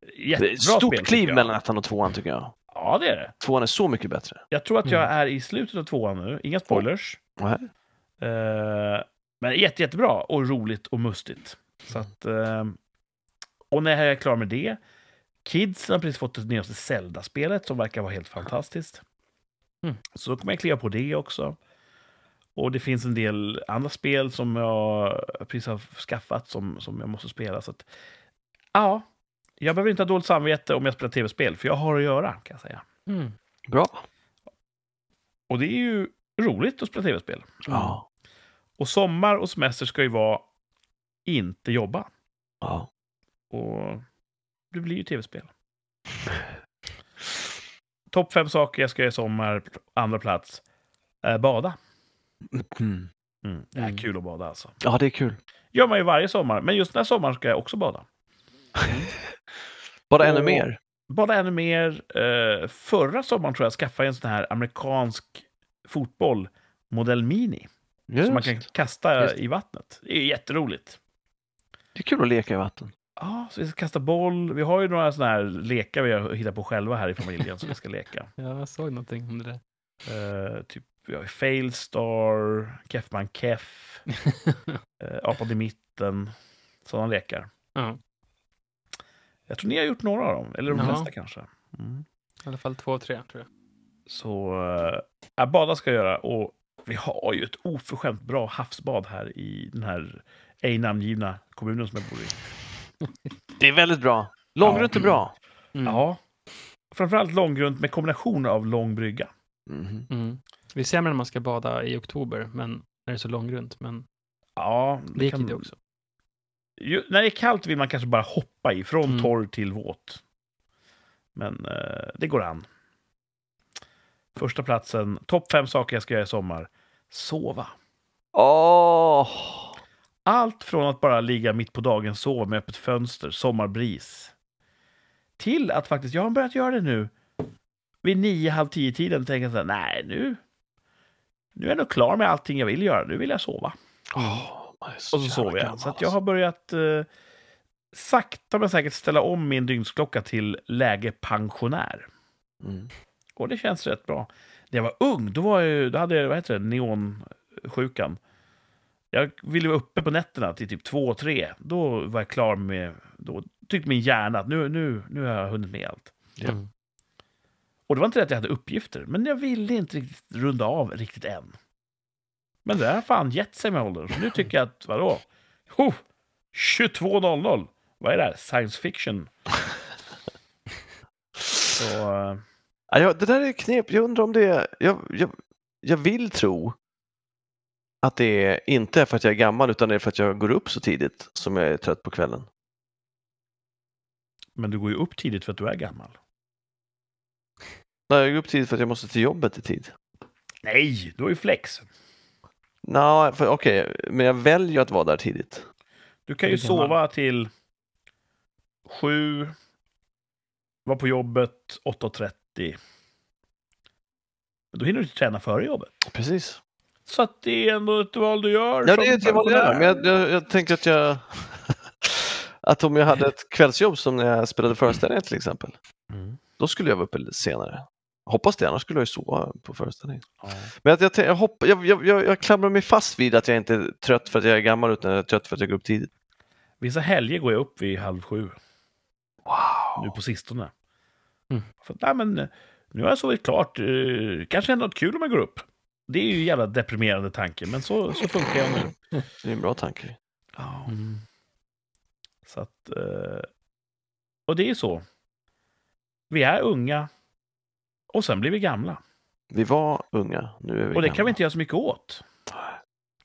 Speaker 1: Det är
Speaker 2: Jättebra
Speaker 1: ett stort
Speaker 2: spel, tycker
Speaker 1: kliv
Speaker 2: jag.
Speaker 1: mellan ettan och tvåan tycker jag.
Speaker 2: Ja, det är det.
Speaker 1: Tvåan är så mycket bättre.
Speaker 2: Jag tror att jag
Speaker 3: Mm.
Speaker 2: är i slutet av tvåan nu. Inga spoilers.
Speaker 1: Nej.
Speaker 2: Eh, men jätte, jättebra och roligt och mustigt. Så
Speaker 3: Mm.
Speaker 2: att, eh, och när jag är klar med det. Kidsen har precis fått det nyaste Zelda-spelet som verkar vara helt fantastiskt.
Speaker 3: Mm.
Speaker 2: Så då kommer jag kliva på det också. Och det finns en del andra spel som jag precis har skaffat som, som jag måste spela. Så att, ja, jag behöver inte ha dåligt samvete om jag spelar tv-spel, för jag har att göra kan jag säga.
Speaker 3: Mm.
Speaker 1: Bra.
Speaker 2: Och det är ju roligt att spela tv-spel.
Speaker 1: Ja.
Speaker 2: Och sommar och semester ska ju vara inte jobba.
Speaker 1: ja.
Speaker 2: Och det blir ju tv-spel. Topp fem saker jag ska göra i sommar, andra plats. Eh, bada.
Speaker 1: Mm.
Speaker 2: Mm. Det är
Speaker 3: Mm.
Speaker 2: kul att bada alltså.
Speaker 1: Ja, det är kul.
Speaker 2: gör man ju varje sommar, men just den här sommaren ska jag också bada.
Speaker 1: Bara ännu
Speaker 2: Och-
Speaker 1: mer.
Speaker 2: Bada ännu mer. Eh, förra sommaren tror jag skaffade jag en sån här amerikansk fotboll, modell mini,
Speaker 1: Just.
Speaker 2: som man kan kasta
Speaker 3: Just.
Speaker 2: i vattnet. Det är ju jätteroligt.
Speaker 1: Det är kul att leka i vatten.
Speaker 2: Ja, så vi ska kasta boll. Vi har ju några sådana här lekar vi har hittat på själva här i familjen som vi ska leka.
Speaker 3: Ja, jag såg någonting om det där.
Speaker 2: Eh, typ, vi har ju Failstar, Keffman Keff, uh, Apan i mitten. Sådana lekar.
Speaker 3: ja,
Speaker 2: Jag tror ni har gjort några av dem, eller de
Speaker 3: Ja.
Speaker 2: flesta kanske. Mm.
Speaker 3: I alla fall två, tre tror jag.
Speaker 2: Så uh, bada ska jag göra och vi har ju ett oförskämt bra havsbad här i den här ej namngivna kommunen som jag bor i.
Speaker 1: Det är väldigt bra. Långrunt
Speaker 2: Ja.
Speaker 1: är bra.
Speaker 3: Mm.
Speaker 2: Ja, framförallt långgrunt med kombination av lång brygga.
Speaker 1: Mhm.
Speaker 3: Mm. Det är sämre när man ska bada i oktober, men när det är så långrunt. Men
Speaker 2: Ja,
Speaker 3: det gick ju det också.
Speaker 2: Ju, när det är kallt vill man kanske bara hoppa i, från
Speaker 3: Mm.
Speaker 2: torr till våt. Men eh, det går an. Första platsen, topp fem saker jag ska göra i sommar. Sova.
Speaker 1: Åh!
Speaker 2: Allt från att bara ligga mitt på dagen, sova med öppet fönster, sommarbris. Till att faktiskt, jag har börjat göra det nu. Vid nio, halv tio-tiden tänker jag så här, nej nu. Nu är jag nog klar med allting jag vill göra, nu vill jag sova.
Speaker 1: Åh, man är
Speaker 2: Och så
Speaker 1: jävla
Speaker 2: sover jag.
Speaker 1: gammal,
Speaker 2: Så att alltså. jag har börjat eh, sakta men säkert ställa om min dygnsklocka till läge pensionär.
Speaker 1: alltså. Mm.
Speaker 2: Och det känns rätt bra. När jag var ung, då, var jag, ju- då hade jag, vad heter det, neonsjukan. Jag ville vara uppe på nätterna till typ två, tre. Då var jag klar med, då tyckte min hjärna att nu, nu, nu har jag hunnit med allt.
Speaker 1: Ja.
Speaker 3: Mm.
Speaker 2: Och det var inte det att jag hade uppgifter, men jag ville inte riktigt runda av riktigt än. Men det har fan gett sig med åldern, så nu tycker jag att, vadå? Oh, 22.00! Vad är det här? Science fiction?
Speaker 1: Mm.
Speaker 2: Så... eh,
Speaker 1: Ja, jag- det där är knep. Jag undrar om det är... Jag, jag, jag vill tro att det är inte är för att jag är gammal utan det är för att jag går upp så tidigt som jag är trött på kvällen.
Speaker 2: Men du går ju upp tidigt för att du är gammal.
Speaker 1: Nej, jag går upp tidigt för att jag måste till jobbet i tid.
Speaker 2: Nej, du har ju flex.
Speaker 1: Nå, för okej, men jag väljer att vara där tidigt.
Speaker 2: Du kan ju
Speaker 3: Det kan man.
Speaker 2: sova till sju, vara på jobbet 8.30. Men då hinner du inte träna före jobbet.
Speaker 1: Precis.
Speaker 2: Så att det är ändå ett val du gör.
Speaker 1: Ja,
Speaker 2: som
Speaker 1: det är till vad jag gör, men jag, jag, jag tänker att jag... att om jag hade ett kvällsjobb som när jag spelade föreställningar till exempel,
Speaker 2: Mm.
Speaker 1: då skulle jag vara uppe lite senare. Hoppas det, annars skulle jag ju sova på föreställningen.
Speaker 2: Ja.
Speaker 1: Men jag, jag, tän- jag, hopp, jag, jag, jag, jag klamrar mig fast vid att jag inte är trött för att jag är gammal utan jag är trött för att jag går upp tidigt.
Speaker 2: Vissa helger går jag upp vid halv sju nu på sistone.
Speaker 3: Mm.
Speaker 2: För att, nej, men, nu har jag sovit klart. eh, Kanske händer något kul om jag går upp. Det är ju en jävla deprimerande tanke, men så, så funkar jag nu.
Speaker 1: Det är en bra tanke.
Speaker 2: Ja.
Speaker 3: Mm.
Speaker 2: Så att, eh, och det är ju så. Vi är unga och sen blir vi gamla.
Speaker 1: Vi var unga, nu är vi
Speaker 2: Och det
Speaker 1: gamla.
Speaker 2: kan vi inte göra så mycket åt.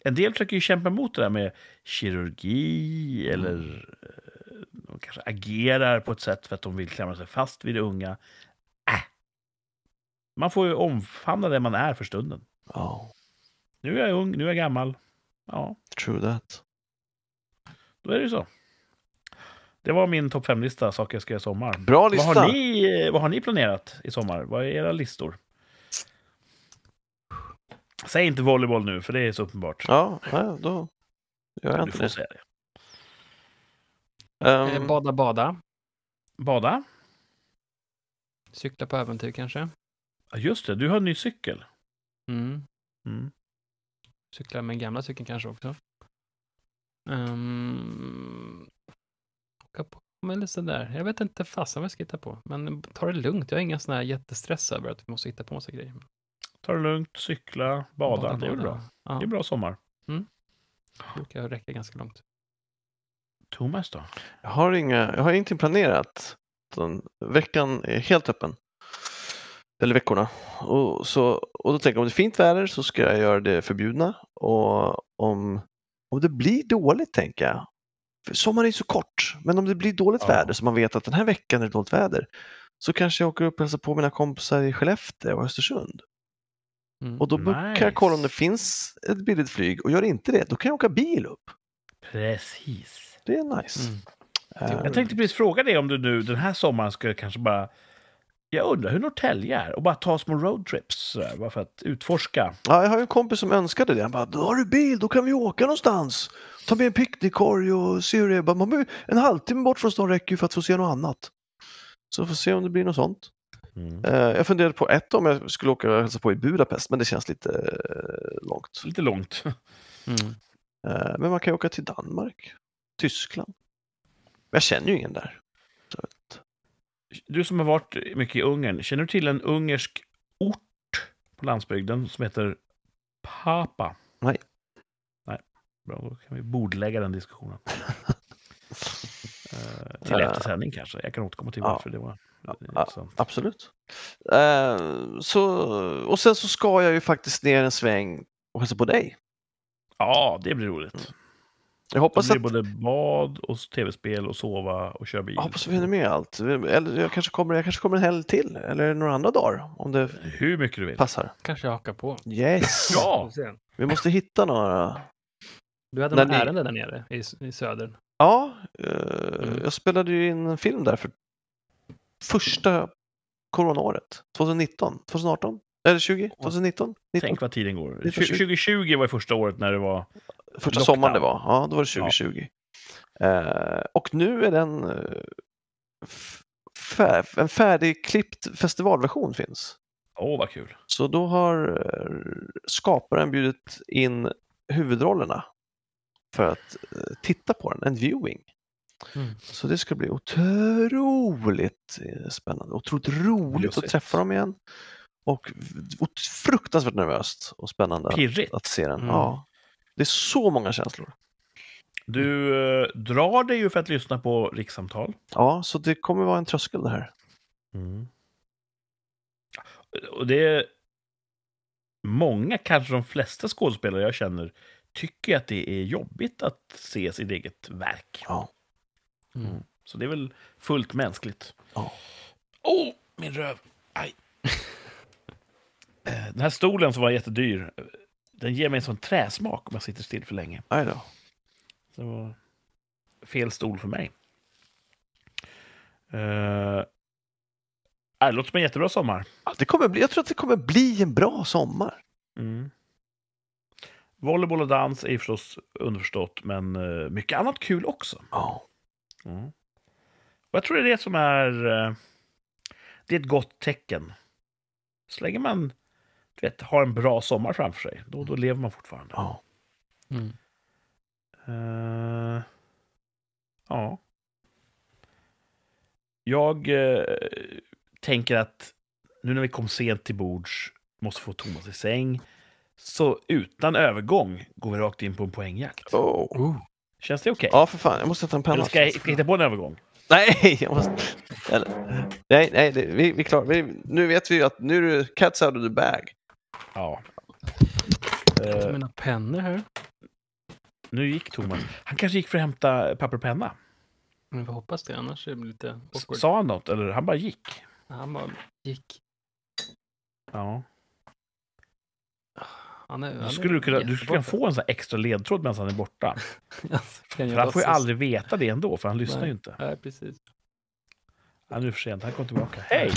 Speaker 2: En del försöker ju kämpa emot det där med kirurgi
Speaker 1: Mm.
Speaker 2: eller eh, de kanske agerar på ett sätt för att de vill klamra sig fast vid det unga. Äh. Man får ju omfamna det man är för stunden.
Speaker 1: Ja,
Speaker 2: Nu är jag ung, nu är jag gammal. Ja,
Speaker 1: true that.
Speaker 2: då är det ju så. Det var min topp fem-lista, saker jag ska göra i sommar.
Speaker 1: Bra lista!
Speaker 2: Vad har, ni, eh, vad har ni planerat i sommar? Vad är era listor? Säg inte volleyboll nu, för det är så uppenbart.
Speaker 1: Ja, nej, då gör jag
Speaker 2: du
Speaker 1: inte
Speaker 2: får
Speaker 1: det.
Speaker 2: säga Eh, det.
Speaker 3: Eh,
Speaker 1: Ehm,
Speaker 3: Bada, bada.
Speaker 2: Bada?
Speaker 3: Cykla på äventyr kanske.
Speaker 2: Ja, Just det, du har en ny cykel.
Speaker 3: Mm.
Speaker 2: Mm.
Speaker 3: Cykla med gamla cykeln kanske också. Um, åka på med lite sådär. Jag vet inte fasen vad jag ska hitta på. Men ta det lugnt. Jag har ingen sån här jättestress över att vi måste hitta på massa grejer.
Speaker 2: Ta det lugnt, cykla, bada. det är väl bra.
Speaker 3: Ja,
Speaker 2: Det är bra sommar.
Speaker 3: det brukar räcka ganska långt.
Speaker 2: Thomas då?
Speaker 1: jag, har inga, jag har ingenting planerat. Utan veckan är helt öppen. Eller veckorna. Och, så, och då tänker jag om det är fint väder så ska jag göra det förbjudna. Och om, om det blir dåligt tänker jag. För sommaren är ju så kort. Men om det blir dåligt
Speaker 2: Ja.
Speaker 1: väder så man vet att den här veckan är det dåligt väder. Så kanske jag åker upp och hälsar på mina kompisar i Skellefteå och Östersund.
Speaker 3: Mm.
Speaker 1: Och då kan
Speaker 2: Nice.
Speaker 1: jag kolla om det finns ett billigt flyg. Och gör det inte det, då kan jag åka bil upp.
Speaker 2: Precis.
Speaker 1: Det är nice.
Speaker 3: Mm.
Speaker 1: Eh,
Speaker 3: Jag
Speaker 2: Jag tänkte precis fråga dig om du nu den här sommaren skulle kanske bara... Jag undrar hur Norrtälje är och bara ta små roadtrips sådär, bara för att utforska.
Speaker 1: Ja, jag har ju en kompis som önskade det. Han bara, då har du bil, då kan vi åka någonstans. Ta med en picknickkorg och se hur det är. Jag bara, "Men En halvtimme bort från stan räcker ju för att få se något annat. Så får se om det blir något sånt.
Speaker 2: Mm.
Speaker 1: Eh, Jag funderade på ett om jag skulle åka och hälsa på i Budapest, men det känns lite eh, långt.
Speaker 2: Lite långt.
Speaker 3: Mm.
Speaker 1: Eh, Men man kan ju åka till Danmark, Tyskland. Men Jag känner ju ingen där.
Speaker 2: Du som har varit mycket i Ungern, känner du till en ungersk ort på landsbygden som heter Papa?
Speaker 1: Nej.
Speaker 2: Nej, bra. Då kan vi bordlägga den diskussionen. Eh, till
Speaker 1: Eh.
Speaker 2: efter sändning kanske. Jag kan återkomma till
Speaker 1: Ja.
Speaker 2: varför det var eh,
Speaker 1: Ja,
Speaker 2: intressant.
Speaker 1: Absolut. Eh, Så, och sen så ska jag ju faktiskt ner en sväng och hälsa på dig.
Speaker 2: Ja, det blir
Speaker 1: Mm.
Speaker 2: roligt.
Speaker 1: Jag
Speaker 2: Då
Speaker 1: hoppas
Speaker 2: blir det
Speaker 1: att
Speaker 2: både bad och tv-spel och sova och köra bil.
Speaker 1: Jag hoppas vi hinner med allt. Eller jag kanske kommer, jag kanske kommer en helg till, eller några andra dagar om det
Speaker 2: Hur mycket du vill.
Speaker 1: passar.
Speaker 3: Kanske jag hakar på.
Speaker 1: Yes!
Speaker 2: Ja!
Speaker 3: Får se.
Speaker 1: Vi måste hitta några.
Speaker 3: Du hade
Speaker 1: När
Speaker 3: något
Speaker 1: ni-
Speaker 3: ärende där nere i, s- i södern.
Speaker 1: Ja, eh,
Speaker 3: Mm.
Speaker 1: jag spelade ju in en film där för första coronaåret. 2019, 2018, eller 20, 2019? 19,
Speaker 2: Tänk vad tiden går.
Speaker 1: 1920.
Speaker 2: 2020 var ju första året när det var...
Speaker 1: första
Speaker 2: lockdown.
Speaker 1: sommaren det var. Ja, då var det 2020. Eh, och nu är den eh, f- fär, en färdigklippt festivalversion finns.
Speaker 2: Åh, vad kul.
Speaker 1: Så då har eh, skaparen bjudit in huvudrollerna för att eh, titta på den, en viewing.
Speaker 3: Mm.
Speaker 1: Så det ska bli otroligt eh, spännande, otroligt roligt att
Speaker 2: Mysigt.
Speaker 1: träffa dem igen. Och v- ot- fruktansvärt nervöst och spännande att,
Speaker 2: Pirrigt.
Speaker 1: att se den.
Speaker 3: Mm.
Speaker 1: Ja, det är så många känslor.
Speaker 2: Du eh, drar dig ju för att lyssna på rikssamtal.
Speaker 1: Ja, så det kommer vara en tröskel det här.
Speaker 2: Och det är... Många, kanske de flesta skådespelare jag känner, tycker att det är jobbigt att se sitt eget verk.
Speaker 1: Ja.
Speaker 3: Mm.
Speaker 2: Så det är väl fullt mänskligt.
Speaker 1: Ja.
Speaker 2: Åh, min röv! Aj. Eh, Den här stolen som var jättedyr, eh, den ger mig en sån träsmak om jag sitter still för länge.
Speaker 1: Aj då.
Speaker 2: Så det var fel stol för mig. Uh, äh, det låter som en jättebra sommar.
Speaker 1: Ja, Det kommer bli, jag tror att det kommer bli en bra sommar.
Speaker 2: Volleyboll och dans är ju förstås underförstått, men eh, mycket annat kul också.
Speaker 1: Ja.
Speaker 2: Och jag tror det är det som är... eh, Det är ett gott tecken. Så länge man du vet, har en bra sommar framför sig, då, då lever man fortfarande.
Speaker 1: Ja.
Speaker 3: Mm.
Speaker 2: Eh, ja. Jag eh, tänker att nu när vi kom sent till bords, måste få Thomas i säng, så utan övergång går vi rakt in på en poängjakt.
Speaker 1: Oh.
Speaker 3: Oh.
Speaker 2: Känns det okej?
Speaker 1: ja, för fan. Jag måste ta en penna.
Speaker 2: Eller ska jag, ska jag hitta på en övergång?
Speaker 1: Nej, jag måste... Eller, nej, nej, det, vi, vi är klara. Vi, nu vet vi ju att nu är det cats out of the bag.
Speaker 2: Ja.
Speaker 3: Ta
Speaker 2: Eh,
Speaker 3: mina pennor här.
Speaker 2: nu gick Thomas. Han kanske gick för att hämta papper och penna.
Speaker 3: Men vi hoppas det, annars är det lite
Speaker 2: S-
Speaker 3: awkward.
Speaker 2: Sa han något? Eller han bara gick?
Speaker 3: Han bara gick.
Speaker 2: Ja.
Speaker 3: Han är,
Speaker 2: Då skulle du, kunna, du skulle kunna få en sån här extra ledtråd medan han är borta.
Speaker 3: kan
Speaker 2: För
Speaker 3: jag
Speaker 2: han får ju
Speaker 3: låtsas?
Speaker 2: aldrig veta det ändå, för han lyssnar
Speaker 3: Nej.
Speaker 2: ju inte.
Speaker 3: Nej, precis.
Speaker 2: Han är nu för sent, han kom tillbaka. Hej!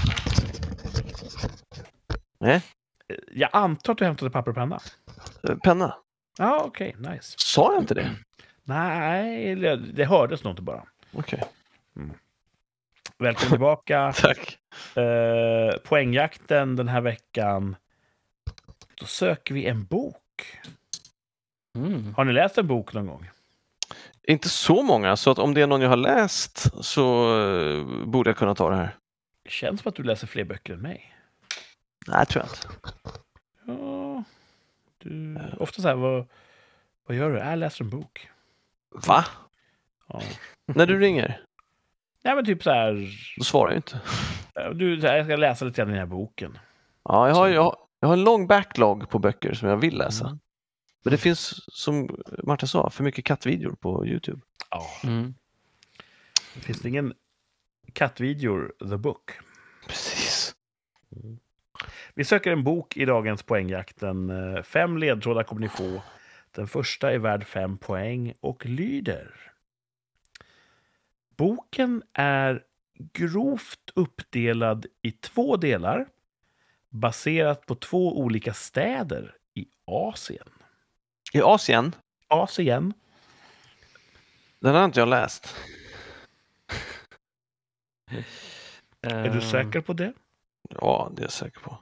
Speaker 1: Nej.
Speaker 2: Eh, Jag antar att du hämtade papper och penna?
Speaker 1: Eh, Penna.
Speaker 2: Ja, okej, nice.
Speaker 1: Sa jag inte det?
Speaker 2: Nej, eller det hördes nog inte bara.
Speaker 1: Okej,
Speaker 2: Välkommen tillbaka.
Speaker 1: tack.
Speaker 2: Eh, poängjakten den här veckan. Då söker vi en bok.
Speaker 3: Mm.
Speaker 2: Har ni läst en bok någon gång?
Speaker 1: Inte så många, så att om det är någon jag har läst så eh, borde jag kunna ta det här.
Speaker 2: Det känns som att du läser fler böcker än mig.
Speaker 1: Nej, tror jag inte.
Speaker 2: Ja, du... Ofta så här, vad, vad gör du? Jag läser en bok.
Speaker 1: Va?
Speaker 2: Ja.
Speaker 1: När du ringer,
Speaker 2: Nej, men typ så här,
Speaker 1: då svarar jag inte.
Speaker 2: eh, du, så här, jag ska läsa lite grann i den här boken.
Speaker 1: Ja, jag har, jag, har- jag har en lång backlog på böcker som jag vill läsa.
Speaker 2: Mm.
Speaker 1: Men det finns, som Martin sa, för mycket kattvideor på YouTube.
Speaker 2: Ja.
Speaker 3: Mm.
Speaker 2: Finns det ingen kattvideor, the book?
Speaker 1: Precis.
Speaker 2: Vi söker en bok i dagens poängjakten. Eh, Fem ledtrådar kommer ni få. Den första är värd fem poäng och lyder. Boken är grovt uppdelad i två delar baserat på två olika städer i Asien.
Speaker 1: I Asien,
Speaker 2: Asien.
Speaker 1: den har inte jag läst.
Speaker 3: Eh,
Speaker 2: Är du säker på det?
Speaker 1: Ja, det är jag säker på.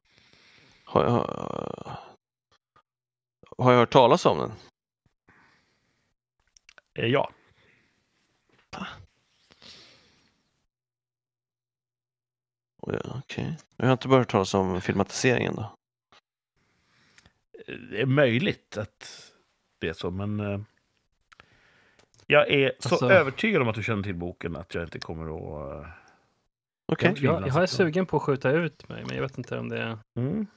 Speaker 1: Har jag, har jag hört talas om den?
Speaker 2: Eh, Ja.
Speaker 1: Oj, Okej. Jag har inte börjat höra talas om filmatiseringen då.
Speaker 2: Eh, Det är möjligt att det är så, men... eh, Jag är så
Speaker 3: Alltså-
Speaker 2: övertygad om att du känner till boken att jag inte kommer att... eh,
Speaker 1: Okej.
Speaker 2: Jag-
Speaker 3: Jag, jag är sugen på att skjuta ut mig, men jag vet inte om det är
Speaker 2: Mm.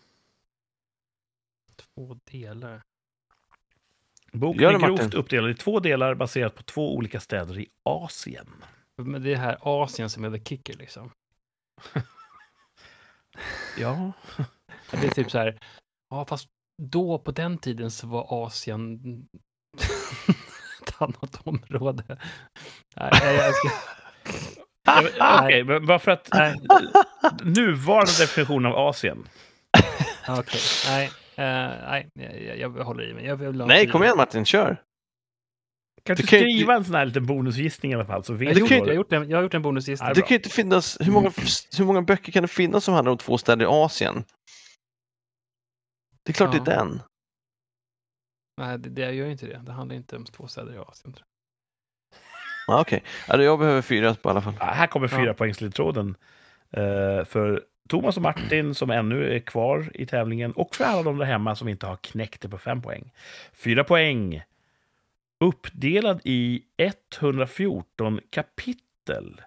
Speaker 3: två delar.
Speaker 2: Boken
Speaker 1: Gör
Speaker 2: är
Speaker 1: det,
Speaker 2: grovt
Speaker 1: Martin.
Speaker 2: uppdelad i två delar baserat på två olika städer i Asien.
Speaker 3: Men det är här Asien som är the kicker liksom.
Speaker 2: Ja.
Speaker 3: Det är typ så här, ja fast då på den tiden så var Asien ett annat område. Nej, jag, jag ska...
Speaker 2: Ja, men, Okej, men bara för att nuvarande definition av Asien.
Speaker 3: Okej, nej. eh, nej, jag, jag jag håller i mig. Jag vill ha
Speaker 1: Nej,
Speaker 3: fyra.
Speaker 1: kom igen Martin, kör!
Speaker 2: Kan du
Speaker 1: Du kan ju
Speaker 2: skriva en sån här liten bonusgissning i alla fall? Så
Speaker 3: Jag,
Speaker 2: vet
Speaker 1: Det
Speaker 2: du
Speaker 1: kan ju
Speaker 3: gjort,
Speaker 2: vad
Speaker 3: jag, har
Speaker 2: det-
Speaker 3: gjort en, jag har gjort en bonusgissning.
Speaker 2: Ja,
Speaker 1: Det
Speaker 2: bra. Mm.
Speaker 1: kan ju inte finnas... Hur många, hur många böcker kan det finnas som handlar om två städer i Asien? Det är klart
Speaker 3: Ja.
Speaker 1: det är den.
Speaker 3: Nej, det, det gör ju inte det. Det handlar inte om två städer i Asien. tror
Speaker 1: Ah, Okej, alltså, jag behöver fyra på alla fall.
Speaker 2: Ja, här kommer
Speaker 3: Ja.
Speaker 2: fyra poängsledtråden. Eh, för Thomas och Martin som ännu är kvar i tävlingen och för alla de där hemma som inte har knäckt det på fem poäng. Fyra poäng. Uppdelad i 114 kapitel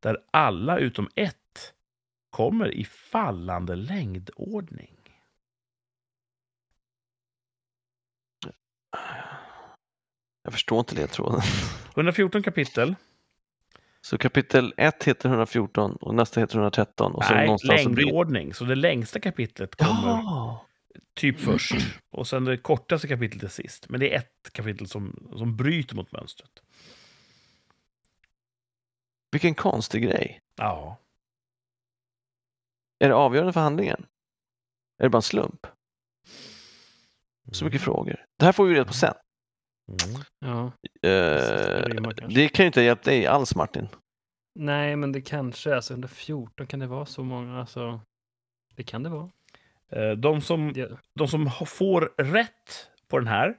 Speaker 2: där alla utom ett kommer i fallande längdordning.
Speaker 1: Jag förstår inte ledtråden.
Speaker 2: 114 kapitel.
Speaker 1: Så kapitel 1 heter 114 och nästa heter 113 och så
Speaker 2: Nej,
Speaker 1: någonstans så blir...
Speaker 2: längdordning. Så det längsta kapitlet kommer
Speaker 1: Ja!
Speaker 2: typ först. Och sen det kortaste kapitlet är sist. Men det är ett kapitel som, som bryter mot mönstret.
Speaker 1: Vilken konstig grej.
Speaker 2: Ja.
Speaker 1: Är det avgörande för handlingen? Är det bara en slump? Så mycket frågor. Det här får vi reda på sen.
Speaker 2: Mm.
Speaker 3: jag. Ja.
Speaker 1: Eh,
Speaker 3: det rimmar kanske.
Speaker 1: det kan ju inte ha hjälpt dig alls Martin.
Speaker 3: Nej, men det kanske, alltså 114, kan det vara så många? Alltså, det kan det vara.
Speaker 2: Eh, De som,
Speaker 3: Det,
Speaker 2: de som ha- får rätt på den här,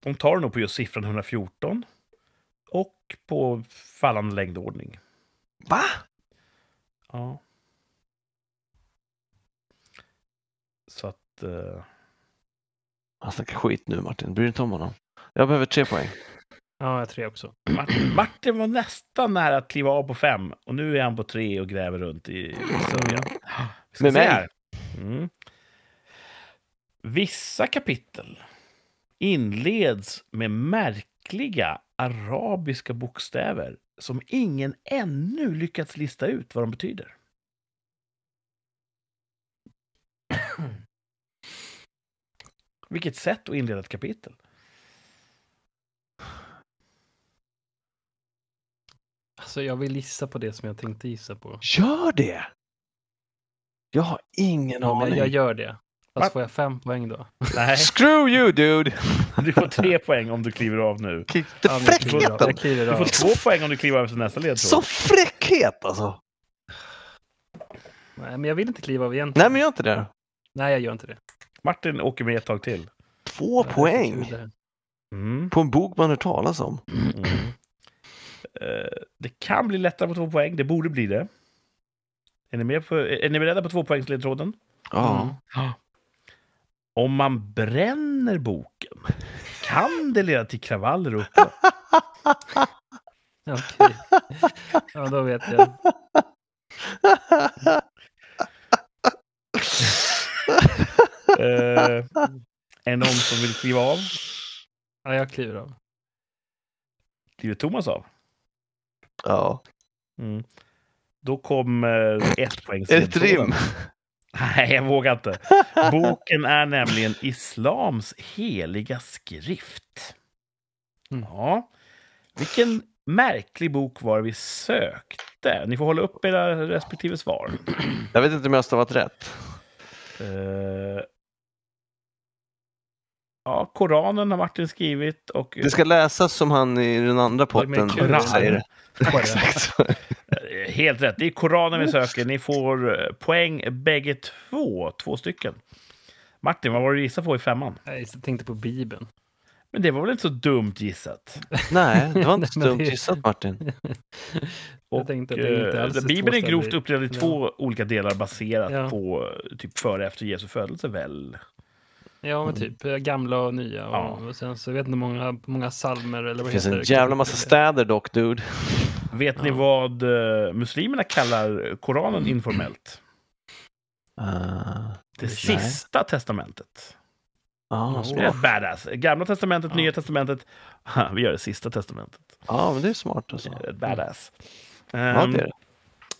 Speaker 2: de tar nog på just siffran 114. Och på fallande längdordning.
Speaker 1: Va?
Speaker 2: Ja. Så att... eh,
Speaker 1: Han snackar skit nu Martin, bryr dig inte om honom. Jag behöver tre poäng.
Speaker 3: ja, jag tror jag också.
Speaker 2: Martin, Martin var nästan nära att kliva av på fem och nu är han på tre och gräver runt i i sörjan. Vi ska
Speaker 1: Med
Speaker 2: se
Speaker 1: mig?
Speaker 2: här. Mm. Vissa kapitel inleds med märkliga arabiska bokstäver som ingen ännu lyckats lista ut vad de betyder. Vilket sätt att inleda ett kapitel.
Speaker 3: Alltså, jag vill gissa på det som jag tänkte gissa på.
Speaker 1: Gör det! Jag har ingen
Speaker 3: Ja, men
Speaker 1: aning.
Speaker 3: jag gör det.
Speaker 2: Va?
Speaker 3: Fast får jag fem poäng då?
Speaker 2: Nej,
Speaker 1: Screw you dude!
Speaker 2: du får tre poäng om du kliver av nu.
Speaker 1: Det
Speaker 3: Ja, men jag kliver av.
Speaker 1: fräckheten!
Speaker 3: Jag kliver
Speaker 2: Du
Speaker 3: av.
Speaker 2: får två poäng om du kliver över till nästa ledtråd.
Speaker 1: Så fräckhet alltså!
Speaker 3: Nej, men jag vill inte kliva av egentligen.
Speaker 1: Nej men gör inte det.
Speaker 3: Nej, jag gör inte det.
Speaker 2: Martin åker med ett tag till.
Speaker 1: Två
Speaker 3: Jag
Speaker 1: poäng
Speaker 3: tror det.
Speaker 2: Mm.
Speaker 1: på en bok man hört talas om.
Speaker 2: Mm. Eh, det kan bli lättare på två poäng. Det borde bli det. Är ni, med på, är ni beredda på tvåpoängsledtråden?
Speaker 1: Ja.
Speaker 3: Mm.
Speaker 2: Om man bränner boken kan det leda till kravaller och upplopp.
Speaker 3: Okej. Ja, då vet jag.
Speaker 2: Eh, är det någon som vill kliva av?
Speaker 3: Ja, jag kliver av.
Speaker 2: Kliver Thomas av?
Speaker 1: ja.
Speaker 2: Mm. Då kommer ett poäng.
Speaker 1: Är det ett rim?
Speaker 2: Nej, jag vågar inte. Boken är nämligen islams heliga skrift.
Speaker 3: Mm.
Speaker 2: Ja. Vilken märklig bok var det vi sökte? Ni får hålla upp era respektive svar.
Speaker 1: Jag vet inte om jag har stavat rätt.
Speaker 2: Eh, ja, Koranen har Martin skrivit och...
Speaker 1: Det ska läsas som han i den andra
Speaker 3: Vad med
Speaker 1: potten
Speaker 3: kulan?
Speaker 1: säger det. Exakt.
Speaker 2: Eh, Helt rätt, det är Koranen vi söker. Ni får eh, poäng bägge två, två stycken. Martin, vad var det du gissade på i femman?
Speaker 3: Nej, Jag tänkte på Bibeln.
Speaker 2: Men det var väl inte så dumt gissat?
Speaker 1: Nej, det var inte
Speaker 3: Nej,
Speaker 1: så
Speaker 3: men
Speaker 1: dumt
Speaker 3: det-
Speaker 1: gissat Martin.
Speaker 3: Jag
Speaker 2: Och,
Speaker 3: tänkte att det inte
Speaker 2: eh,
Speaker 3: alls är
Speaker 2: Bibeln
Speaker 3: två
Speaker 2: är grovt
Speaker 3: städer.
Speaker 2: uppdelad i
Speaker 3: Ja.
Speaker 2: två olika delar baserat
Speaker 3: Ja.
Speaker 2: på eh, typ före och efter Jesu födelse väl?
Speaker 3: Ja,
Speaker 1: Mm.
Speaker 3: men typ eh, gamla och nya. Och,
Speaker 2: Ja.
Speaker 3: och sen så jag vet inte många, många salmer eller
Speaker 1: Det
Speaker 3: vad
Speaker 1: finns
Speaker 3: heter
Speaker 1: en jävla massa städer dock, dude.
Speaker 2: Vet ni
Speaker 3: Ja.
Speaker 2: vad eh, muslimerna kallar Koranen informellt?
Speaker 1: Ah,
Speaker 2: Det
Speaker 1: Nej.
Speaker 2: sista testamentet.
Speaker 1: Ja,
Speaker 2: Det är
Speaker 1: smart.
Speaker 2: rätt badass. Gamla testamentet,
Speaker 3: Ja.
Speaker 2: nya testamentet. Vi gör det sista testamentet.
Speaker 1: Ja, men det är smart alltså.
Speaker 2: Rätt badass.
Speaker 1: Ja,
Speaker 2: Ehm,
Speaker 1: det är det.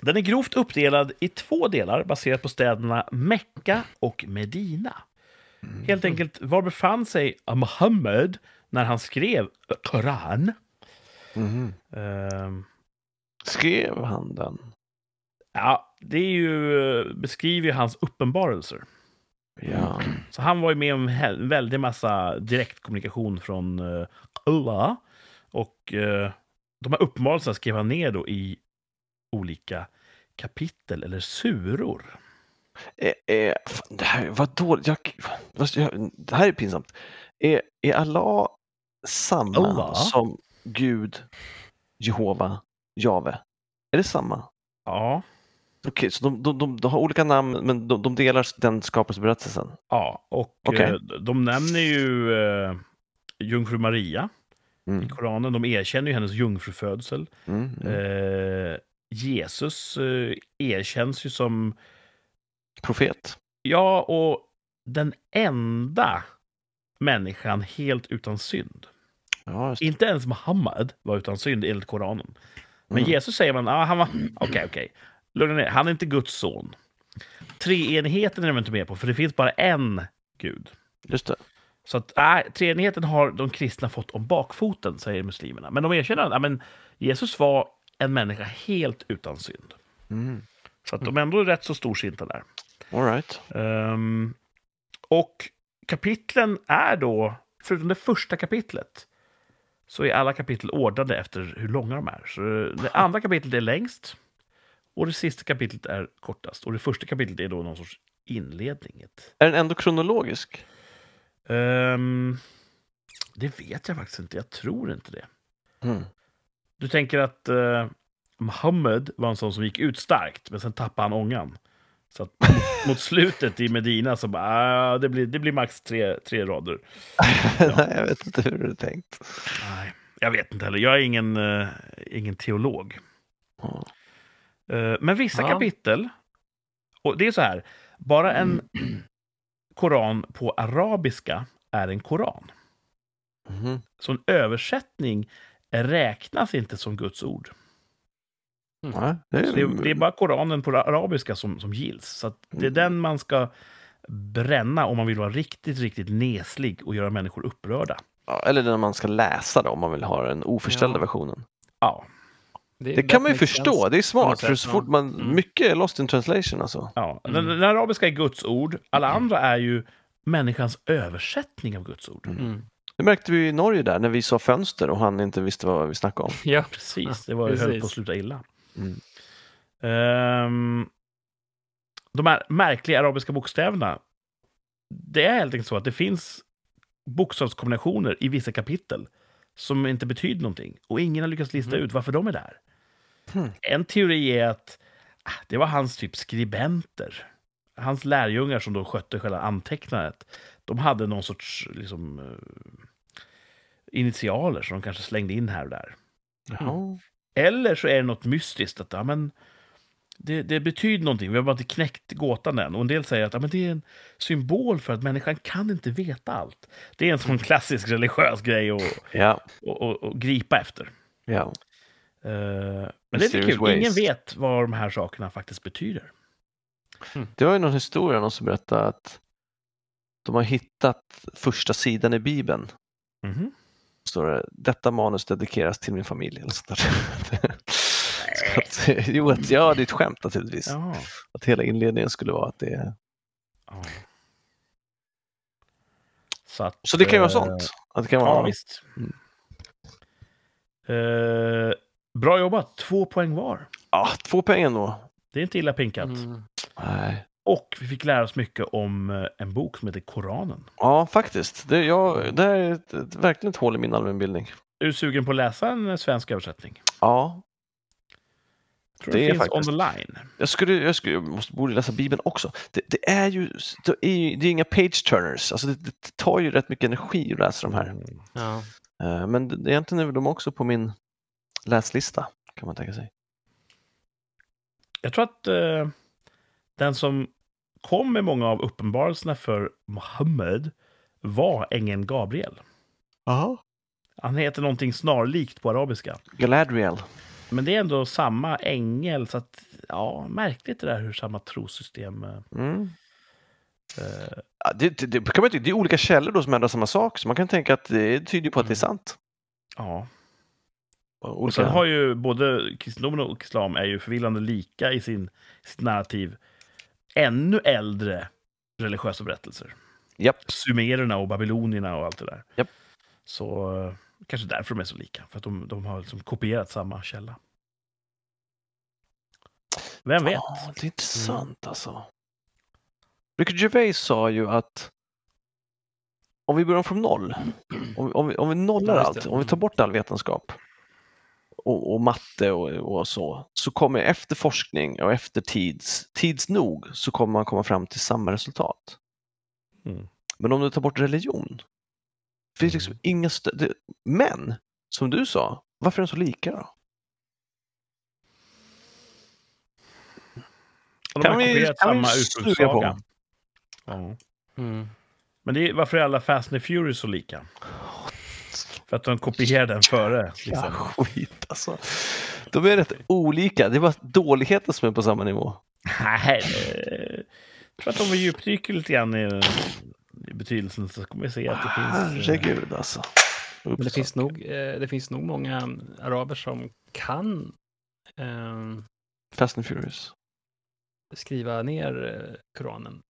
Speaker 2: Den är grovt uppdelad i två delar baserat på städerna Mecka och Medina. Helt enkelt, var befann sig Muhammed när han skrev Koran?
Speaker 1: Mhm.
Speaker 2: Ehm,
Speaker 1: Skrev han den?
Speaker 2: ja, det är ju, beskriver ju hans uppenbarelser.
Speaker 1: Ja.
Speaker 2: Så han var ju med om hel- en väldig massa direktkommunikation från eh, Allah. Och eh, de här uppenbarelserna skrev han ner då i olika kapitel eller suror.
Speaker 1: Är, är, fan, det här var dåligt. Jag, fast jag, det här är pinsamt. Är, är Allah samma
Speaker 2: Allah?
Speaker 1: som Gud, Jehova, Jave? Är det samma?
Speaker 2: Ja,
Speaker 1: Okej, så de, de, de, de har olika namn men de, de delar den skapelseberättelsen?
Speaker 2: ja. och
Speaker 1: Okej.
Speaker 2: eh, de nämner ju eh, jungfru Maria i
Speaker 1: Mm.
Speaker 2: Koranen. De erkänner ju hennes jungfrufödsel.
Speaker 1: Mm. Mm.
Speaker 2: Eh, Jesus eh, erkänns ju som,
Speaker 1: Profet?
Speaker 2: ja, och den enda människan helt utan synd.
Speaker 1: Ja, just det.
Speaker 2: Inte ens Muhammad var utan synd enligt Koranen. Men
Speaker 1: Mm.
Speaker 2: Jesus säger man, ah, han var, okej, okej. Lugna ner, han är inte Guds son. Treenigheten är de inte med på, för det finns bara en gud.
Speaker 1: Just det.
Speaker 2: Så att, nej, treenigheten har de kristna fått om bakfoten, säger muslimerna. Men de erkänner att ja, men Jesus var en människa helt utan synd.
Speaker 1: Mm.
Speaker 2: Så att de är ändå rätt så storsinta där.
Speaker 1: All right.
Speaker 2: Ehm, och kapitlen är då, förutom det första kapitlet, så är alla kapitel ordnade efter hur långa de är. Så det andra kapitlet är längst och det sista kapitlet är kortast. Och det första kapitlet är då någon sorts inledning. Ett-
Speaker 1: Är den ändå kronologisk?
Speaker 2: Ehm, det vet jag faktiskt inte, jag tror inte det.
Speaker 1: Mm.
Speaker 2: Du tänker att eh, Muhammed var en sån som gick ut starkt, men sen tappade han ångan. Så att mot, mot slutet i Medina så bara, ah, det, blir, det blir max tre, tre rader.
Speaker 1: Nej, jag vet inte hur det är tänkt.
Speaker 2: Nej, jag vet inte heller. Jag är ingen, eh, ingen teolog.
Speaker 1: Ja.
Speaker 2: Eh, men vissa
Speaker 3: Ja.
Speaker 2: kapitel, och det är så här, bara en koran på arabiska är en koran.
Speaker 1: Mhm.
Speaker 2: Så en översättning räknas inte som Guds ord.
Speaker 1: Ja, det, är,
Speaker 2: Så det, är- det är bara Koranen på arabiska som, som gills. Så att det är
Speaker 1: Mm.
Speaker 2: den man ska bränna om man vill vara riktigt, riktigt neslig och göra människor upprörda.
Speaker 1: Ja, Eller när man ska läsa det om man vill ha den oförställda
Speaker 3: Ja.
Speaker 1: versionen.
Speaker 2: Ja,
Speaker 1: Det kan man ju förstå, det är
Speaker 3: på
Speaker 1: smart.
Speaker 3: något
Speaker 1: För
Speaker 3: sätt,
Speaker 1: så
Speaker 3: ja.
Speaker 1: fort man,
Speaker 3: Mm.
Speaker 1: Mycket är lost in translation alltså.
Speaker 2: ja.
Speaker 3: Mm.
Speaker 2: Den, den arabiska är Guds ord, alla andra är ju människans översättning av Guds ord.
Speaker 3: Mm.
Speaker 1: Det märkte vi i Norge där när vi sa fönster och han inte visste vad vi snackade om.
Speaker 3: Ja.
Speaker 2: Precis, det
Speaker 3: Ja,
Speaker 2: var ju höll
Speaker 3: precis.
Speaker 2: på att sluta illa.
Speaker 1: Mm.
Speaker 2: Ehm, de här märkliga arabiska bokstäverna, det är helt enkelt så att det finns bokstavskombinationer i vissa kapitel som inte betyder någonting. Och ingen har lyckats lista
Speaker 3: Mm.
Speaker 2: ut varför de är där.
Speaker 1: Hmm.
Speaker 2: En teori är att ah, det var hans typ skribenter. Hans lärjungar som då skötte själva antecknandet. De hade någon sorts liksom, eh, initialer som de kanske slängde in här och där.
Speaker 1: Jaha.
Speaker 2: Eller så är det något mystiskt. att ja, men det, det betyder någonting. Vi har bara inte knäckt gåtan än. Och en del säger att ja, men det är en symbol för att människan kan inte veta allt. Det är en sån klassisk religiös grej att
Speaker 1: Ja,
Speaker 2: och, och, och gripa efter.
Speaker 1: ja.
Speaker 2: Eh, men det är lite
Speaker 1: Mysterious
Speaker 2: kul. Ingen
Speaker 1: ways.
Speaker 2: vet vad de här sakerna faktiskt betyder.
Speaker 1: Det var ju någon historia någon som berättade att de har hittat första sidan i Bibeln.
Speaker 2: Mhm.
Speaker 1: Står det, detta manus dedikeras till min familj. Eller sånt där. Så att, jo, att, ja, det är ett skämt naturligtvis.
Speaker 2: Jaha.
Speaker 1: Att hela inledningen skulle vara att det är...
Speaker 2: Ja. Så, att,
Speaker 1: Så det kan ju vara
Speaker 2: eh,
Speaker 1: sånt. Att det kan
Speaker 2: Ja,
Speaker 1: vara...
Speaker 2: visst.
Speaker 1: Mm.
Speaker 2: Eh, bra jobbat. Två poäng var.
Speaker 1: Ja, två poäng ändå.
Speaker 2: Det är inte illa pinkat.
Speaker 3: Mm.
Speaker 1: Nej.
Speaker 2: Och vi fick lära oss mycket om eh, en bok som heter Koranen.
Speaker 1: Ja, faktiskt. Det, jag, det här är ett, ett, verkligen ett hål i min allmänbildning.
Speaker 2: Är du sugen på att läsa en eh, svensk översättning?
Speaker 1: Ja,
Speaker 2: Jag tror
Speaker 1: Det
Speaker 2: det
Speaker 1: är
Speaker 2: finns
Speaker 1: faktiskt-
Speaker 2: online.
Speaker 1: jag skulle, jag skulle, jag måste, borde läsa Bibeln också. Det, det är ju, det är ju det är inga page turners, alltså det, det tar ju rätt mycket energi att läsa de här.
Speaker 3: Ja.
Speaker 1: Eh, Men det, egentligen är väl de också på min läslista, kan man tänka sig.
Speaker 2: Jag tror att eh, den som kom med många av uppenbarelserna för Muhammed var ängeln Gabriel.
Speaker 1: Aha.
Speaker 2: Han heter någonting snarlikt på arabiska.
Speaker 1: Galadriel.
Speaker 2: Men det är ändå samma ängel, så att, ja, märkligt det där hur samma trosystem... eh,
Speaker 1: Mm.
Speaker 2: Eh,
Speaker 1: Ja, Det, det, det, kan man inte, det är olika källor då som ändrar samma sak, så man kan tänka att det tyder på att det är sant.
Speaker 2: ja. Och
Speaker 1: Olika...
Speaker 2: sen har ju både kristendomen och islam är ju förvillande lika i sin, sitt narrativ. Ännu äldre religiösa berättelser.
Speaker 1: Japp.
Speaker 2: Sumererna och babylonierna och allt det där.
Speaker 1: Japp.
Speaker 2: Så eh, kanske därför de är så lika. För att de, de har liksom kopierat samma källa. Vem vet?
Speaker 1: Ja, det är
Speaker 3: Mm.
Speaker 1: intressant alltså. Ricky Gervais sa ju att om vi börjar från noll, om, vi- om, vi, om vi nollar
Speaker 3: Ja, just
Speaker 1: allt,
Speaker 3: det. Mm.
Speaker 1: om vi tar bort all vetenskap och, och matte och, och så, så kommer efter forskning och efter tids, tids nog så kommer man komma fram till samma resultat.
Speaker 2: Mm.
Speaker 1: Men om du tar bort religion, det finns liksom
Speaker 3: Mm.
Speaker 1: inga stö- det, Men, som du sa, varför är de så lika då?
Speaker 2: De
Speaker 1: Kan
Speaker 2: har
Speaker 1: vi-
Speaker 2: kopierat
Speaker 1: kan vi
Speaker 2: samma
Speaker 1: suga
Speaker 2: ursprungssaga.
Speaker 1: på?
Speaker 2: Ja.
Speaker 3: Mm.
Speaker 2: Men det är, varför är alla Fast and Furious så lika? För att de kopierar den före.
Speaker 1: Oh, Ja,
Speaker 2: Liksom.
Speaker 1: skit alltså. De är rätt olika. Det är bara dåligheten som är på samma nivå.
Speaker 2: Nej, eh, jag tror att de var djupdyker lite grann i, i betydelsen så kommer vi se att det
Speaker 1: Ah,
Speaker 2: finns... eh,
Speaker 1: Herregud alltså.
Speaker 3: Men det
Speaker 1: Ups.
Speaker 3: finns, nog, eh, det finns nog många araber som kan eh,
Speaker 1: Fast and Furious.
Speaker 3: skriva ner eh, Koranen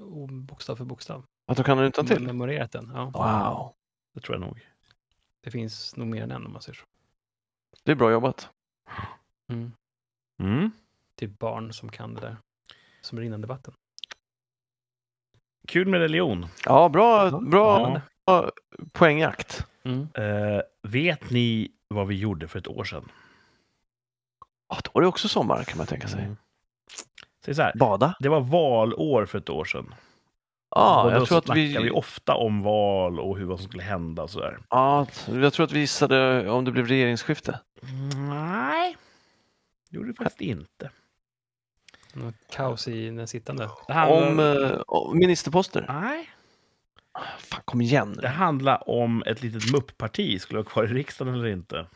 Speaker 3: och bokstav för bokstav.
Speaker 1: Att de kan den utan
Speaker 3: De har
Speaker 1: till?
Speaker 3: memorerat den. Ja.
Speaker 1: Wow.
Speaker 2: Det tror jag nog.
Speaker 3: Det finns nog mer än en om man säger så.
Speaker 1: Det är bra jobbat.
Speaker 3: Mm.
Speaker 2: Mm.
Speaker 3: Typ barn som kan det där. Som rinnande vatten.
Speaker 2: Kul med religion.
Speaker 1: Ja, bra, bra
Speaker 2: Ja.
Speaker 1: poängjakt.
Speaker 3: Mm.
Speaker 2: Eh, vet ni vad vi gjorde för ett år sedan?
Speaker 1: Ja, då är det också sommar kan man tänka sig.
Speaker 2: Säg så här,
Speaker 1: Bada?
Speaker 2: det var valår för ett år sedan.
Speaker 1: Ja,
Speaker 2: och då
Speaker 1: Ah, jag tror att
Speaker 2: snackade vi...
Speaker 1: vi...
Speaker 2: ofta om val och hur vad som skulle hända och sådär.
Speaker 1: Ja, jag tror att vi gissade om det blev regeringsskifte.
Speaker 2: Nej, det gjorde vi faktiskt inte.
Speaker 3: Något kaos i den sittande.
Speaker 2: Det
Speaker 1: Om
Speaker 2: handlar...
Speaker 1: eh, om ministerposter.
Speaker 2: Nej,
Speaker 1: Fan, kom igen
Speaker 2: det
Speaker 1: nu.
Speaker 2: handlar om ett litet muppparti skulle vara kvar i riksdagen eller inte.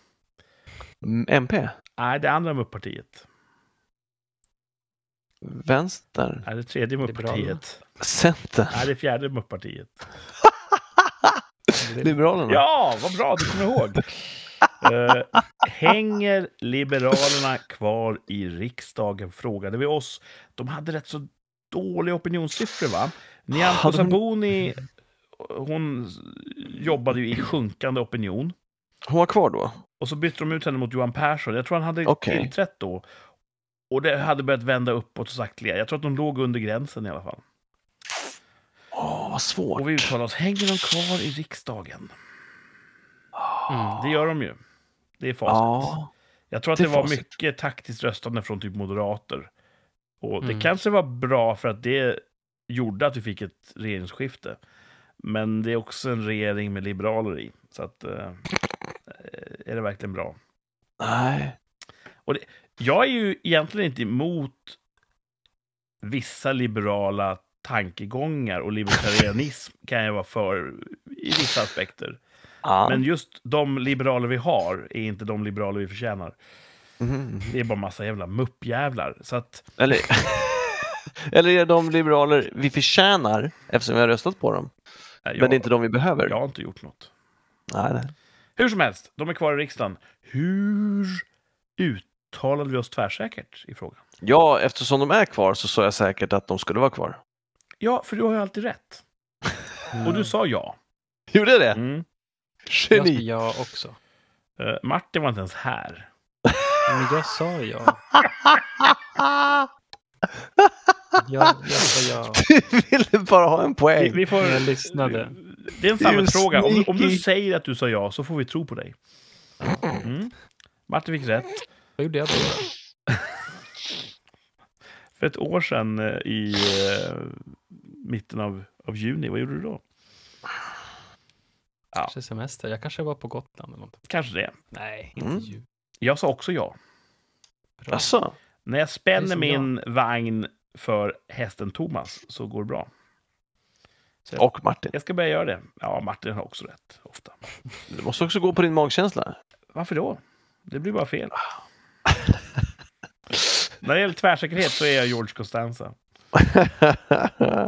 Speaker 1: Mm, MP?
Speaker 2: Nej, det andra mupppartiet.
Speaker 1: Vänster?
Speaker 2: Nej, det tredje
Speaker 3: Liberalerna.
Speaker 2: mupppartiet.
Speaker 1: Center?
Speaker 2: Nej, det fjärde mupppartiet.
Speaker 3: Det-
Speaker 1: Liberalerna?
Speaker 2: Ja, vad bra, du kommer ihåg. Eh, hänger Liberalerna kvar i riksdagen? Frågade vi oss. De hade rätt så dåliga opinionssiffror, va? Nyamko
Speaker 1: Hade de-
Speaker 2: Sabuni, hon jobbade ju i sjunkande opinion.
Speaker 1: Hon var kvar då?
Speaker 2: Och så bytte de ut henne mot Johan Persson. Jag tror han hade
Speaker 1: Okej.
Speaker 2: tillträtt då. Och det hade börjat vända uppåt så sakteliga. Jag tror att de låg under gränsen i alla fall.
Speaker 1: Åh, vad svårt.
Speaker 2: Och vi uttalade oss, hänger de kvar i riksdagen?
Speaker 3: Mm.
Speaker 2: Det gör de ju. Det är facit.
Speaker 1: Ja,
Speaker 2: Jag tror att
Speaker 1: Det
Speaker 2: det,
Speaker 1: är
Speaker 2: var
Speaker 1: facit.
Speaker 2: mycket taktiskt röstande från typ moderater. Och det
Speaker 3: Mm.
Speaker 2: kanske var bra för att det gjorde att vi fick ett regeringsskifte. Men det är också en regering med liberaler i. Så att, eh, är det verkligen bra?
Speaker 1: nej.
Speaker 2: Jag är ju egentligen inte emot vissa liberala tankegångar och libertarianism kan jag vara för i vissa aspekter.
Speaker 1: Ja.
Speaker 2: Men just de liberaler vi har är inte de liberaler vi förtjänar.
Speaker 1: Mhm.
Speaker 2: Det är bara massa jävla muppjävlar. Så att
Speaker 1: Eller... Eller är de liberaler vi förtjänar eftersom vi har röstat på dem?
Speaker 2: Nej,
Speaker 1: Men det är inte de vi behöver?
Speaker 2: Jag har inte gjort något.
Speaker 1: Nej, nej.
Speaker 2: Hur som helst, de är kvar i riksdagen. Hur uttalade vi oss tvärsäkert i frågan?
Speaker 1: Ja, eftersom de är kvar så sa jag säkert att de skulle vara kvar.
Speaker 2: Ja, för du har ju alltid rätt. Mm. Och du sa ja.
Speaker 1: Gjorde jag det?
Speaker 2: Mm.
Speaker 3: Jag sa
Speaker 1: Geni!
Speaker 3: ja också.
Speaker 2: Eh, Martin var inte ens här.
Speaker 3: Men jag sa ja.
Speaker 1: Ah!
Speaker 3: Jag, jag sa ja.
Speaker 1: Du ville bara ha en
Speaker 2: Vi,
Speaker 1: poäng.
Speaker 2: vi får... Eh,
Speaker 3: Jag lyssnade.
Speaker 2: Det är en
Speaker 1: Det är ju
Speaker 2: samhällsfråga. Om, om du
Speaker 1: sneaky.
Speaker 2: säger att du sa ja så får vi tro på dig. Mm. Martin fick rätt.
Speaker 3: Vad gjorde jag då?
Speaker 2: För ett år sedan eh, i eh, mitten av, av juni, vad gjorde du då?
Speaker 3: Kanske semester. Jag kanske var på Gotland eller något.
Speaker 2: Kanske det.
Speaker 3: Nej,
Speaker 1: Mm.
Speaker 3: inte ju.
Speaker 2: Jag sa också ja.
Speaker 3: Bra.
Speaker 1: Alltså,
Speaker 2: När jag
Speaker 3: Det är
Speaker 2: spänner
Speaker 3: som
Speaker 2: min vagn för hästen Thomas så går det bra.
Speaker 1: och Martin.
Speaker 2: Jag ska börja göra det. Ja, Martin har också rätt. Ofta.
Speaker 1: Du måste också gå på din magkänsla.
Speaker 2: Varför då? Det blir bara fel. Eh. När det gäller tvärsäkerhet så är jag George Costanza. Eh,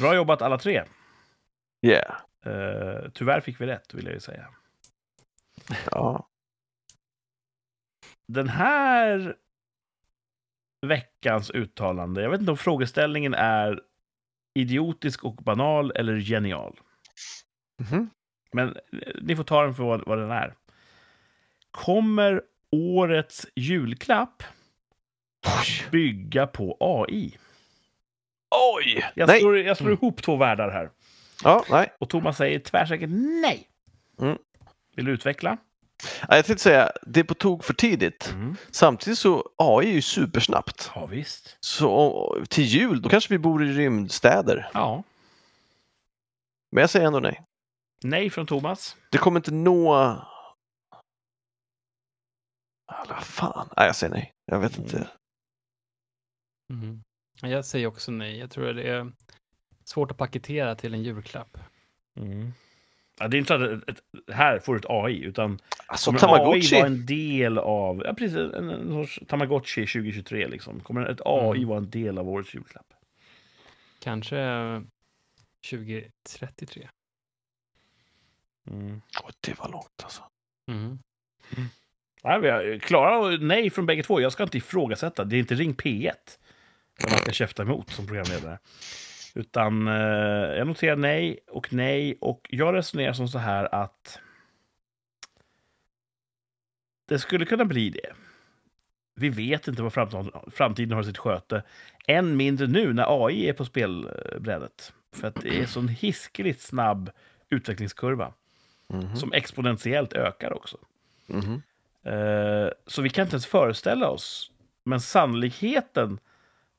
Speaker 2: bra jobbat alla tre.
Speaker 1: Yeah.
Speaker 2: Eh, tyvärr fick vi rätt, vill jag ju säga.
Speaker 1: Ja.
Speaker 2: Den här veckans uttalande, jag vet inte om frågeställningen är idiotisk och banal eller genial.
Speaker 1: Mhm.
Speaker 2: Men eh, ni får ta den för vad, vad den är. Kommer årets julklapp bygga på AI?
Speaker 1: Oj!
Speaker 2: Jag
Speaker 1: nej. Mm.
Speaker 2: slår, jag slår ihop två världar här.
Speaker 1: Ja, nej.
Speaker 2: Och Thomas säger tvärsäkert nej.
Speaker 1: Mm.
Speaker 2: Vill du utveckla?
Speaker 1: Ja, Jag tänkte säga, det är på tok för tidigt. Samtidigt så AI är ju supersnabbt.
Speaker 2: Ja, visst.
Speaker 1: Så och- till jul, då kanske vi bor i rymdstäder.
Speaker 2: Ja.
Speaker 1: Men jag säger ändå nej.
Speaker 2: Nej från Thomas.
Speaker 1: Det kommer inte nå... Alla fan. Nej, jag säger nej. Jag vet inte.
Speaker 3: Mm. Jag säger också nej. Jag tror det är svårt att paketera till en julklapp.
Speaker 2: Ja, det är inte så att ett, ett, här får du ett AI, utan
Speaker 1: Alltså
Speaker 2: kommer AI
Speaker 1: Tamagotchi.
Speaker 2: vara en del av... Ja, precis. En, en sorts Tamagotchi 2023, liksom. Kommer ett AI
Speaker 3: Mm.
Speaker 2: vara en del av årets julklapp?
Speaker 3: Kanske 2033.
Speaker 1: Oj, det var långt alltså.
Speaker 3: Mm.
Speaker 2: Nej, vi har, klara och nej från bägge två. Jag ska inte ifrågasätta. Det är inte Ring P1 som man ska käfta emot som programledare. Utan eh, jag noterar nej och nej. Och jag resonerar som så här att det skulle kunna bli det. Vi vet inte vad framtiden, framtiden har i sitt sköte. Än mindre nu när AI är på spelbrädet. För att det är så en hiskeligt snabb utvecklingskurva
Speaker 1: Mhm.
Speaker 2: som exponentiellt ökar också.
Speaker 1: Mhm.
Speaker 2: Eh, Så vi kan inte ens föreställa oss. Men sannolikheten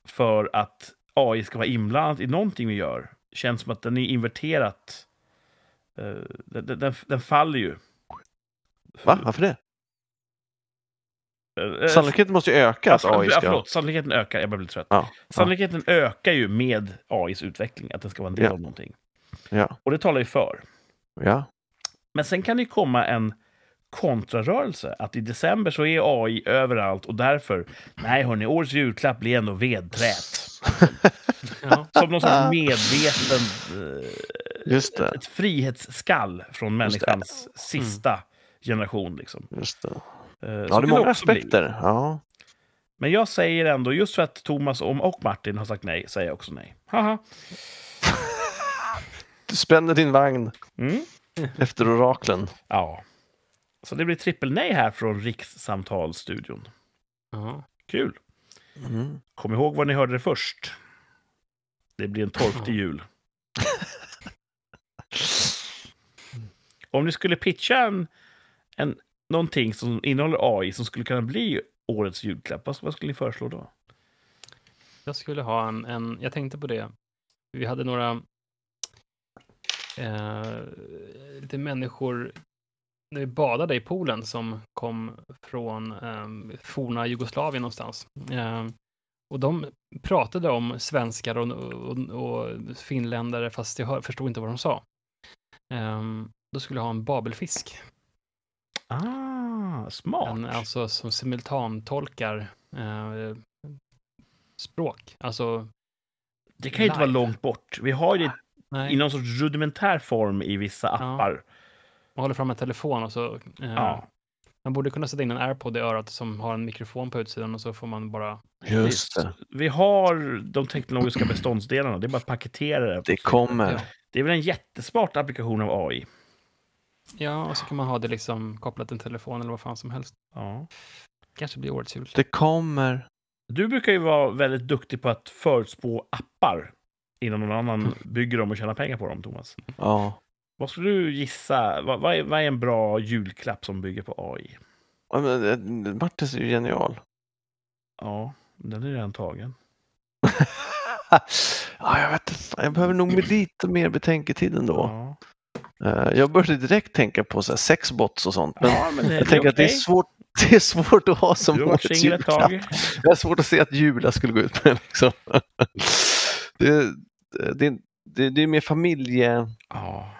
Speaker 2: för att AI ska vara inblandat i någonting vi gör känns som att den är inverterat. Eh, Den, den- den, den faller ju.
Speaker 1: Va? Varför det?
Speaker 2: Eh, eh,
Speaker 1: Sannolikheten måste ju öka att
Speaker 2: alltså,
Speaker 1: AI
Speaker 2: ja,
Speaker 1: ska...
Speaker 2: förlåt, sannolikheten ökar. Jag börjar bli trött.
Speaker 1: Ja,
Speaker 2: Sannolikheten ökar ju med AIs utveckling, att den ska vara en del
Speaker 1: Ja.
Speaker 2: av någonting.
Speaker 1: Ja.
Speaker 2: Och det talar ju för.
Speaker 1: ja.
Speaker 2: Men sen kan det ju komma en kontrarörelse. Att i december så är AI överallt och därför, nej hörni, årets julklapp blir ändå vedträt.
Speaker 3: Ja.
Speaker 2: Som någon sorts medveten, eh,
Speaker 1: Just det.
Speaker 2: ett frihetsskall från
Speaker 1: Just det. Mm.
Speaker 2: människans sista generation. Liksom.
Speaker 1: Just det.
Speaker 2: Eh,
Speaker 1: Ja,
Speaker 2: så
Speaker 1: det är
Speaker 2: kan
Speaker 1: många
Speaker 2: också bli.
Speaker 1: aspekter. Ja.
Speaker 2: Men jag säger ändå, just för att Thomas om och Martin har sagt nej, säger jag också nej. Haha.
Speaker 1: Du spänner din vagn
Speaker 2: Mm.
Speaker 1: efter oraklen.
Speaker 2: Ja. Så det blir trippelnej här från Rikssamtalsstudion.
Speaker 3: Ja.
Speaker 2: Kul!
Speaker 1: Mhm.
Speaker 2: Kom ihåg var ni hörde det först. Det blir en torftig jul.
Speaker 1: Mm.
Speaker 2: Om ni skulle pitcha en, en, någonting som innehåller AI som skulle kunna bli årets julklapp, vad, vad skulle ni föreslå då?
Speaker 3: Jag skulle ha en, en, jag tänkte på det, vi hade några eh, lite människor när vi badade i poolen som kom från eh, forna Jugoslavien någonstans. Eh, och de pratade om svenskar och, och, och finländare fast jag hör, förstod inte vad de sa. Eh, då skulle jag ha en babelfisk,
Speaker 2: Ah, smart!
Speaker 3: en, alltså som simultantolkar eh, språk. Alltså,
Speaker 2: det kan ju inte vara
Speaker 3: live.
Speaker 2: långt bort. Vi har ju det
Speaker 3: nej.
Speaker 2: i någon sorts rudimentär form i vissa appar.
Speaker 3: Man håller fram en telefon och så... Eh,
Speaker 2: Ja.
Speaker 3: Man borde kunna sätta in en airpod i örat som har en mikrofon på utsidan och så får man bara...
Speaker 1: Just det.
Speaker 2: Vi har de teknologiska beståndsdelarna, det är bara att paketera det.
Speaker 1: Det kommer.
Speaker 2: Det är väl en jättesmart applikation av AI?
Speaker 3: Ja, och så kan man ha det liksom kopplat till en telefon eller vad fan som helst.
Speaker 2: Ja.
Speaker 3: Kanske blir årets julklapp.
Speaker 1: Det kommer.
Speaker 2: Du brukar ju vara väldigt duktig på att förutspå appar innan någon annan bygger dem och tjänar pengar på dem, Thomas.
Speaker 1: Ja.
Speaker 2: Vad skulle du gissa? Vad, vad, är, vad är en bra julklapp som bygger på AI?
Speaker 1: Ja, men, eh, Martins är ju genial.
Speaker 2: Ja, den är redan tagen.
Speaker 1: ja, jag vet inte fan. Jag behöver nog med lite mer betänketid ändå.
Speaker 2: Ja.
Speaker 1: Eh, Jag började direkt tänka på så här sexbots och sånt. Men
Speaker 2: ja, men det,
Speaker 1: jag tänker att det är
Speaker 2: okej.
Speaker 1: svårt. Det är svårt att ha som
Speaker 2: Du har varit
Speaker 1: årets
Speaker 2: singel ett
Speaker 1: julklapp.
Speaker 2: tag.
Speaker 1: Jag har svårt att se att Jula skulle gå ut med liksom. det. Det, det, det är mer familje...
Speaker 2: Ja.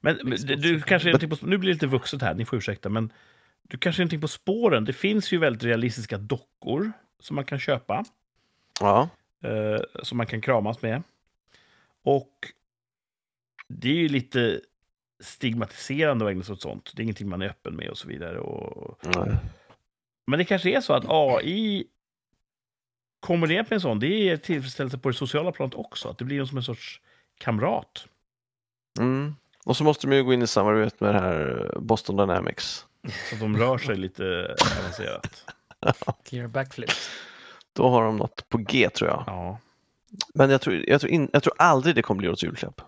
Speaker 2: Men men du, du kanske är någonting på, nu blir det lite vuxet här, ni får ursäkta, men du kanske är någonting på spåren. Det finns ju väldigt realistiska dockor som man kan köpa,
Speaker 1: Ja.
Speaker 2: eh, som man kan kramas med. Och det är ju lite stigmatiserande att ägna sig åt sånt. Det är ingenting man är öppen med och så vidare. Och,
Speaker 1: Nej.
Speaker 2: men det kanske är så att AI kombinerat med en sån, det ger tillfredsställelse på det sociala planet också. Att det blir som en sorts kamrat.
Speaker 1: Mm. Och så måste de ju gå in i samarbete med det här Boston Dynamics.
Speaker 2: Så att de rör sig lite avancerat.
Speaker 3: Clear backflip.
Speaker 1: Då har de något på G tror jag.
Speaker 2: Ja.
Speaker 1: Men jag tror, jag tror, in, jag tror aldrig det kommer bli årets julklapp.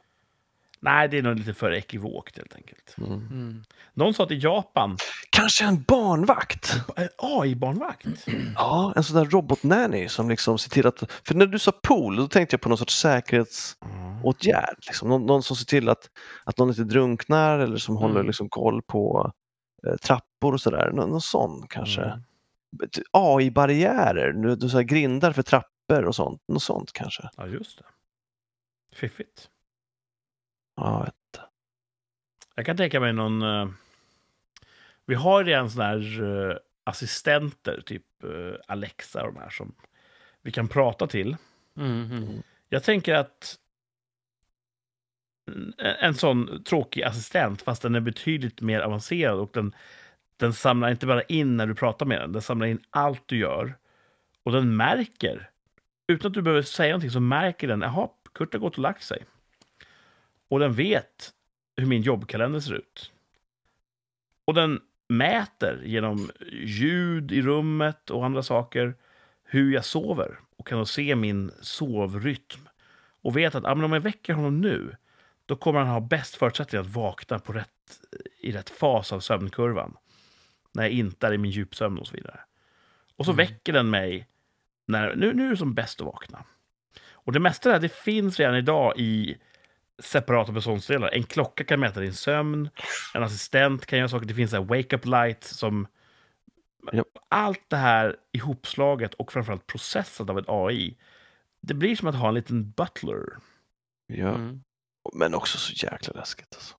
Speaker 2: Nej, det är nog lite för ekivokt helt enkelt.
Speaker 1: Mm.
Speaker 3: Mm.
Speaker 2: Någon sa att i Japan,
Speaker 1: Kanske en barnvakt?
Speaker 2: en AI-barnvakt.
Speaker 1: Ja, en sån där robotnanny som liksom ser till att... För när du sa pool, då tänkte jag på någon sorts säkerhetsåtgärd. Liksom. Någon, någon som ser till att, att någon inte drunknar eller som håller liksom koll på eh, trappor och sådär. Nå, någon sån kanske.
Speaker 2: Mm.
Speaker 1: AI-barriärer, nu, du så här grindar för trappor och sånt. Något sånt kanske.
Speaker 2: Ja, just det. Fiffigt.
Speaker 1: Ja,
Speaker 2: Jag kan tänka mig någon... eh, vi har redan sådana här eh, assistenter, typ eh, Alexa och de här som vi kan prata till.
Speaker 3: Mm. Mm.
Speaker 2: Jag tänker att en, en sån tråkig assistent, fast den är betydligt mer avancerad och den, den samlar inte bara in när du pratar med den, den samlar in allt du gör och den märker, utan att du behöver säga någonting så märker den, jaha, Kurt har gått och lagt sig. Och den vet hur min jobbkalender ser ut. Och den mäter genom ljud i rummet och andra saker hur jag sover och kan då se min sovrytm och vet att ah, men om jag väcker honom nu då kommer han ha bäst förutsättningar att vakna på rätt, i rätt fas av sömnkurvan. När jag inte är i min djupsömn och så vidare. Och så väcker den mig när nu, nu är det som bäst att vakna. Och det mesta där, det finns redan idag i separata beståndsdelar. En klocka kan mäta din sömn, en assistent kan göra saker. Det finns så här wake-up light som...
Speaker 1: Japp.
Speaker 2: Allt det här ihopslaget och framförallt processat av ett AI. Det blir som att ha en liten butler.
Speaker 1: ja.
Speaker 3: Mm.
Speaker 1: Men också så jäkla läskigt. Alltså.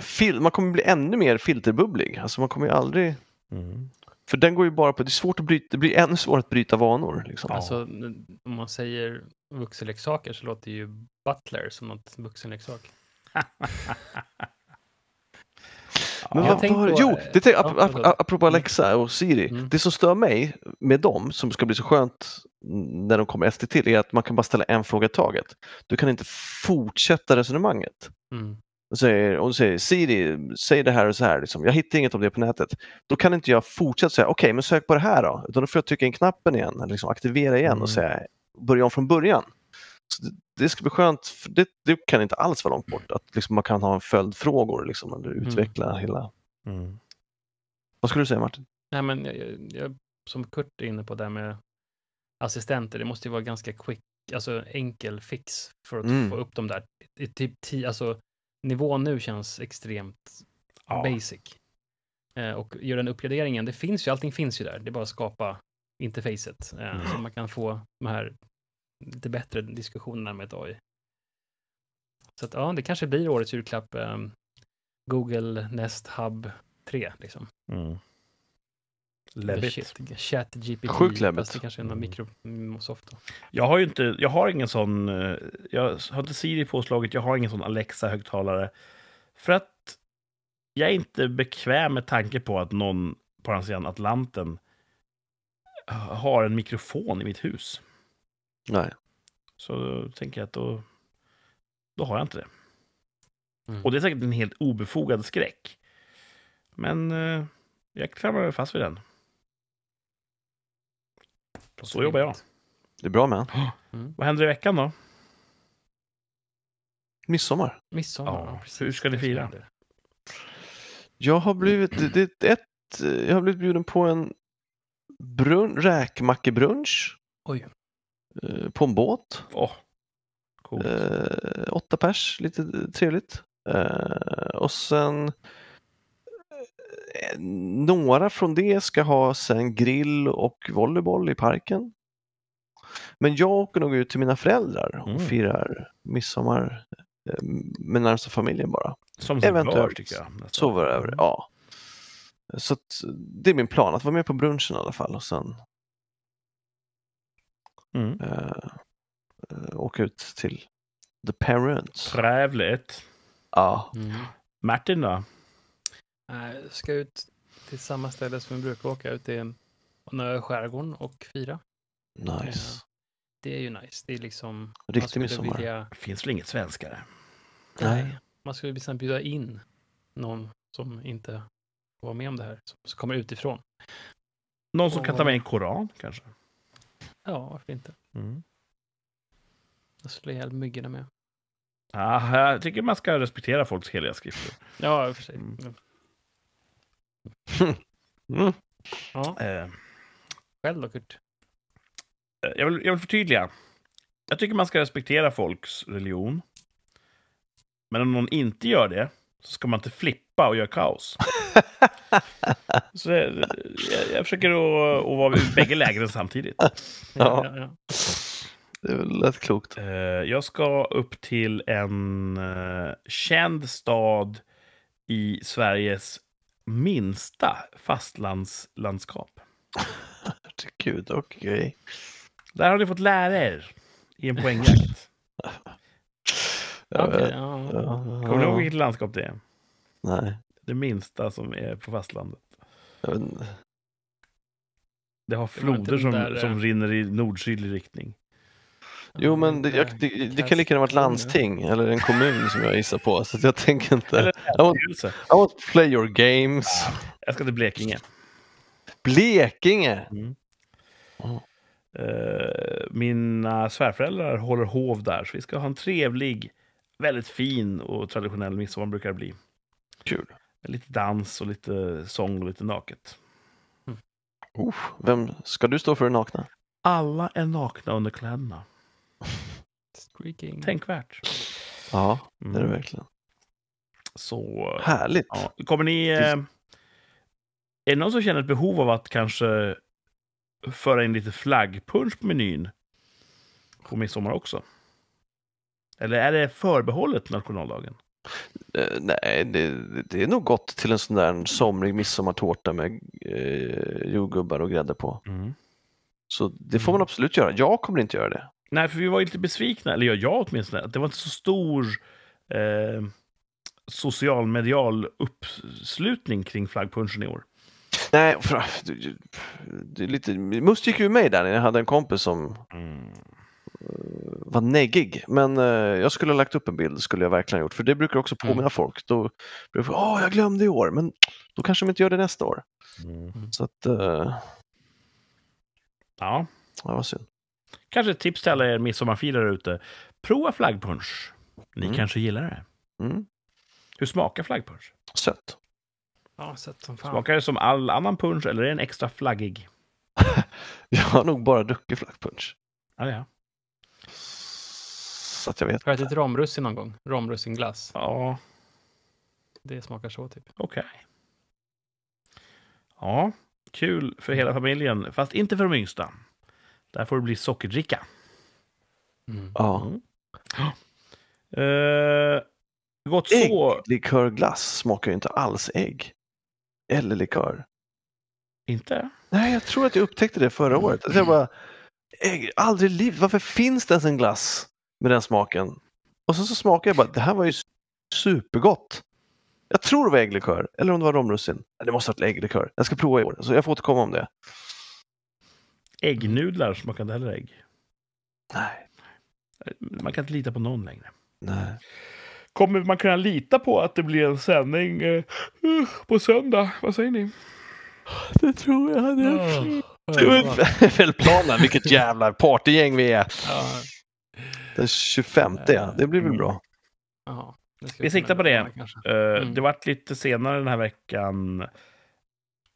Speaker 1: Fil- man kommer bli ännu mer filterbubblig. Alltså man kommer ju aldrig...
Speaker 2: Mm.
Speaker 1: För den går ju bara på... Det är svårt att bryta... Det blir ännu svårare att bryta vanor. Liksom.
Speaker 2: Ja.
Speaker 3: Alltså, n- om man säger vuxenleksaker så låter ju butler som något vuxenleksak.
Speaker 1: Men vad,
Speaker 3: Ja. Jag
Speaker 1: vad har,
Speaker 3: tänker på-
Speaker 1: jo, det tänk, ap,
Speaker 3: ja,
Speaker 1: ap,
Speaker 3: förlåt.
Speaker 1: apropå
Speaker 3: Mm.
Speaker 1: Alexa och Siri.
Speaker 3: Mm.
Speaker 1: Det som stör mig med dem, som ska bli så skönt när de kommer ett steg till, är att man kan bara ställa en fråga i taget. Du kan inte fortsätta resonemanget.
Speaker 3: Mm.
Speaker 1: Och säger, om du säger Siri, säg det här och så här, liksom. jag hittar inget om det på nätet. Då kan inte jag fortsätta säga, okej, men sök på det här då. Utan då får jag trycka in knappen igen, eller liksom aktivera igen
Speaker 2: Mm.
Speaker 1: och säga, börja om från början. Så det, det ska bli skönt, för det, det kan inte alls vara långt bort, att liksom man kan ha en följdfrågor liksom, eller utveckla hela...
Speaker 2: Mm.
Speaker 1: Vad skulle du säga Martin?
Speaker 3: Nej, men jag, jag, jag, som Kurt är inne på där med assistenter, det måste ju vara ganska quick, alltså enkel fix för att
Speaker 1: Mm.
Speaker 3: få upp dem där. I, typ ti, alltså, nivån nu känns extremt
Speaker 2: Ja.
Speaker 3: basic. Eh, och gör den uppgraderingen, det finns ju, allting finns ju där, det är bara att skapa interfacet eh,
Speaker 2: Mm.
Speaker 3: så man kan få de här lite bättre diskussionerna med ett AI. Så att, ja, det kanske blir årets julklapp, eh, Google Nest Hub 3, liksom.
Speaker 2: Mm.
Speaker 3: Eller
Speaker 2: Läbbigt.
Speaker 3: Shit, chat GPT.
Speaker 1: Sjukt läbbigt.
Speaker 3: Fast det kanske är någon
Speaker 2: Mm.
Speaker 3: mikrosoft. då.
Speaker 2: Jag har ju inte, jag har ingen sån, eh, jag har inte Siri påslaget, jag har ingen sån Alexa-högtalare. För att jag är inte bekväm med tanke på att någon på andra sidan Atlanten har en mikrofon i mitt hus.
Speaker 1: Nej.
Speaker 2: Så då tänker jag att då, då har jag inte det.
Speaker 3: Mm.
Speaker 2: Och det är säkert en helt obefogad skräck. Men eh, jag klamrar mig fast vid den. Så jobbar jag.
Speaker 1: Det är bra med
Speaker 2: Vad händer i veckan då?
Speaker 1: Midsommar.
Speaker 3: Midsommar.
Speaker 2: Ja,
Speaker 3: ja, precis.
Speaker 2: hur ska ni
Speaker 3: Det är
Speaker 2: fira?
Speaker 3: det.
Speaker 1: Jag har blivit, det, det, är ett, eh, jag har blivit bjuden på en brun, räkmackebrunch
Speaker 3: Oj.
Speaker 1: eh, på en båt.
Speaker 2: Åh, coolt.
Speaker 1: Eh, åtta pers, lite trevligt. Eh, och sen eh, några från det ska ha sen grill och volleyboll i parken. Men jag åker nog ut till mina föräldrar och
Speaker 2: Mm.
Speaker 1: firar midsommar eh, med närmsta familjen bara.
Speaker 2: Som
Speaker 1: eventuellt.
Speaker 2: eventuellt. tycker jag. nästan.
Speaker 1: Sova
Speaker 2: Mm.
Speaker 1: över, ja. Så att, det är min plan, att vara med på brunchen i alla fall och sen
Speaker 2: Mm.
Speaker 1: eh, eh, åka ut till The Parents.
Speaker 2: Trevligt.
Speaker 1: Ja.
Speaker 2: Mm. Martin då?
Speaker 3: Nej, Eh, jag ska ut till samma ställe som vi brukar åka ut till Nö skärgården och fira.
Speaker 1: Nice.
Speaker 3: Det är ju nice. Det är liksom... man
Speaker 1: Riktig
Speaker 3: skulle
Speaker 1: midsommar.
Speaker 3: vilja-
Speaker 2: Finns väl inget svenskare?
Speaker 1: Nej.
Speaker 3: Nej. Man skulle liksom bjuda in någon som inte var med om det här, som, som kommer utifrån.
Speaker 2: Någon som kan ta
Speaker 3: Åh.
Speaker 2: med en koran kanske?
Speaker 3: Ja, varför inte? Jag slår ihjäl myggorna med.
Speaker 2: Ah, jag tycker man ska respektera folks heliga skrifter.
Speaker 3: Ja, i och för sig.
Speaker 2: Mm.
Speaker 1: Mm.
Speaker 3: Ja,
Speaker 2: Eh,
Speaker 3: själv då Kurt?
Speaker 2: jag, vill, jag vill förtydliga. Jag tycker man ska respektera folks religion. Men om någon inte gör det så ska man inte flippa och göra kaos. Så jag, jag, jag försöker att, att vara i bägge lägren samtidigt.
Speaker 1: Ja.
Speaker 3: ja, ja.
Speaker 1: Det är väl lätt klokt.
Speaker 2: Eh, jag ska upp till en eh, känd stad i Sveriges minsta fastlandslandskap.
Speaker 1: Gud, okej.
Speaker 2: Där har ni fått lära er i en poängjakt.
Speaker 1: Jag
Speaker 3: Okej,
Speaker 1: vet.
Speaker 3: ja.
Speaker 1: Ja,
Speaker 2: Kommer
Speaker 1: ja.
Speaker 2: ni ihåg vilket landskap det är?
Speaker 1: Nej,
Speaker 2: Det minsta som är på fastlandet.
Speaker 1: jag vet inte.
Speaker 2: Det har
Speaker 3: Det var inte
Speaker 2: floder som,
Speaker 3: den där, eh,
Speaker 2: som rinner i nordsydlig riktning.
Speaker 1: Jo, men det, jag, det, det kan lika gärna vara ett landsting eller en kommun som jag gissar på. Så att jag tänker inte...
Speaker 2: Eller-
Speaker 1: I want, I want to play your games.
Speaker 2: Jag ska till Blekinge.
Speaker 1: Blekinge!
Speaker 2: Eh, mina svärföräldrar håller hov där, så vi ska ha en trevlig, väldigt fin och traditionell midsommar brukar det bli.
Speaker 1: Kul.
Speaker 2: Med lite dans och lite sång och lite naket.
Speaker 1: Uff, vem ska du stå för det nakna?
Speaker 2: Alla är nakna under kläderna.
Speaker 3: Streaking.
Speaker 2: Tänkvärt.
Speaker 1: Ja, det är det
Speaker 2: Mm.
Speaker 1: verkligen.
Speaker 2: Så eh,
Speaker 1: Härligt.
Speaker 2: Ja. Kommer ni... Eh, är det någon som känner ett behov av att kanske föra in lite flaggpunsch på menyn på midsommar också? Eller är det förbehållet nationaldagen?
Speaker 1: Eh, nej, det, det är nog gott till en sån där somrig midsommartårta med eh, jordgubbar och grädde på. Så det får man
Speaker 2: Mm.
Speaker 1: absolut göra. Jag kommer inte göra det.
Speaker 2: Nej, för vi var ju lite besvikna, eller jag, jag åtminstone, att det var inte så stor eh, socialmedial uppslutning kring flaggpunschen i år.
Speaker 1: Nej, för, det, det är lite, Must gick ju med där när jag hade en kompis som var neggig. Men eh, jag skulle ha lagt upp en bild, skulle jag verkligen ha gjort. För det brukar också påminna
Speaker 2: Mm.
Speaker 1: folk. Då brukar folk, åh, jag glömde i år, men då kanske de inte gör det nästa år. Så att, eh,
Speaker 2: Ja,
Speaker 1: ja, vad synd.
Speaker 2: kanske ett tips till alla er midsommarfirare ute. Prova flaggpunsch. Ni
Speaker 1: Mm.
Speaker 2: kanske gillar det.
Speaker 1: Mm,
Speaker 2: Hur smakar flaggpunsch?
Speaker 1: sött.
Speaker 3: Ja, sött som fan.
Speaker 2: Smakar det som all annan punsch eller är den extra flaggig?
Speaker 1: Jag har nog bara druckit flackpunch.
Speaker 2: Ja, ja.
Speaker 1: Så att jag vet.
Speaker 3: Har du ätit romrussin någon gång? Romrussinglass.
Speaker 2: ja
Speaker 3: Det smakar så typ.
Speaker 2: okej. Ja, kul för hela familjen, fast inte för de yngsta. Där får det bli sockerdricka.
Speaker 3: Mm.
Speaker 1: Ja.
Speaker 2: Eh, gott
Speaker 1: Ägg,
Speaker 2: så.
Speaker 1: likörglass smakar ju inte alls ägg. Eller likör.
Speaker 2: Inte?
Speaker 1: Nej, jag tror att jag upptäckte det förra året. Att jag bara, ägg, aldrig i livet. Varför finns det ens en glass med den smaken? Och sen så smakar jag bara, det här var ju supergott. Jag tror det var ägglikör, eller om det var romrussin. Nej, Det måste ha varit ägglikör. Jag ska prova i år, så jag får återkomma om det.
Speaker 2: Äggnudlar smakar inte heller ägg.
Speaker 1: Nej,
Speaker 2: Man kan inte lita på någon längre.
Speaker 1: nej.
Speaker 2: Kommer man kunna lita på att det blir en sändning eh, på söndag? Vad säger ni?
Speaker 1: Det tror jag.
Speaker 3: Mm. Ja.
Speaker 1: Det
Speaker 3: Mm.
Speaker 1: var väl planen, vilket jävla partygäng vi är. Mm.
Speaker 3: Ja,
Speaker 1: Den 25, ja. Det blir väl bra.
Speaker 3: ja. Det ska
Speaker 2: Vi siktar på det.
Speaker 3: kanske.
Speaker 2: Eh,
Speaker 3: Mm.
Speaker 2: Det vart lite senare den här veckan.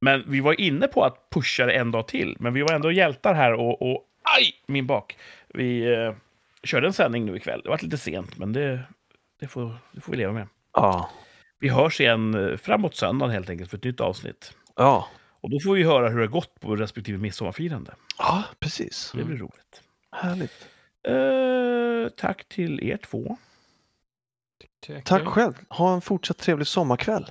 Speaker 2: Men vi var inne på att pusha det en dag till. Men vi var ändå hjältar här och, och aj, min bak. Vi eh, körde en sändning nu ikväll. Det vart lite sent, men det, det, får, det får vi leva med.
Speaker 1: Ja.
Speaker 2: Vi hörs igen eh, framåt söndagen helt enkelt för ett nytt avsnitt.
Speaker 1: Ja.
Speaker 2: Och då får vi höra hur det har gått på respektive midsommarfirande.
Speaker 1: Ja, precis.
Speaker 2: Det blir roligt.
Speaker 1: Härligt.
Speaker 2: Eh, tack till er två.
Speaker 3: Check.
Speaker 1: Tack själv. Ha en fortsatt trevlig sommarkväll.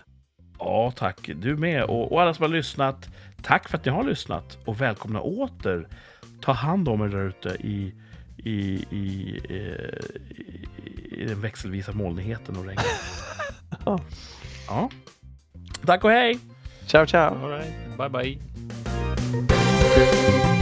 Speaker 2: Ja, tack. Du med. Och, och alla som har lyssnat, tack för att ni har lyssnat och välkomna åter. Ta hand om er där ute i, i, i, eh, i, i den växelvisa molnigheten och regnet.
Speaker 1: Ja.
Speaker 2: ja. Tack och hej!
Speaker 1: Ciao, ciao!
Speaker 3: All right. Bye, bye.